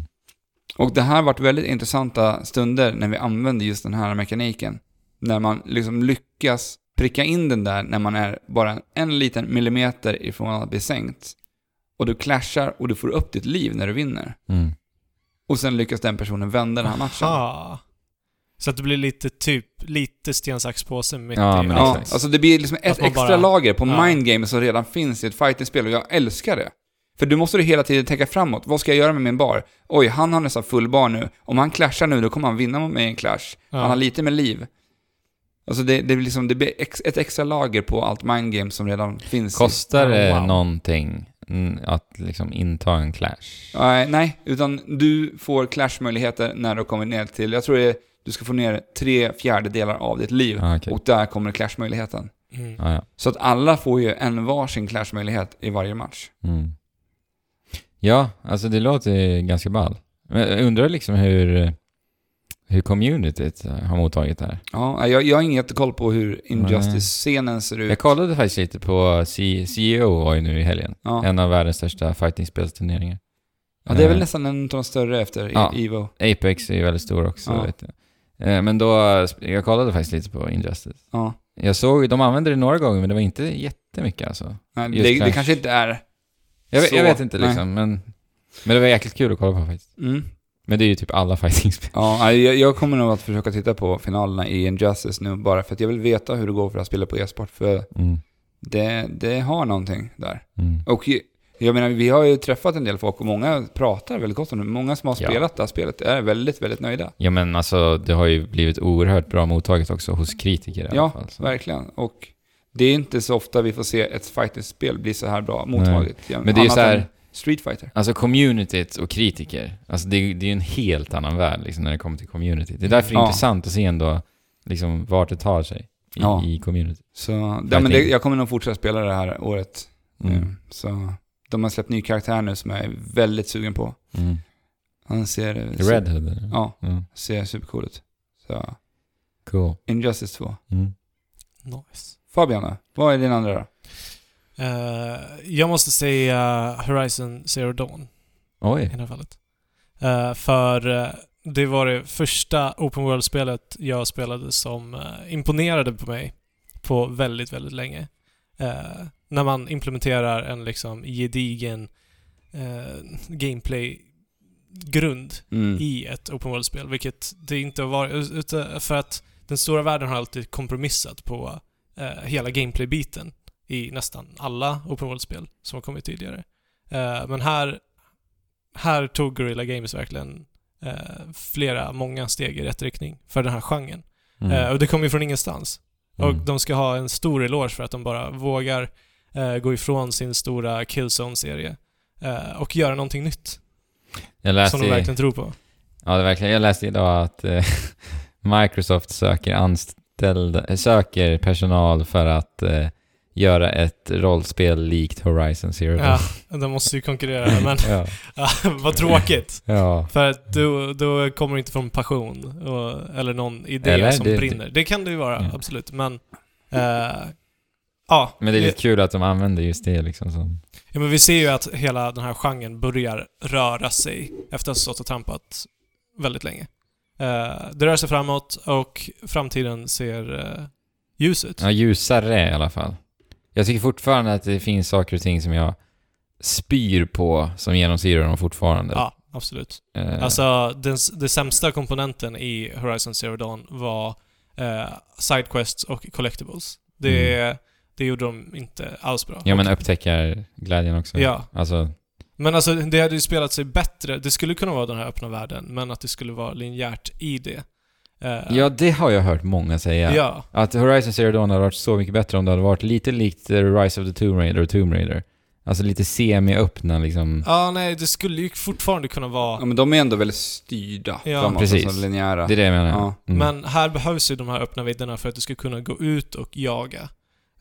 Speaker 1: Och det här varit väldigt intressanta stunder när vi använde just den här mekaniken. När man liksom lyckas pricka in den där när man är bara en liten millimeter ifrån att bli sänkt. Och du clashar och du får upp ditt liv när du vinner.
Speaker 2: Mm.
Speaker 1: Och sen lyckas den personen vända
Speaker 3: Ah,
Speaker 1: den här matchen.
Speaker 3: Aha. Så att det blir lite typ, lite sten, sax, påse mitt
Speaker 2: Ja,
Speaker 3: i.
Speaker 2: men
Speaker 1: Ja,
Speaker 2: exakt.
Speaker 1: alltså det blir liksom ett
Speaker 3: Att man
Speaker 1: extra
Speaker 3: bara-
Speaker 1: lager på
Speaker 3: Ja.
Speaker 1: mindgame som redan finns i ett fightingspel och jag älskar det. För du måste du hela tiden tänka framåt. Vad ska jag göra med min bar? Oj, han har nästan full bar nu. Om han clashar nu, då kommer han vinna med en clash.
Speaker 3: Ja.
Speaker 1: Han har lite med liv. Alltså det, det, blir liksom, det blir ex, ett extra lager på allt mindgame som redan finns. i-
Speaker 2: Kostar det
Speaker 3: Wow.
Speaker 2: någonting mm, att liksom inta en clash?
Speaker 1: Nej, nej, utan du får clashmöjligheter när du kommer ner till, jag tror det är, du ska få ner tre fjärdedelar av ditt liv.
Speaker 2: Ah, okej.
Speaker 1: Och där kommer clashmöjligheten.
Speaker 3: Mm.
Speaker 2: Ah, ja.
Speaker 1: Så att alla får ju en varsin clashmöjlighet i varje match.
Speaker 2: Mm. ja, alltså det låter ju ganska ball. Men jag undrar liksom hur, hur communityt har mottagit det här.
Speaker 1: Ja, jag, jag har ingen jättekoll på hur
Speaker 2: Nej.
Speaker 1: Injustice-scenen ser
Speaker 2: Jag
Speaker 1: ut.
Speaker 2: kollade faktiskt lite på C- CEO var ju nu i helgen.
Speaker 1: Ja.
Speaker 2: En av världens största fightingspelsturneringar.
Speaker 1: ja, det är väl
Speaker 2: Eh,
Speaker 1: nästan en av de större efter
Speaker 2: Ja.
Speaker 1: i Evo.
Speaker 2: Apex är ju väldigt stor också,
Speaker 1: Ja.
Speaker 2: vet jag. Eh, Men då, jag kollade faktiskt lite på Injustice.
Speaker 1: Ja.
Speaker 2: Jag såg, de använde det några gånger, men det var inte jättemycket alltså.
Speaker 1: Nej,
Speaker 2: Just
Speaker 1: det, det
Speaker 2: Clash.
Speaker 1: kanske inte är...
Speaker 2: Jag, vet-
Speaker 1: Så,
Speaker 2: jag vet inte
Speaker 1: nej.
Speaker 2: liksom, men, men det var jäkligt kul att kolla på faktiskt.
Speaker 1: Mm.
Speaker 2: Men det är ju typ alla fightingspel.
Speaker 1: Ja, nej, jag, jag kommer nog att försöka titta på finalerna i Injustice nu bara för att jag vill veta hur det går för att spela på e-sport för
Speaker 2: Mm.
Speaker 1: det, det har någonting där.
Speaker 2: Mm.
Speaker 1: Och ju- jag menar, vi har ju träffat en del folk och många pratar väldigt gott om det. Många som har
Speaker 2: Ja.
Speaker 1: spelat det här spelet är väldigt, väldigt nöjda.
Speaker 2: Ja men alltså, det har ju blivit oerhört bra mottaget också hos kritiker i alla
Speaker 1: Ja,
Speaker 2: fall. så.
Speaker 1: Verkligen. Och det är inte så ofta vi får se ett fighting-spel bli så här bra mottaget.
Speaker 2: Men det är ju
Speaker 1: Annat
Speaker 2: så här-
Speaker 1: än Street Fighter.
Speaker 2: Alltså communityt och kritiker, alltså det, är- det är ju en helt annan värld liksom, när det kommer till communityt. Det är därför det är
Speaker 1: Ja.
Speaker 2: intressant att se ändå liksom, vart det tar sig i,
Speaker 1: Ja.
Speaker 2: i communityt.
Speaker 1: Så ja, men det,
Speaker 2: tänker-
Speaker 1: jag kommer nog fortsätta spela det här året.
Speaker 2: Mm.
Speaker 1: Mm. Så, de har släppt ny karaktär nu som jag är väldigt sugen på.
Speaker 2: Mm.
Speaker 1: Han ser,
Speaker 2: Red Hood, eller?
Speaker 1: Ja,
Speaker 2: Mm.
Speaker 1: ser supercool ut. Så,
Speaker 2: Cool.
Speaker 1: Injustice 2.
Speaker 2: Mm.
Speaker 3: Nice.
Speaker 1: Fabian då? Vad är din andra då?
Speaker 3: Eh, jag måste säga Horizon Zero Dawn i
Speaker 2: Oj.
Speaker 3: det här fallet. Eh, för eh, det var det första Open World-spelet jag spelade som eh, imponerade på mig på väldigt, väldigt länge. Eh, när man implementerar en liksom gedigen eh, gameplay-grund
Speaker 1: Mm.
Speaker 3: i ett open world-spel, vilket det inte har varit. ut- ut- För att den stora världen har alltid kompromissat på eh, hela gameplay-biten i nästan alla open world-spel som har kommit tidigare. Eh, men här, här tog Guerrilla Games verkligen eh, flera, många steg i rätt riktning för den här genren.
Speaker 2: Mm.
Speaker 3: Eh, och det kom ju från ingenstans. Och
Speaker 2: Mm.
Speaker 3: de ska ha en stor eloge för att de bara vågar eh, gå ifrån sin stora Killzone-serie eh, och göra någonting nytt
Speaker 2: jag läste,
Speaker 3: som de verkligen tror på.
Speaker 2: ja, det är verkligen, jag läste idag att eh, Microsoft söker, anställda, eh, söker personal för att eh, göra ett rollspel likt Horizon Zero Dawn.
Speaker 3: Ja, de måste ju konkurrera, men
Speaker 2: ja.
Speaker 3: ja, vad tråkigt.
Speaker 2: ja.
Speaker 3: För att då, då kommer det inte från passion och, eller någon idé
Speaker 2: Eller,
Speaker 3: som
Speaker 2: det-
Speaker 3: brinner. Det kan det ju vara,
Speaker 2: Ja.
Speaker 3: absolut. Men eh, Ja,
Speaker 2: Men det är
Speaker 3: vi-
Speaker 2: lite kul att de använder just det liksom som...
Speaker 3: ja, men vi ser ju att hela den här genren börjar röra sig efter att ha stått och trampat väldigt länge. Eh, det rör sig framåt och framtiden ser eh, ljus ut.
Speaker 2: Ja, ljusare i alla fall. Jag tycker fortfarande att det finns saker och ting som jag spyr på som genomsyrar dem fortfarande.
Speaker 3: Ja, absolut.
Speaker 2: Eh,
Speaker 3: Alltså, den, s- den sämsta komponenten i Horizon Zero Dawn var eh, sidequests och collectibles. Det, det gjorde de inte alls bra.
Speaker 2: Mm. Ja, men upptäcker glädjen också.
Speaker 3: Ja.
Speaker 2: Alltså,
Speaker 3: Men alltså, det hade ju spelat sig bättre. Det skulle kunna vara den här öppna världen, men att det skulle vara linjärt i det. Eh,
Speaker 2: ja, det har jag hört många säga.
Speaker 3: ja.
Speaker 2: Att Horizon Zero Dawn hade varit så mycket bättre om det hade varit lite likt eh, Rise of the Tomb Raider och Tomb Raider. Alltså lite semi-öppna liksom.
Speaker 3: Ja, nej, det skulle ju fortfarande kunna vara...
Speaker 2: Mm.
Speaker 1: Ja, men de är ändå väldigt styrda
Speaker 3: Ja.
Speaker 1: framåt,
Speaker 2: Precis.
Speaker 1: alltså linjära.
Speaker 2: Det är det jag menar.
Speaker 1: Ja.
Speaker 2: Mm.
Speaker 3: Men här behövs ju de här öppna vidderna för att du ska kunna gå ut och jaga.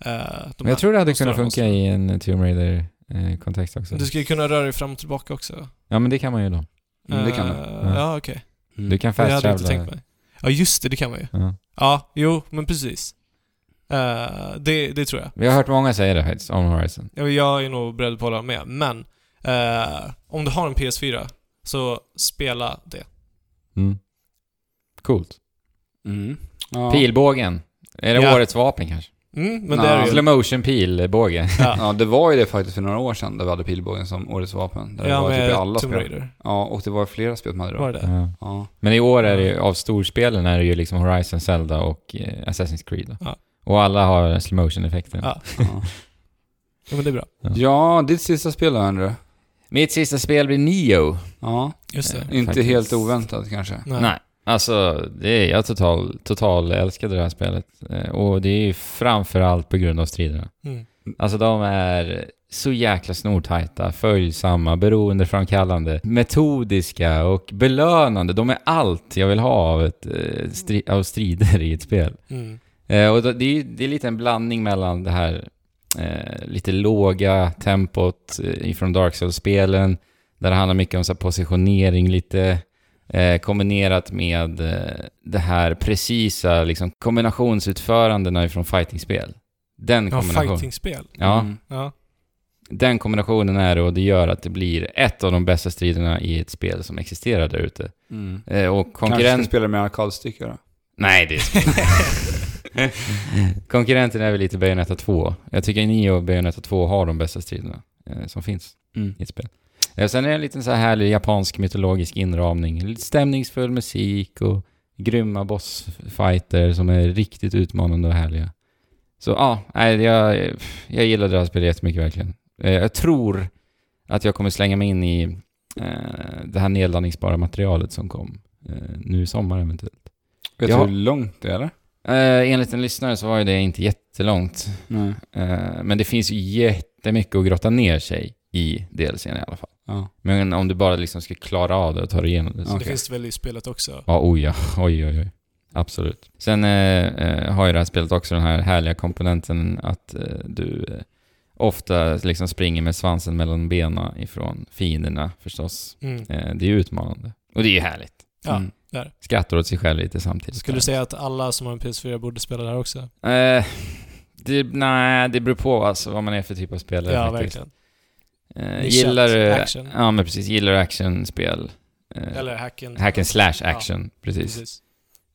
Speaker 3: eh, de
Speaker 2: Men jag
Speaker 3: här-
Speaker 2: tror det hade
Speaker 3: de större
Speaker 2: kunnat funka
Speaker 3: monstren.
Speaker 2: i en eh, Tomb Raider-kontext också.
Speaker 3: Du ska ju kunna röra dig fram och tillbaka också.
Speaker 2: Ja, men det kan man ju då.
Speaker 1: Mm, det kan
Speaker 3: Eh,
Speaker 1: de.
Speaker 2: Ja.
Speaker 3: Ja, okej.
Speaker 1: Mm.
Speaker 2: Du kan
Speaker 3: Det hade jag inte
Speaker 2: fast-travela.
Speaker 3: tänkt mig. Ja, just det, det kan man ju.
Speaker 2: Ja.
Speaker 3: Ja, jo, men precis. Eh, det, det tror jag.
Speaker 2: Vi har hört många säga det faktiskt, om Horizon.
Speaker 3: Ja, men Jag är nog beredd på att hålla med, men eh, om du har en PS4 så spela det.
Speaker 2: Mm. Coolt.
Speaker 1: Mm. Ja.
Speaker 2: Pilbågen. Är det
Speaker 3: Ja.
Speaker 2: årets vapen kanske?
Speaker 3: Mm, men
Speaker 1: Nå,
Speaker 3: det är det
Speaker 2: Slow
Speaker 3: ju.
Speaker 2: motion pilbåge.
Speaker 3: Ja,
Speaker 1: Ja, det var ju det faktiskt för några år sedan där vi hade pilbågen som årets vapen. Där det
Speaker 3: ja
Speaker 1: var typ i
Speaker 3: med
Speaker 1: alla
Speaker 3: Tomb
Speaker 1: spel.
Speaker 3: Raider.
Speaker 1: Ja, och det var flera spel man hade då.
Speaker 3: Var det det?
Speaker 2: Ja.
Speaker 1: Ja.
Speaker 2: Men i år är det ju, av storspelen är det ju liksom Horizon, Zelda och eh, Assassin's Creed. Då.
Speaker 3: Ja.
Speaker 2: Och alla har slow motion-effekten.
Speaker 3: Ja.
Speaker 1: Ja.
Speaker 3: Ja, men det är bra.
Speaker 1: ja, ditt sista spel då, Andrew.
Speaker 2: Mitt sista spel blir Neo.
Speaker 1: Ja,
Speaker 3: Just det.
Speaker 1: inte
Speaker 2: Faktiskt.
Speaker 1: helt oväntat kanske.
Speaker 3: Nej.
Speaker 2: Nej. Alltså, det är, jag total, total älskade det här spelet. Eh, Och det är ju framförallt på grund av striderna.
Speaker 3: Mm.
Speaker 2: Alltså de är så jäkla snortajta, följsamma, beroendeframkallande, metodiska och belönande. De är allt jag vill ha av, ett, eh, stri- av strider i ett spel.
Speaker 3: Mm.
Speaker 2: Eh, och då- det är, ju- det är lite en blandning mellan det här eh, lite låga tempot eh, ifrån Dark Souls-spelen, där det handlar mycket om så här, positionering lite, eh, kombinerat med eh, det här precisa liksom, kombinationsutförandena ifrån fighting-spel. Den
Speaker 3: Ja,
Speaker 2: kombinationen.
Speaker 3: fightingspel.
Speaker 2: Ja,
Speaker 1: Mm.
Speaker 3: Ja.
Speaker 2: den kombinationen är det och det gör att det blir ett av de bästa striderna i ett spel som existerar där ute.
Speaker 1: Mm.
Speaker 2: Eh, och
Speaker 1: Kanske
Speaker 2: konkurrent...
Speaker 1: ska spela med arkadstycke då.
Speaker 2: Nej, det är Konkurrenten är väl lite Bayonetta 2. Jag tycker Nio och Bayonetta 2 har de bästa striderna eh, som finns
Speaker 1: Mm.
Speaker 2: i ett spel. Eh, sen är det en liten så här härlig japansk mytologisk inramning. Lite stämningsfull musik och grymma bossfighter som är riktigt utmanande och härliga. Så ja, nej, jag, jag gillar det här spelet jättemycket verkligen. Eh, jag tror att jag kommer slänga mig in i eh, det här nedladdningsbara materialet som kom eh, nu i sommar eventuellt.
Speaker 1: Vet
Speaker 2: Ja.
Speaker 1: du hur långt det är eller?
Speaker 2: Eh, enligt en lyssnare så var ju det inte jättelångt.
Speaker 1: Nej.
Speaker 2: Eh, men det finns ju jättemycket att grotta ner sig i DLCn i alla fall.
Speaker 1: Ja.
Speaker 2: Men om du bara liksom ska klara av det och ta dig igenom det så...
Speaker 1: Okej.
Speaker 3: Det finns väl i spelet också.
Speaker 2: Ja, oj ja. Oj, oj, oj. Absolut. Sen eh, eh, har ju det här spelet också den här härliga komponenten att eh, du eh, ofta liksom springer med svansen mellan benen ifrån fienderna förstås.
Speaker 3: Mm.
Speaker 2: Eh, det är ju utmanande. Och det är ju härligt.
Speaker 3: Ja.
Speaker 1: Mm.
Speaker 2: Skrattar åt sig själv lite samtidigt.
Speaker 3: Skulle du säga att alla som har en PS4 borde spela det här också?
Speaker 2: Eh, det, nej, det beror på alltså vad man är för typ av spelare
Speaker 3: ja,
Speaker 2: faktiskt.
Speaker 3: verkligen.
Speaker 2: Eh,
Speaker 3: Nischat
Speaker 2: gillar du...
Speaker 3: action.
Speaker 2: Ja, men precis. Gillar du actionspel? Eh,
Speaker 3: Eller hacken.
Speaker 2: hack and slash action, precis.
Speaker 3: Precis.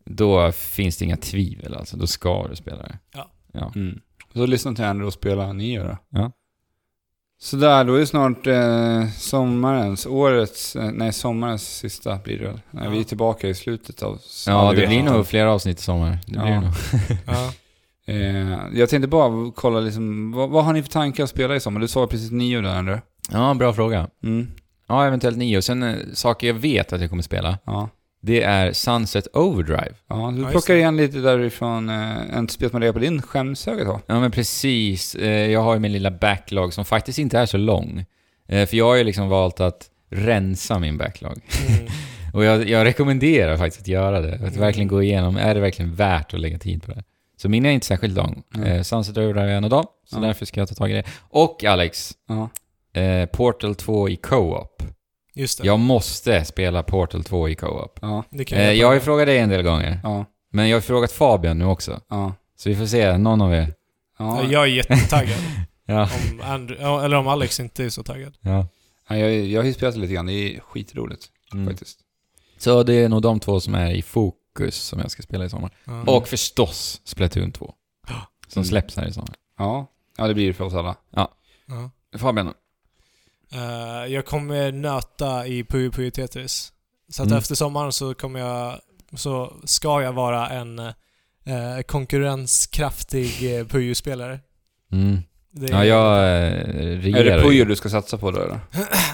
Speaker 2: Då finns det inga tvivel alltså. Då ska du spela det.
Speaker 1: Mm. Så lyssna till Andrew och spela Nio då.
Speaker 2: Ja.
Speaker 1: Sådär, då är det snart eh, sommarens, årets, eh, nej sommarens sista blir det väl? Nej,
Speaker 3: Ja.
Speaker 1: Vi är tillbaka i slutet av
Speaker 2: Ja, det
Speaker 3: vet
Speaker 2: blir
Speaker 3: inte.
Speaker 2: nog flera avsnitt i sommar. Det
Speaker 1: Ja.
Speaker 2: blir det nog.
Speaker 3: Ja.
Speaker 1: Eh, jag tänkte bara kolla liksom, vad, vad har ni för tankar att spela i sommar? Du sa precis Nio där Andrew.
Speaker 2: Ja, bra fråga.
Speaker 1: Mm.
Speaker 2: Ja, eventuellt nio. Och sen eh, saker jag vet att jag kommer spela,
Speaker 1: Ja.
Speaker 2: det är Sunset Overdrive.
Speaker 1: Ja,
Speaker 3: Ja,
Speaker 1: du
Speaker 3: just
Speaker 1: plockar
Speaker 3: det.
Speaker 1: igen lite därifrån, eh, en spel som ligger på din skämshög då.
Speaker 2: Ja, men precis. Eh, Jag har ju min lilla backlog som faktiskt inte är så lång. Eh, För jag har ju liksom valt att rensa min backlog.
Speaker 3: Mm.
Speaker 2: Och jag, jag rekommenderar faktiskt att göra det. Att
Speaker 3: Mm.
Speaker 2: verkligen gå igenom, är det verkligen värt att lägga tid på det? Så min är inte särskilt lång.
Speaker 1: Mm.
Speaker 2: Eh, Sunset Overdrive är en av dem, så
Speaker 1: Mm.
Speaker 2: därför ska jag ta tag i det. Och Alex,
Speaker 1: Ja.
Speaker 2: eh, Portal 2 i co-op.
Speaker 3: Just det.
Speaker 2: Jag måste spela Portal 2 i co-op.
Speaker 1: Ja,
Speaker 3: det kan
Speaker 2: Eh, jag har
Speaker 3: hjälpa
Speaker 2: ju
Speaker 3: dig.
Speaker 2: frågat dig en del gånger,
Speaker 1: ja,
Speaker 2: men jag har frågat Fabian nu också.
Speaker 1: ja.
Speaker 2: Så vi får se, någon av er.
Speaker 1: Ja,
Speaker 3: Jag är jättetaggad.
Speaker 2: Ja.
Speaker 3: om Andrew, ja, eller om Alex inte är så taggad.
Speaker 2: Ja.
Speaker 1: ja, jag, jag har ju spelat det lite grann. Det är skitroligt
Speaker 2: Mm.
Speaker 1: faktiskt.
Speaker 2: Så det är nog de två som är i fokus som jag ska spela i sommar.
Speaker 3: Ja.
Speaker 2: Och förstås Splatoon 2. Som
Speaker 1: Mm.
Speaker 2: släpps här i sommar.
Speaker 1: Ja. ja, det blir det för oss alla.
Speaker 3: Ja.
Speaker 2: Fabian,
Speaker 3: Eh, jag kommer nöta i Puyo Puyo Tetris. Så att
Speaker 2: Mm.
Speaker 3: efter sommaren så kommer jag, så ska jag vara en eh, konkurrenskraftig eh, Puyo-spelare.
Speaker 2: mm.
Speaker 3: Det är-
Speaker 2: Ja, jag eh,
Speaker 1: Är
Speaker 2: regerar
Speaker 1: det
Speaker 2: ju.
Speaker 1: Puyo du ska satsa på då? eller?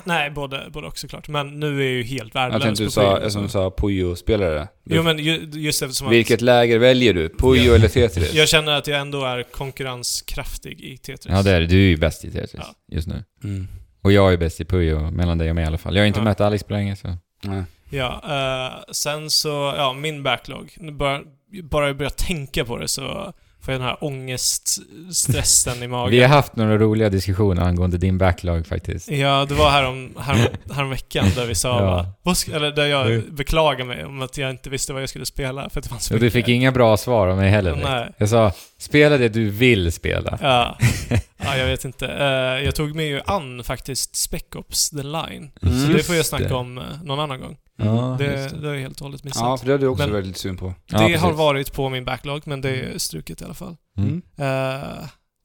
Speaker 3: Nej, både, både och såklart. Men nu är jag ju helt
Speaker 1: Jag
Speaker 3: värdelös
Speaker 1: tänkte du
Speaker 3: på
Speaker 1: sa,
Speaker 3: Puyo.
Speaker 1: eftersom du sa Puyo-spelare. Du-
Speaker 3: Jo men ju, just eftersom
Speaker 1: Vilket läger väljer du? Puyo
Speaker 3: Ja.
Speaker 1: eller
Speaker 3: att
Speaker 1: Tetris?
Speaker 3: jag känner att jag ändå är konkurrenskraftig i Tetris.
Speaker 2: Ja, det är det. Du är ju bäst i Tetris
Speaker 3: Ja.
Speaker 2: just nu.
Speaker 1: Mm.
Speaker 2: Och jag är bäst i Puyo, mellan dig och mig i alla fall. Jag har inte
Speaker 3: Ja.
Speaker 2: mött Alex på länge så...
Speaker 1: Nej.
Speaker 3: Ja, eh, sen så, ja, min backlog. Nu Bara, bara jag börjar tänka på det så får jag den här ångeststressen i magen.
Speaker 2: Vi har haft några roliga diskussioner angående din backlog faktiskt.
Speaker 3: Ja, det var härom, härom, häromveckan där vi sa,
Speaker 2: Ja.
Speaker 3: va, vad sk- eller där
Speaker 2: Jo.
Speaker 3: jag beklagade mig om att jag inte visste vad jag skulle spela för att det fanns så
Speaker 2: Och du fick inga bra svar av mig heller. direkt.
Speaker 3: Nej.
Speaker 2: Jag sa, spela det du vill spela.
Speaker 3: Ja. ja, jag vet inte. Eh, jag tog med ju an faktiskt Spec Ops The Line. Så
Speaker 1: Mm.
Speaker 3: det får jag
Speaker 2: Just
Speaker 3: snacka
Speaker 2: det.
Speaker 3: om eh, någon annan gång.
Speaker 2: Ja,
Speaker 3: det,
Speaker 2: just
Speaker 3: det
Speaker 2: det.
Speaker 3: har jag helt och hållet missat.
Speaker 1: Ja, för det hade jag också
Speaker 3: Men-
Speaker 1: väldigt syn på.
Speaker 2: Ja,
Speaker 3: det har
Speaker 2: precis.
Speaker 3: varit på min backlog, men det är struket i alla fall.
Speaker 2: Mm.
Speaker 1: Mm.
Speaker 3: Eh,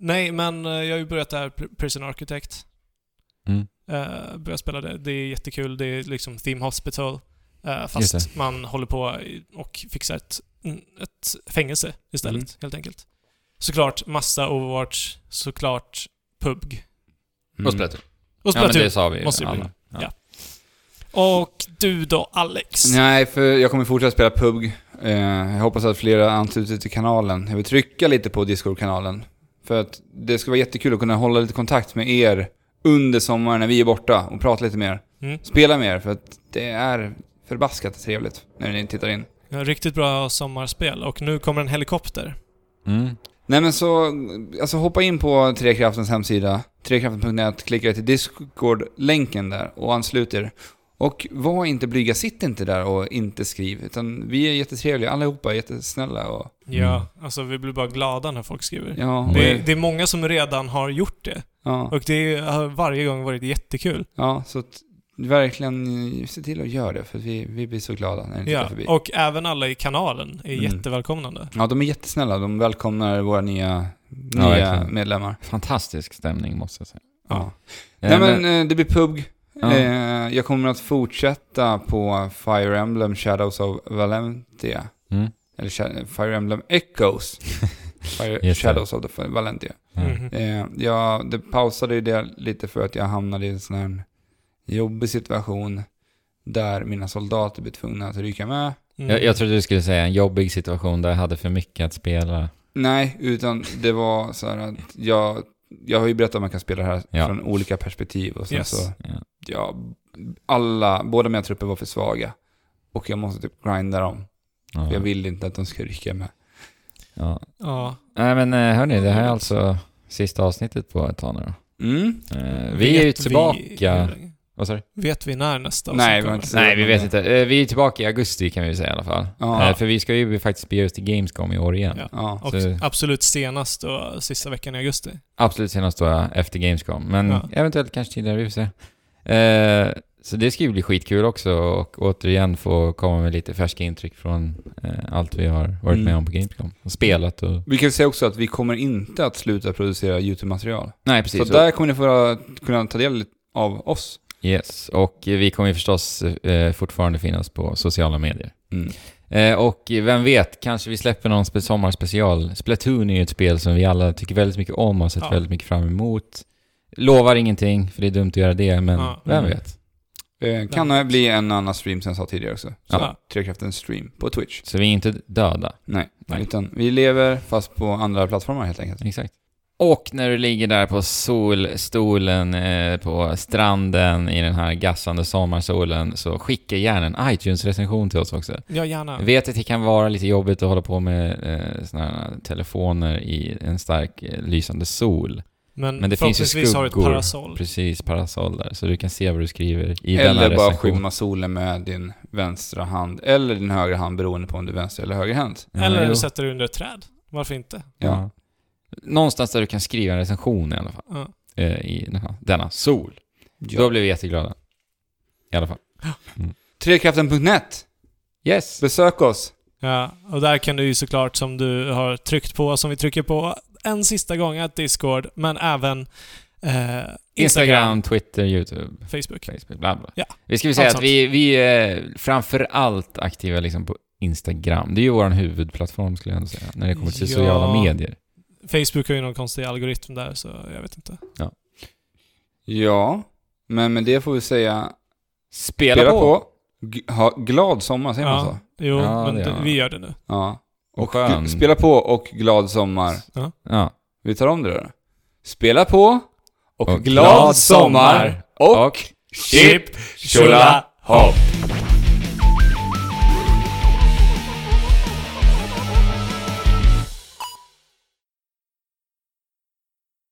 Speaker 3: nej, men eh, jag har ju börjat där, Pr- Prison Architect.
Speaker 2: Mm.
Speaker 3: Eh, börjat spela det. Det är jättekul. Det är liksom Theme Hospital. eh,
Speaker 2: Just det.
Speaker 3: fast man håller på i- och fixar ett, mm, ett fängelse istället,
Speaker 1: Mm.
Speaker 3: helt enkelt. Såklart massa Overwatch, såklart PUBG.
Speaker 1: Mm.
Speaker 2: Och Splatoon.
Speaker 3: Och
Speaker 2: Ja, men
Speaker 3: Splatoon.
Speaker 2: det sa vi ju.
Speaker 3: typ- Måste det bli.
Speaker 2: alla.
Speaker 3: Och du då, Alex?
Speaker 1: Nej, för jag kommer fortsätta spela PUBG. Eh, jag hoppas att flera ansluter till kanalen. Jag vill trycka lite på Discord-kanalen. För att det skulle vara jättekul att kunna hålla lite kontakt med er under sommaren när vi är borta och prata lite mer.
Speaker 3: Mm.
Speaker 1: Spela mer, för att det är förbaskat trevligt när ni tittar in.
Speaker 3: Ja, Riktigt bra sommarspel. Och nu kommer en helikopter.
Speaker 2: Mm.
Speaker 1: Nej men så, alltså hoppa in på Trekraftens hemsida, trekraften.net, klicka till Discord-länken där och anslut er. Och var inte blyga, sitt inte där och inte skriv, utan vi är jättetrevliga, allihopa är jättesnälla och
Speaker 2: Mm.
Speaker 3: Ja, alltså vi blir bara glada när folk skriver.
Speaker 1: ja, och,
Speaker 3: Det är, det är många som redan har gjort det.
Speaker 1: ja,
Speaker 3: Och det har varje gång varit jättekul.
Speaker 2: Mm.
Speaker 1: ja, så att verkligen eh, se till att göra det för att vi, vi blir så glada när ni tittar
Speaker 3: Ja,
Speaker 1: förbi.
Speaker 3: och även alla i kanalen är
Speaker 1: Mm.
Speaker 3: jättevälkomnande.
Speaker 1: Ja, de är jättesnälla, de välkomnar våra nya,
Speaker 2: Ja,
Speaker 1: nya
Speaker 2: verkligen.
Speaker 1: medlemmar.
Speaker 2: Fantastisk stämning måste jag säga.
Speaker 1: Ja.
Speaker 2: Eh,
Speaker 1: Nej men eh, det blir PUBG.
Speaker 2: Ja.
Speaker 1: Eh, Jag kommer att fortsätta på Fire Emblem Shadows of Valentia.
Speaker 2: Mm.
Speaker 1: Eller Sha- Fire Emblem Echoes. Fire
Speaker 2: Just det.
Speaker 1: Shadows of the Valentia.
Speaker 2: Ja.
Speaker 3: Mhm.
Speaker 1: Eh, Jag det pausade ju det lite för att jag hamnade i en sån här jobbig situation där mina soldater blev tvungna att rycka med.
Speaker 3: Mm.
Speaker 2: Jag, jag trodde du skulle säga en jobbig situation där jag hade för mycket att spela.
Speaker 1: Nej, utan det var så här att jag, jag har ju berättat att man kan spela det här
Speaker 2: Ja.
Speaker 1: från olika perspektiv och sen
Speaker 3: Yes.
Speaker 1: så
Speaker 2: Ja.
Speaker 1: ja, alla, båda mina trupper var för svaga. Och jag måste typ grinda dem.
Speaker 2: Ja.
Speaker 1: För jag vill inte att de ska rycka med.
Speaker 2: Ja.
Speaker 3: Ja.
Speaker 2: Nej men eh, hörni, det här är alltså sista avsnittet på ett tag nu då.
Speaker 1: Mm.
Speaker 2: Eh, Vi är ju
Speaker 3: Vet
Speaker 2: tillbaka...
Speaker 3: Vi,
Speaker 2: Vad sa du?
Speaker 3: vet vi när nästa
Speaker 1: Nej,
Speaker 3: avsnitt
Speaker 1: vi har
Speaker 3: kommer?
Speaker 1: inte sagt.
Speaker 2: Nej, vi vet inte. Eh, Vi är tillbaka i augusti kan vi väl säga i alla fall.
Speaker 1: Ja.
Speaker 2: Eh, För vi ska ju faktiskt bege oss till Gamescom i år igen.
Speaker 3: Ja.
Speaker 1: Ja.
Speaker 3: Och
Speaker 2: Så-
Speaker 3: absolut senast då, sista veckan i augusti.
Speaker 2: Absolut senast då ja, efter Gamescom, men
Speaker 3: Ja.
Speaker 2: eventuellt kanske tidigare, vi får se. Eh, så det ska ju bli skitkul också och återigen få komma med lite färska intryck från eh, allt vi har varit
Speaker 1: Mm.
Speaker 2: med om på Gamescom. Och spelat och...
Speaker 1: Vi kan säga också att vi kommer inte att sluta producera YouTube-material.
Speaker 2: Nej,
Speaker 1: Så,
Speaker 2: precis.
Speaker 1: där kommer ni få kunna ta del av oss.
Speaker 2: Yes, och vi kommer ju förstås eh, fortfarande finnas på sociala medier.
Speaker 1: Mm.
Speaker 2: Eh, och vem vet, kanske vi släpper någon spe- sommarspecial. Splatoon är ju ett spel som vi alla tycker väldigt mycket om och har sett
Speaker 3: Ja.
Speaker 2: väldigt mycket fram emot. Lovar ingenting, för det är dumt att göra det, men
Speaker 3: Ja.
Speaker 2: vem
Speaker 1: Mm.
Speaker 2: vet.
Speaker 1: Eh, kan det bli en annan stream som jag sa tidigare också. Så
Speaker 3: Ja.
Speaker 1: Trekraftens stream på Twitch.
Speaker 2: Så vi är inte döda.
Speaker 1: Nej,
Speaker 2: Nej.
Speaker 1: utan vi lever fast på andra plattformar helt enkelt.
Speaker 2: Exakt. Och när du ligger där på solstolen eh, på stranden i den här gassande sommarsolen så skicka gärna en iTunes-recension till oss också.
Speaker 3: Ja, gärna.
Speaker 2: Jag vet att det kan vara lite jobbigt att hålla på med eh, såna här telefoner i en stark eh, lysande sol.
Speaker 3: men,
Speaker 2: men det finns ju
Speaker 3: Mm, förhoppningsvis har du ett
Speaker 2: skuggor.
Speaker 3: parasoll.
Speaker 2: Precis, parasoll där. Så du kan se vad du skriver i denna
Speaker 1: Eller bara
Speaker 2: recension.
Speaker 1: skymma solen med din vänstra hand eller din högra hand beroende på om du är vänster eller högerhänt.
Speaker 2: Ja,
Speaker 3: Eller
Speaker 2: jo.
Speaker 3: sätter du under ett träd. Varför inte?
Speaker 1: Ja.
Speaker 2: Ja. Någonstans där du kan skriva en recension i alla fall.
Speaker 3: Ja.
Speaker 2: Eh, I denna, denna sol. Då blir vi jätteglada. I alla fall.
Speaker 1: Trekraften.net.
Speaker 2: Yes!
Speaker 1: Besök oss.
Speaker 3: Ja, och där kan du ju såklart, som du har tryckt på, som vi trycker på en sista gång, att Discord, men även eh, Instagram,
Speaker 2: Instagram, Twitter, YouTube.
Speaker 3: Facebook.
Speaker 2: Facebook, bla bla.
Speaker 3: Ja,
Speaker 2: Vi ska väl säga
Speaker 3: allt
Speaker 2: att vi, vi är framför allt aktiva liksom på Instagram. Det är ju vår huvudplattform skulle jag ändå säga, när det kommer till
Speaker 3: Ja.
Speaker 2: sociala medier.
Speaker 3: Facebook har ju någon konstig algoritm där, så jag vet inte.
Speaker 1: Ja, men med det får vi säga
Speaker 2: Spela,
Speaker 1: spela
Speaker 2: på!
Speaker 1: på. G- Ha glad sommar, säger man så?
Speaker 3: Ja, jo,
Speaker 2: Ja,
Speaker 3: men
Speaker 2: det
Speaker 3: det,
Speaker 2: gör
Speaker 3: vi gör det nu.
Speaker 1: Ja.
Speaker 2: Och skön.
Speaker 1: G- Spela på och glad sommar.
Speaker 2: Ja.
Speaker 1: Vi tar om det då. Spela på och,
Speaker 2: Och
Speaker 1: glad sommar och
Speaker 2: chip,
Speaker 1: tjola, hopp!